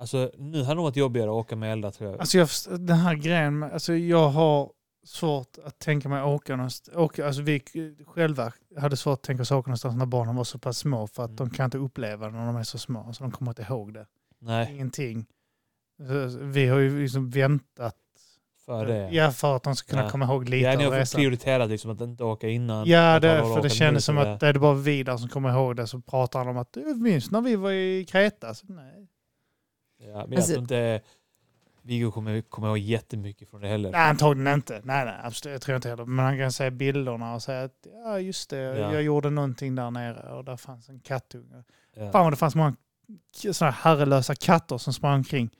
Speaker 3: alltså nu har det nog varit jobbigare att åka med Elda tror jag.
Speaker 2: Alltså jag, först- den här grejen, med- alltså jag har svårt att tänka mig åka någonstans. Åka, alltså vi k- själva hade svårt att tänka oss åka någonstans när barnen var så pass små för att de kan inte uppleva det när de är så små. Så de kommer inte ihåg det.
Speaker 3: Nej,
Speaker 2: Ingenting. Så- så Vi har ju liksom väntat
Speaker 3: för det.
Speaker 2: ja, för att de ska kunna
Speaker 3: Ja.
Speaker 2: komma ihåg lite
Speaker 3: Ja, ni
Speaker 2: av
Speaker 3: har
Speaker 2: resan.
Speaker 3: prioriterat liksom att inte åka innan.
Speaker 2: Ja,
Speaker 3: Att
Speaker 2: det,
Speaker 3: alla har
Speaker 2: för det
Speaker 3: åkat
Speaker 2: kändes
Speaker 3: nu,
Speaker 2: som
Speaker 3: så
Speaker 2: att det är bara Vidar som kommer ihåg det. Så pratar han om att du minns när vi var i Kreta. Så, nej.
Speaker 3: Ja, men jag
Speaker 1: Alltså-
Speaker 3: tror inte Viggo kommer kommer ihåg jättemycket från det heller.
Speaker 2: nej, antagligen inte. Nej, nej, absolut. Jag tror inte heller. Men han kan säga bilderna och säga att ja, just det,
Speaker 3: Ja.
Speaker 2: jag gjorde någonting där nere och där fanns en kattunge. Fan
Speaker 3: Ja.
Speaker 2: vad det fanns många k- såna här herrelösa katter som sprang omkring.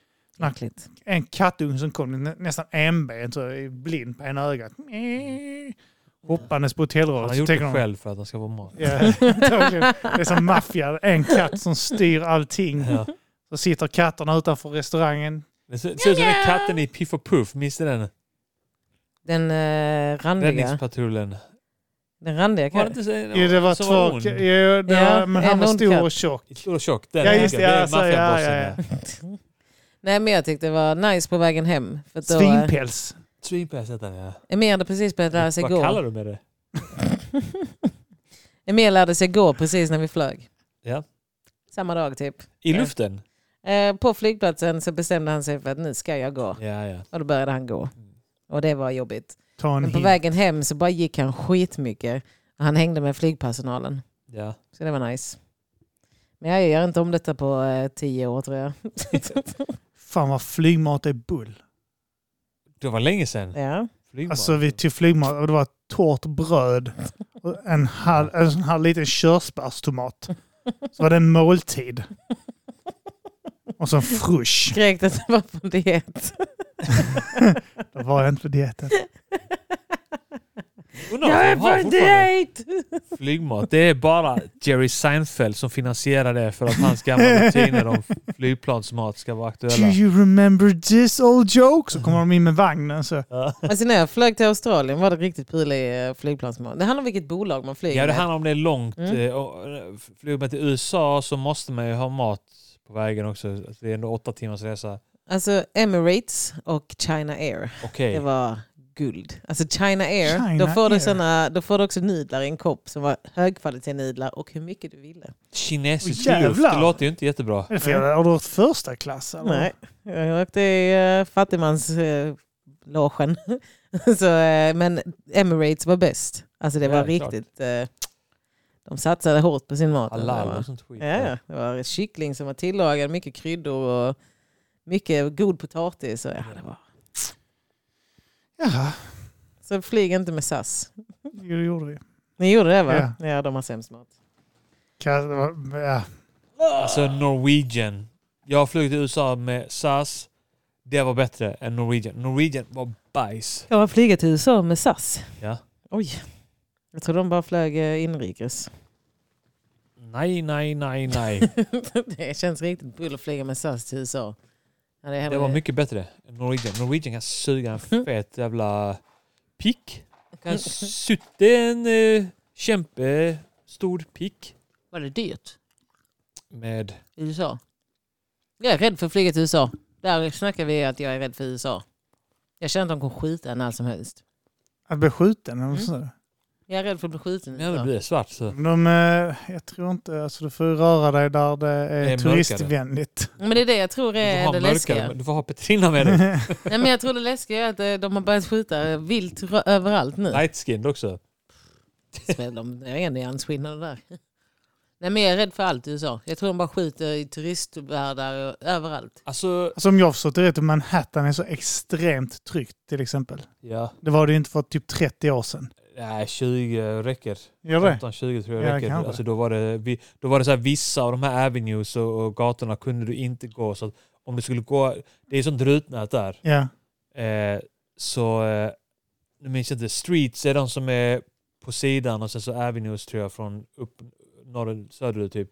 Speaker 1: Äckligt.
Speaker 2: En kattunge som kom nä- nästan enbent, så blind på ena ögat. Hoppandes på
Speaker 3: Mm. Han
Speaker 2: hotellrummet.
Speaker 3: har
Speaker 2: så
Speaker 3: gjort
Speaker 2: tänker
Speaker 3: det
Speaker 2: de,
Speaker 3: själv för att han ska vara mat.
Speaker 2: Ja, antagligen. det är som maffia, en katt som styr allting.
Speaker 3: Ja.
Speaker 2: Så sitter katterna utanför restaurangen.
Speaker 3: Det ser det ser ut som den katten i Piff och Puff, minns ni den?
Speaker 1: Den eh, randiga.
Speaker 3: Räddningspatrullen.
Speaker 1: Den randiga
Speaker 3: Var det
Speaker 1: kan...
Speaker 3: inte så,
Speaker 2: Ja, det var
Speaker 3: som
Speaker 2: två...
Speaker 3: ond?
Speaker 2: ka- Ja, det
Speaker 1: Ja,
Speaker 2: var, men
Speaker 1: en
Speaker 2: han var
Speaker 1: ond
Speaker 2: stor
Speaker 1: katt.
Speaker 2: och tjock.
Speaker 3: Stor och tjock. Den
Speaker 2: Ja,
Speaker 3: är-
Speaker 2: just det,
Speaker 3: är
Speaker 2: ja, så, ja,
Speaker 3: maffiabossen,
Speaker 2: ja,
Speaker 3: ja.
Speaker 1: Nej men jag tyckte det var nice på vägen hem. För att då, eh,
Speaker 2: Svinpäls.
Speaker 3: Svinpäls heter den ja.
Speaker 1: Emil hade precis börjat lära sig
Speaker 3: Vad
Speaker 1: gå.
Speaker 3: kallar du med det?
Speaker 1: Emil lärde sig gå precis när vi flög.
Speaker 3: Ja.
Speaker 1: Samma dag typ.
Speaker 3: I
Speaker 1: Ja.
Speaker 3: luften?
Speaker 1: Eh, på flygplatsen så bestämde han sig för att nu ska jag gå.
Speaker 3: Ja, ja.
Speaker 1: Och då började han gå. Och det var jobbigt.
Speaker 2: Ta en
Speaker 1: Men på
Speaker 2: hint.
Speaker 1: vägen hem så bara gick han skitmycket. Och Han hängde med flygpersonalen.
Speaker 3: ja.
Speaker 1: Så det var nice. Men jag gör inte om detta på eh, tio år tror jag.
Speaker 2: Fan vad flygmat är bull.
Speaker 3: Det var länge sedan.
Speaker 1: Ja.
Speaker 3: Flygmat.
Speaker 2: Alltså vi tog flygmat och det var torrt bröd och en halv, en sån här liten körsbärstomat. Så var det en måltid. Och så en frush.
Speaker 1: Skrek att det var på diet.
Speaker 2: Då var jag inte på dieten.
Speaker 3: Undrar om
Speaker 1: jag är
Speaker 3: de har
Speaker 1: på en
Speaker 3: fortfarande
Speaker 1: dejt!
Speaker 3: Flygmat. Det är bara Jerry Seinfeld som finansierar det för att hans gamla rutiner om flygplansmat ska vara
Speaker 2: Do
Speaker 3: aktuella.
Speaker 2: you remember this old joke? Så kommer de in med vagnen så.
Speaker 3: Ja.
Speaker 1: Alltså när jag flög till Australien var det riktigt prylig eh, flygplansmål. Det handlar om vilket bolag man flyger
Speaker 3: Ja, det
Speaker 1: med.
Speaker 3: handlar om det är långt.
Speaker 1: Mm.
Speaker 3: eh, och, eh, Flyger man till USA så måste man ju ha mat på vägen också. Alltså, Det är ändå åtta timmars resa.
Speaker 1: Alltså Emirates och China Air.
Speaker 3: Okej.
Speaker 1: Det var guld. Alltså China Air,
Speaker 2: China
Speaker 1: då, får du
Speaker 2: Air.
Speaker 1: såna, då får du också nudlar i en kopp som var högkvalitativa nudlar och hur mycket du ville.
Speaker 3: Kinesisk
Speaker 2: Åh,
Speaker 3: luft, det
Speaker 2: jävlar.
Speaker 3: låter ju inte jättebra.
Speaker 2: Är det för jävla- Har du åkt första klass? eller?
Speaker 1: Nej, jag åkte i uh, fattigmanslogen. så, eh, men Emirates var bäst. Alltså det
Speaker 3: Ja,
Speaker 1: var
Speaker 3: det är klart.
Speaker 1: riktigt... eh, de satsade hårt på sin mat.
Speaker 3: Halal
Speaker 1: Det
Speaker 3: och sånt skit.
Speaker 1: var, ja, ja. det var kyckling som var tillagad, mycket kryddor och mycket god potatis. Och, ja, det var.
Speaker 2: Jaha,
Speaker 1: Så flyg inte med SAS.
Speaker 2: jo, det gjorde vi.
Speaker 1: Ni gjorde det va? Ja, de har sämst mat.
Speaker 2: Ka- det var- Ja.
Speaker 3: Alltså Norwegian. Jag har flugit till USA med SAS. Det var bättre än Norwegian. Norwegian var bajs.
Speaker 1: Jag har flugit till USA med SAS.
Speaker 3: Ja.
Speaker 1: Oj. Jag tror de bara flög eh, inrikes.
Speaker 3: Nej, nej, nej, nej.
Speaker 1: det känns riktigt bull att flyga med SAS till USA. Ja, är
Speaker 3: Det Mm.
Speaker 1: hellre-
Speaker 3: var mycket bättre än Norwegian. Norwegian kan suga en fet jävla pick. Kan sutta en eh, kämpe stor pick
Speaker 1: Var det dyrt?
Speaker 3: med...
Speaker 1: i USA? Jag är rädd för att flyga till USA. Där snackar vi att jag är rädd för USA. Jag känner att de kommer skjuta en när som helst.
Speaker 2: Att bli skjuten? eller så.
Speaker 1: Jag är rädd för att bli skjuten i
Speaker 3: Ja, det
Speaker 1: USA.
Speaker 3: blir svart så.
Speaker 2: De, eh, jag tror inte, alltså du får ju röra dig där det är,
Speaker 3: Det är
Speaker 2: turistvänligt.
Speaker 1: Men det är det jag tror
Speaker 3: Du får
Speaker 1: är
Speaker 3: ha
Speaker 1: det
Speaker 3: mörkare.
Speaker 1: läskiga.
Speaker 3: Du får ha Petrina med dig.
Speaker 1: Nej, men jag tror det läskiga är att eh, de har börjat skjuta vilt rö- överallt nu.
Speaker 3: Light skin också.
Speaker 1: Det spelar de- Det är en nyansskillnad där. Nej, men jag är rädd för allt i USA. Jag tror de bara skjuter i turistvärdar och överallt.
Speaker 3: Alltså...
Speaker 2: Alltså om jag förstått det rätt, Manhattan är så extremt tryggt till exempel.
Speaker 3: Ja.
Speaker 2: Det var det ju inte för typ 30 år sedan.
Speaker 3: Nej, 20 räcker.
Speaker 2: Gör det?
Speaker 3: 15-20 tror
Speaker 2: Ja,
Speaker 3: jag räcker.
Speaker 2: kanske.
Speaker 3: Alltså då var det, vi- då var det så här, vissa av de här avenues och, och gatorna kunde du inte gå. Så att om du skulle gå, det är sånt rutnät där.
Speaker 2: Ja.
Speaker 3: Eh, så, eh, nu minns jag inte, streets är de som är på sidan och sen så avenues tror jag från upp norr, söderut typ.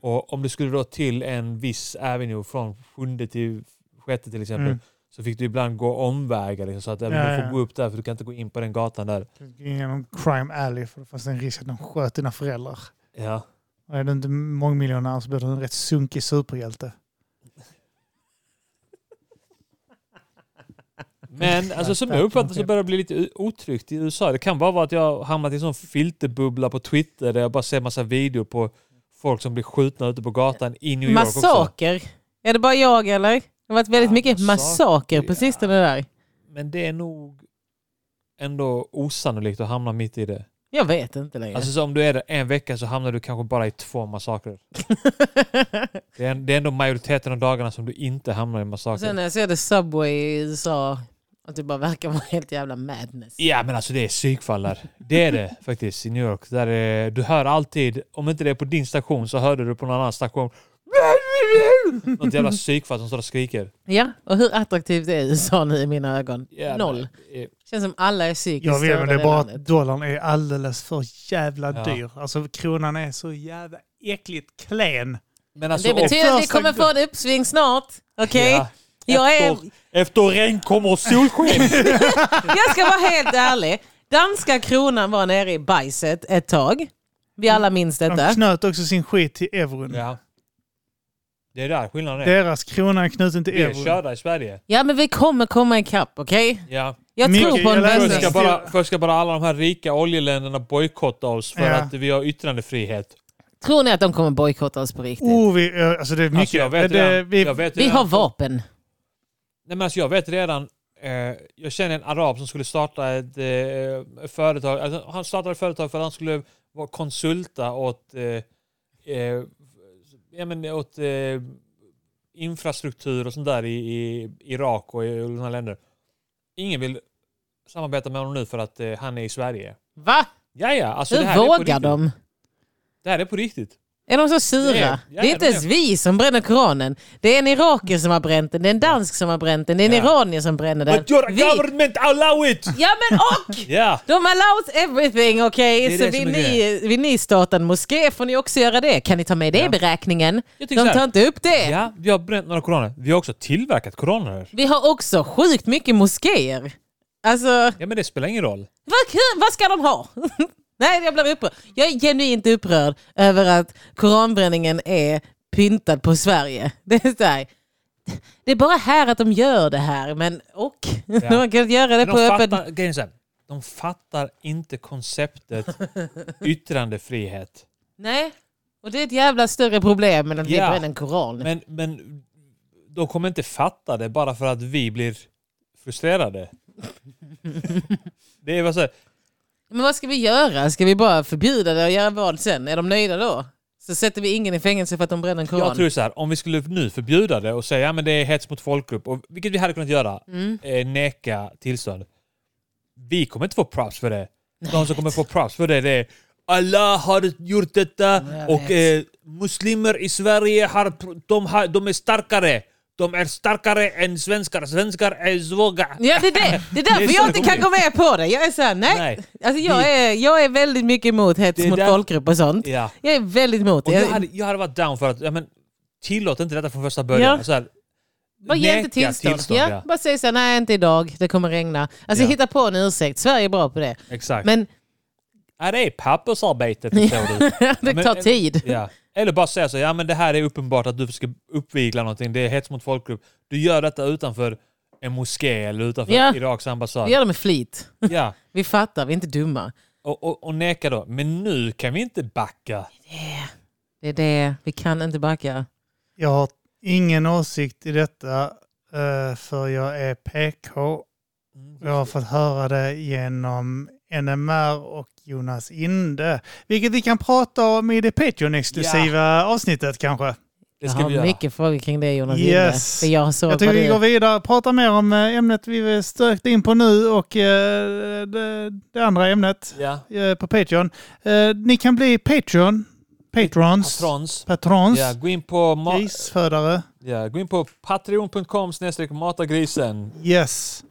Speaker 3: Och om du skulle då till en viss avenue från sjunde till sjätte till exempel
Speaker 2: Mm.
Speaker 3: så fick du ibland gå omvägar liksom, så att även
Speaker 2: Ja,
Speaker 3: du får
Speaker 2: ja.
Speaker 3: gå upp där för du kan inte gå in på den gatan där.
Speaker 2: Genom crime alley för det fanns en risk att de sköt dina föräldrar.
Speaker 3: Ja.
Speaker 2: Och är du inte mångmiljonär så blir du en rätt sunkig superhjälte.
Speaker 3: Men alltså, som jag uppfattar så börjar det bli lite o- otryggt i USA. Det kan bara vara att jag har hamnat i en sån filterbubbla på Twitter där jag bara ser massa videor på folk som blir skjutna ute på gatan i New York också.
Speaker 1: Massaker. Är det bara jag eller? Det har varit väldigt
Speaker 3: Ja,
Speaker 1: mycket massaker
Speaker 3: massaker,
Speaker 1: på sistone där.
Speaker 3: Men det är nog ändå osannolikt att hamna mitt i det.
Speaker 1: Jag vet inte längre.
Speaker 3: Alltså så om du är där en vecka så hamnar du kanske bara i två massakrer. Det är, det är ändå majoriteten av dagarna som du inte hamnar i
Speaker 1: Och
Speaker 3: massakrer.
Speaker 1: sen när jag ser det Subway i USA och det bara verkar vara helt jävla madness.
Speaker 3: Ja men alltså det är psykfall där. Det är det faktiskt i New York. Där är, du hör alltid, om inte det är på din station så hörde du på någon annan station. Något jävla psykfall som står och skriker.
Speaker 1: Ja, och hur attraktivt är USA nu i mina ögon?
Speaker 3: Jävlar.
Speaker 1: Noll.
Speaker 3: Eh,
Speaker 1: Känns som alla är psykiskt
Speaker 2: Jag vet
Speaker 1: störda
Speaker 2: men det
Speaker 1: i
Speaker 2: är bara
Speaker 1: landet.
Speaker 2: att dollarn är alldeles för jävla
Speaker 3: Ja.
Speaker 2: dyr. Alltså kronan är så jävla äckligt klen.
Speaker 3: Men alltså,
Speaker 1: det betyder att vi
Speaker 2: första
Speaker 1: kommer få ett uppsving snart. Okej?
Speaker 3: Ja.
Speaker 1: Jag, är,
Speaker 3: Efter, efter regn kommer solsken.
Speaker 1: jag ska vara helt ärlig. Danska kronan var nere i bajset ett tag. Vi alla minns detta.
Speaker 2: De
Speaker 3: Mm.
Speaker 2: knöt också sin skit till euron.
Speaker 3: ja. Det är där skillnaden är.
Speaker 2: Deras krona är knuten till
Speaker 3: Vi är
Speaker 2: euron.
Speaker 3: körda i Sverige.
Speaker 1: Ja, men vi kommer komma ikapp, okej?
Speaker 3: Ja.
Speaker 1: Jag
Speaker 2: Mycket-
Speaker 1: tror på en
Speaker 2: jag läste-
Speaker 3: Först ska,
Speaker 1: vändning.
Speaker 3: bara, först ska bara alla de här rika oljeländerna bojkotta oss för
Speaker 2: Ja.
Speaker 3: att vi har yttrandefrihet. Alltså,
Speaker 1: Tror ni att de kommer bojkotta oss på riktigt?
Speaker 2: Oh, vi, eh, alltså det är mycket.
Speaker 3: Alltså, jag vet
Speaker 2: det, det,
Speaker 3: redan,
Speaker 2: vi,
Speaker 3: jag vet
Speaker 1: vi
Speaker 3: redan,
Speaker 1: har vapen.
Speaker 3: Nej, men alltså, jag vet redan eh, jag känner en arab som skulle starta ett eh, företag. Alltså, han startade ett företag för att han skulle vara konsulta åt, eh, eh, ja, men, åt eh, infrastruktur och sånt där i, i Irak och i olika länder. Ingen vill samarbeta med honom nu för att eh, han är i Sverige.
Speaker 1: Va?
Speaker 3: Ja, ja, alltså, det
Speaker 1: Hur
Speaker 3: här är på
Speaker 1: vågar
Speaker 3: riktigt.
Speaker 1: de?
Speaker 3: Det här är på riktigt.
Speaker 1: Är de så sura?
Speaker 3: Det är- ja,
Speaker 1: det är inte
Speaker 3: de är.
Speaker 1: ens vi som bränner Koranen. Det är en iraker som har bränt den, det är en dansk som har bränt den, det är en
Speaker 3: Ja.
Speaker 1: iranier som bränner den.
Speaker 3: But your
Speaker 1: Vi-
Speaker 3: government allow it!
Speaker 1: Ja men och!
Speaker 3: Ja,
Speaker 1: De allows everything, okej?
Speaker 3: Det är
Speaker 1: Så
Speaker 3: det
Speaker 1: vill
Speaker 3: som är
Speaker 1: ni, vill ni starta en moské får ni också göra det. Kan ni ta med det i
Speaker 3: Ja.
Speaker 1: beräkningen?
Speaker 3: Jag
Speaker 1: De
Speaker 3: tycker så här.
Speaker 1: tar inte upp det.
Speaker 3: ja, vi har bränt några koraner. Vi har också tillverkat koraner.
Speaker 1: Vi har också sjukt mycket moskéer. Alltså...
Speaker 3: Ja, men det spelar ingen roll.
Speaker 1: Vad, kul, vad ska de ha? Nej, jag blev upprörd. Jag är genuint upprörd över att koranbränningen är pyntad på Sverige. Det är, så här, det är bara här att de gör det här, men och? De har kunnat göra det
Speaker 3: Men
Speaker 1: på
Speaker 3: de,
Speaker 1: öppen...
Speaker 3: fattar, grejen är så här, de fattar inte konceptet yttrandefrihet.
Speaker 1: Nej, och det är ett jävla större problem än att vi
Speaker 3: Ja.
Speaker 1: bränner en koran.
Speaker 3: Men, men de kommer inte fatta det bara för att vi blir frustrerade. det är bara så här,
Speaker 1: Men vad ska vi göra? Ska vi bara förbjuda det och göra vad sen? Är de nöjda då? Så sätter vi ingen i fängelse för att de bränner en koran.
Speaker 3: jag tror så här, om vi skulle nu förbjuda det och säga ja, men det är hets mot folkgrupp, och, vilket vi hade kunnat göra,
Speaker 1: Mm.
Speaker 3: eh, neka tillstånd. Vi kommer inte få props för det. De som kommer få props för det, det är alla har gjort detta
Speaker 1: Jag
Speaker 3: och eh,
Speaker 1: vet.
Speaker 3: muslimer i Sverige har, pro- de har, de är starkare. De är starkare än svenskar. Svenskar är svaga.
Speaker 1: Ja, det är, det. det är därför
Speaker 3: Det är så
Speaker 1: jag
Speaker 3: det
Speaker 1: inte
Speaker 3: kommer
Speaker 1: kan gå med på det. Jag är så här, nej.
Speaker 3: Nej.
Speaker 1: Alltså, jag,
Speaker 3: Vi-
Speaker 1: är, jag är väldigt mycket emot hets
Speaker 3: Det är
Speaker 1: mot
Speaker 3: där-
Speaker 1: folkgrupp och sånt.
Speaker 3: Ja.
Speaker 1: Jag är väldigt emot
Speaker 3: Och
Speaker 1: det.
Speaker 3: jag,
Speaker 1: Jag,
Speaker 3: hade, jag hade varit down för att ja, men, tillåt inte detta från första början.
Speaker 1: Ja.
Speaker 3: Så här,
Speaker 1: bara ge inte
Speaker 3: neka
Speaker 1: tillstånd. ja.
Speaker 3: ja.
Speaker 1: Bara säg så här, nej inte idag, det kommer regna. Alltså
Speaker 3: Ja.
Speaker 1: hitta på en ursäkt, Sverige är bra på det.
Speaker 3: Exakt.
Speaker 1: Men
Speaker 3: ja, det är pappersarbetet, förstår du.
Speaker 1: det
Speaker 3: men-
Speaker 1: tar tid.
Speaker 3: Ja. Eller bara säga så, ja men det här är uppenbart att du ska uppvigla någonting, det är hets mot folkgrupp. Du gör detta utanför en moské eller utanför
Speaker 1: Ja.
Speaker 3: Iraks ambassad.
Speaker 1: Vi gör det med flit.
Speaker 3: Ja.
Speaker 1: Vi fattar, vi är inte dumma.
Speaker 3: Och, och, och neka då. Men nu kan vi inte backa.
Speaker 1: Det är det, vi kan inte backa.
Speaker 2: jag har ingen åsikt i detta eh, för jag är PK. Jag har fått höra det genom NMR och Jonas Inde. Vilket vi kan prata om i det Patreon-exklusiva avsnittet kanske.
Speaker 3: Det
Speaker 1: Jag
Speaker 3: ska vi
Speaker 1: har
Speaker 3: göra.
Speaker 1: mycket frågor kring det Jonas
Speaker 2: Yes.
Speaker 1: Gille. För jag har
Speaker 2: Jag
Speaker 1: sålt
Speaker 2: tycker
Speaker 1: vad
Speaker 2: vi
Speaker 1: du...
Speaker 2: går vidare och pratar mer om eh, ämnet vi stökte in på nu och eh, det, det andra ämnet
Speaker 3: Ja.
Speaker 2: eh, på Patreon. Eh, Ni kan bli Patreon, Patrons,
Speaker 3: Patrons.
Speaker 2: Patrons,
Speaker 3: Ja, gå in på, ma-
Speaker 2: grisfödare.
Speaker 3: ja, gå in på patreon.com snedstreck matagrisen.
Speaker 2: Yes.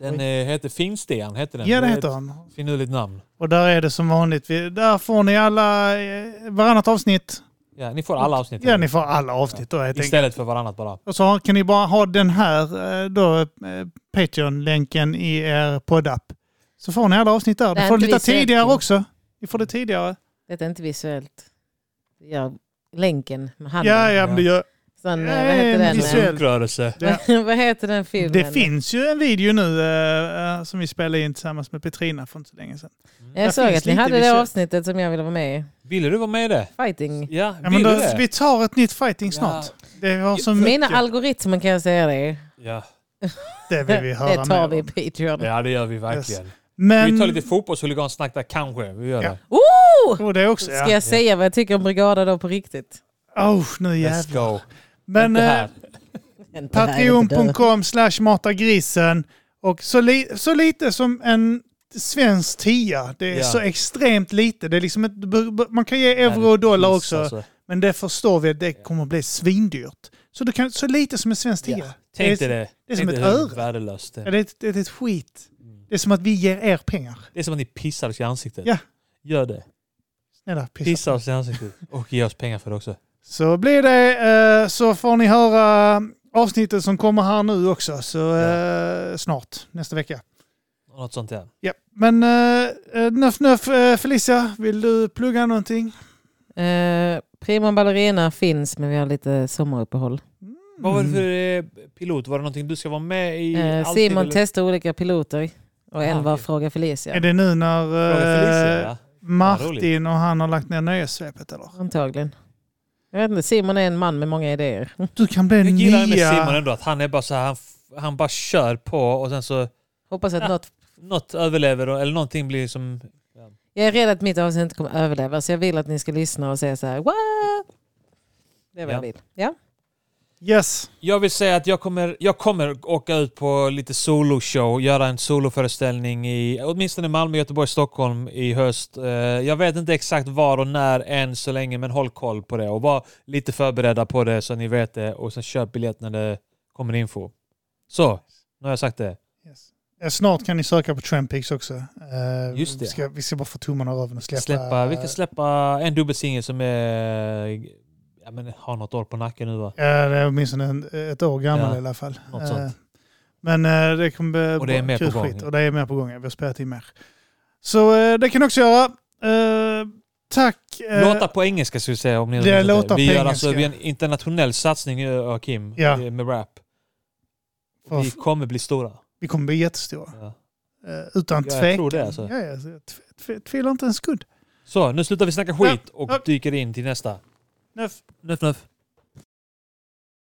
Speaker 3: Den eh, heter Finsten, heter den.
Speaker 2: Ja, det
Speaker 3: är
Speaker 2: heter
Speaker 3: ett
Speaker 2: han.
Speaker 3: Finurligt namn.
Speaker 2: Och där är det som vanligt. Vi- Där får ni alla, eh, varannat avsnitt
Speaker 3: Ja, ni får alla avsnitt.
Speaker 2: Ja, ni får alla avsnitt då helt enkelt.
Speaker 3: Istället för varannat bara.
Speaker 2: Och så har- kan ni bara ha den här eh, då, eh, Patreon-länken i er poddapp. Så får ni alla avsnitt där.
Speaker 1: Det
Speaker 2: Ni
Speaker 1: är
Speaker 2: får det
Speaker 1: inte
Speaker 2: lite
Speaker 1: vi säkert.
Speaker 2: tidigare också. Ni får det tidigare.
Speaker 1: Det är inte visuellt. Ja, länken med handen.
Speaker 2: Ja, ja, men det gör...
Speaker 1: Sån,
Speaker 2: Ja,
Speaker 1: eh, vad heter
Speaker 2: en
Speaker 1: den?
Speaker 2: visuell- Visuellt.
Speaker 3: Sunkrörelse.
Speaker 2: Ja.
Speaker 1: vad heter den filmen?
Speaker 2: Det finns ju en video nu eh, eh, som vi spelade in tillsammans med Petrina för inte så länge sedan.
Speaker 1: Jag
Speaker 2: Det
Speaker 1: såg
Speaker 2: finns
Speaker 1: att ni
Speaker 2: lite
Speaker 1: hade det
Speaker 2: visuellt.
Speaker 1: avsnittet som jag ville vara med i.
Speaker 3: Ville du vara med i det?
Speaker 1: Fighting.
Speaker 3: Ja,
Speaker 2: Ja, men
Speaker 3: vill
Speaker 2: då,
Speaker 3: du det?
Speaker 2: vi tar ett nytt fighting
Speaker 3: Ja.
Speaker 2: snart. Det har så
Speaker 1: Mina
Speaker 2: mycket.
Speaker 1: algoritmer kan jag säga dig.
Speaker 3: Ja.
Speaker 2: det vill vi höra
Speaker 1: det tar vi
Speaker 2: mer
Speaker 1: i
Speaker 2: om.
Speaker 1: Patreon.
Speaker 3: ja, det gör vi verkligen.
Speaker 2: Men...
Speaker 3: Vi tar lite fotbollshuligansnack där kanske. Vi gör
Speaker 2: Ja.
Speaker 3: det.
Speaker 1: Oh!
Speaker 2: Oh, det är också,
Speaker 1: Ska
Speaker 2: ja.
Speaker 1: jag säga vad jag tycker om Brigada då på riktigt?
Speaker 2: Oh, nu
Speaker 3: Let's
Speaker 2: jävlar.
Speaker 3: go.
Speaker 2: Men
Speaker 3: Inte här.
Speaker 2: eh,
Speaker 1: Inte här, inte där.
Speaker 2: patreon.com slash matagrisen och så, li- så lite som en svensk tia. Det är
Speaker 3: Ja.
Speaker 2: så extremt lite. Det är liksom ett, b- b- man kan ge euro
Speaker 3: Nej,
Speaker 2: och dollar
Speaker 3: finns
Speaker 2: också,
Speaker 3: alltså.
Speaker 2: men det förstår vi att det kommer att bli svindyrt. Så du kan så lite som en svensk tia.
Speaker 3: Ja. Tänk dig
Speaker 2: det. är-
Speaker 3: det.
Speaker 2: är som
Speaker 3: Tänk
Speaker 2: ett
Speaker 3: dig hur
Speaker 2: öre.
Speaker 3: Värdelöst. det
Speaker 2: Ja,
Speaker 3: är.
Speaker 2: det, är ett- det är ett skit.
Speaker 3: Mm.
Speaker 2: Det är som att vi ger er pengar.
Speaker 3: Det är som att ni pissar oss i ansiktet.
Speaker 2: Ja.
Speaker 3: Gör det.
Speaker 2: Snälla, pissa.
Speaker 3: Pissa oss i ansiktet. Och ge oss pengar för det också.
Speaker 2: Så blir det, eh, så får ni höra avsnittet som kommer här nu också. Så eh, snart, nästa vecka.
Speaker 3: Och Något sånt där.
Speaker 2: Ja, men uh, nöff nöff eh, Felicia, vill du plugga någonting?
Speaker 1: Eh, Prima Ballerina finns men vi har lite sommaruppehåll.
Speaker 3: Vad var det för eh, pilot? Var det någonting du ska vara med i?
Speaker 1: Eh,
Speaker 3: alltid,
Speaker 1: Simon
Speaker 3: eller?
Speaker 1: testar olika piloter och en
Speaker 3: Ah,
Speaker 1: var
Speaker 3: okej.
Speaker 1: Fråga Felicia.
Speaker 2: Är det nu när
Speaker 3: Fråga Felicia,
Speaker 2: eh,
Speaker 3: ja.
Speaker 2: Martin och han har lagt ner nöjessvepet
Speaker 1: Mm.
Speaker 2: eller?
Speaker 1: Antagligen. Jag vet inte, Simon är en man med många idéer.
Speaker 2: Du kan bli
Speaker 3: Jag gillar det med Simon
Speaker 2: nya...
Speaker 3: ändå att han är bara så här, han, f- han bara kör på och sen så
Speaker 1: Hoppas att
Speaker 3: Ja.
Speaker 1: något...
Speaker 3: något överlever och- eller någonting blir som...
Speaker 1: Jag är rädd att mitt avsnitt inte kommer överleva så jag vill att ni ska lyssna och säga så här Wah! Det är vad
Speaker 3: Ja.
Speaker 1: jag vill. Ja.
Speaker 2: Yes.
Speaker 3: Jag vill säga att jag kommer, jag kommer åka ut på lite soloshow, göra en soloföreställning i åtminstone Malmö, Göteborg, Stockholm i höst. Eh, Jag vet inte exakt var och när än så länge, men håll koll på det och var lite förberedda på det så ni vet det och sen köp biljett när det kommer info. Så, nu har jag sagt det.
Speaker 2: yes. Eh, Snart kan ni söka på Trampix också. Eh,
Speaker 3: Just det.
Speaker 2: Vi ska, vi ska bara få tummarna över och släppa...
Speaker 3: Släppa, vi ska släppa en dubbelsingel som är, ja, men, har något år på nacken nu va?
Speaker 2: Ja, det är åtminstone en, ett år gammal
Speaker 3: Ja,
Speaker 2: i alla fall.
Speaker 3: något
Speaker 2: Eh,
Speaker 3: sånt.
Speaker 2: Men eh, det kommer bli
Speaker 3: Och det är mer
Speaker 2: kul
Speaker 3: på gång.
Speaker 2: skit. Och det är mer på gång. ja. Vi har spelat in mer. Så eh, det kan ni också göra. Eh, tack. eh,
Speaker 3: Låtar på engelska ska vi säga om ni
Speaker 2: det är
Speaker 3: undrar
Speaker 2: låtar
Speaker 3: Vi
Speaker 2: på
Speaker 3: gör alltså
Speaker 2: engelska.
Speaker 3: vi gör en internationell satsning nu, Joakim,
Speaker 2: Ja.
Speaker 3: eh, med rap.
Speaker 2: för-
Speaker 3: Vi kommer bli stora.
Speaker 2: Vi kommer bli jättestora.
Speaker 3: Ja.
Speaker 2: Eh, utan
Speaker 3: Ja, jag
Speaker 2: tvekan.
Speaker 3: tror det, alltså.
Speaker 2: Ja, ja, tv- tv- tvivlar inte en skudd.
Speaker 3: Så, nu slutar vi snacka skit och
Speaker 2: Ja.
Speaker 3: dyker in till nästa.
Speaker 2: Nuff.
Speaker 3: Nuff, nuff.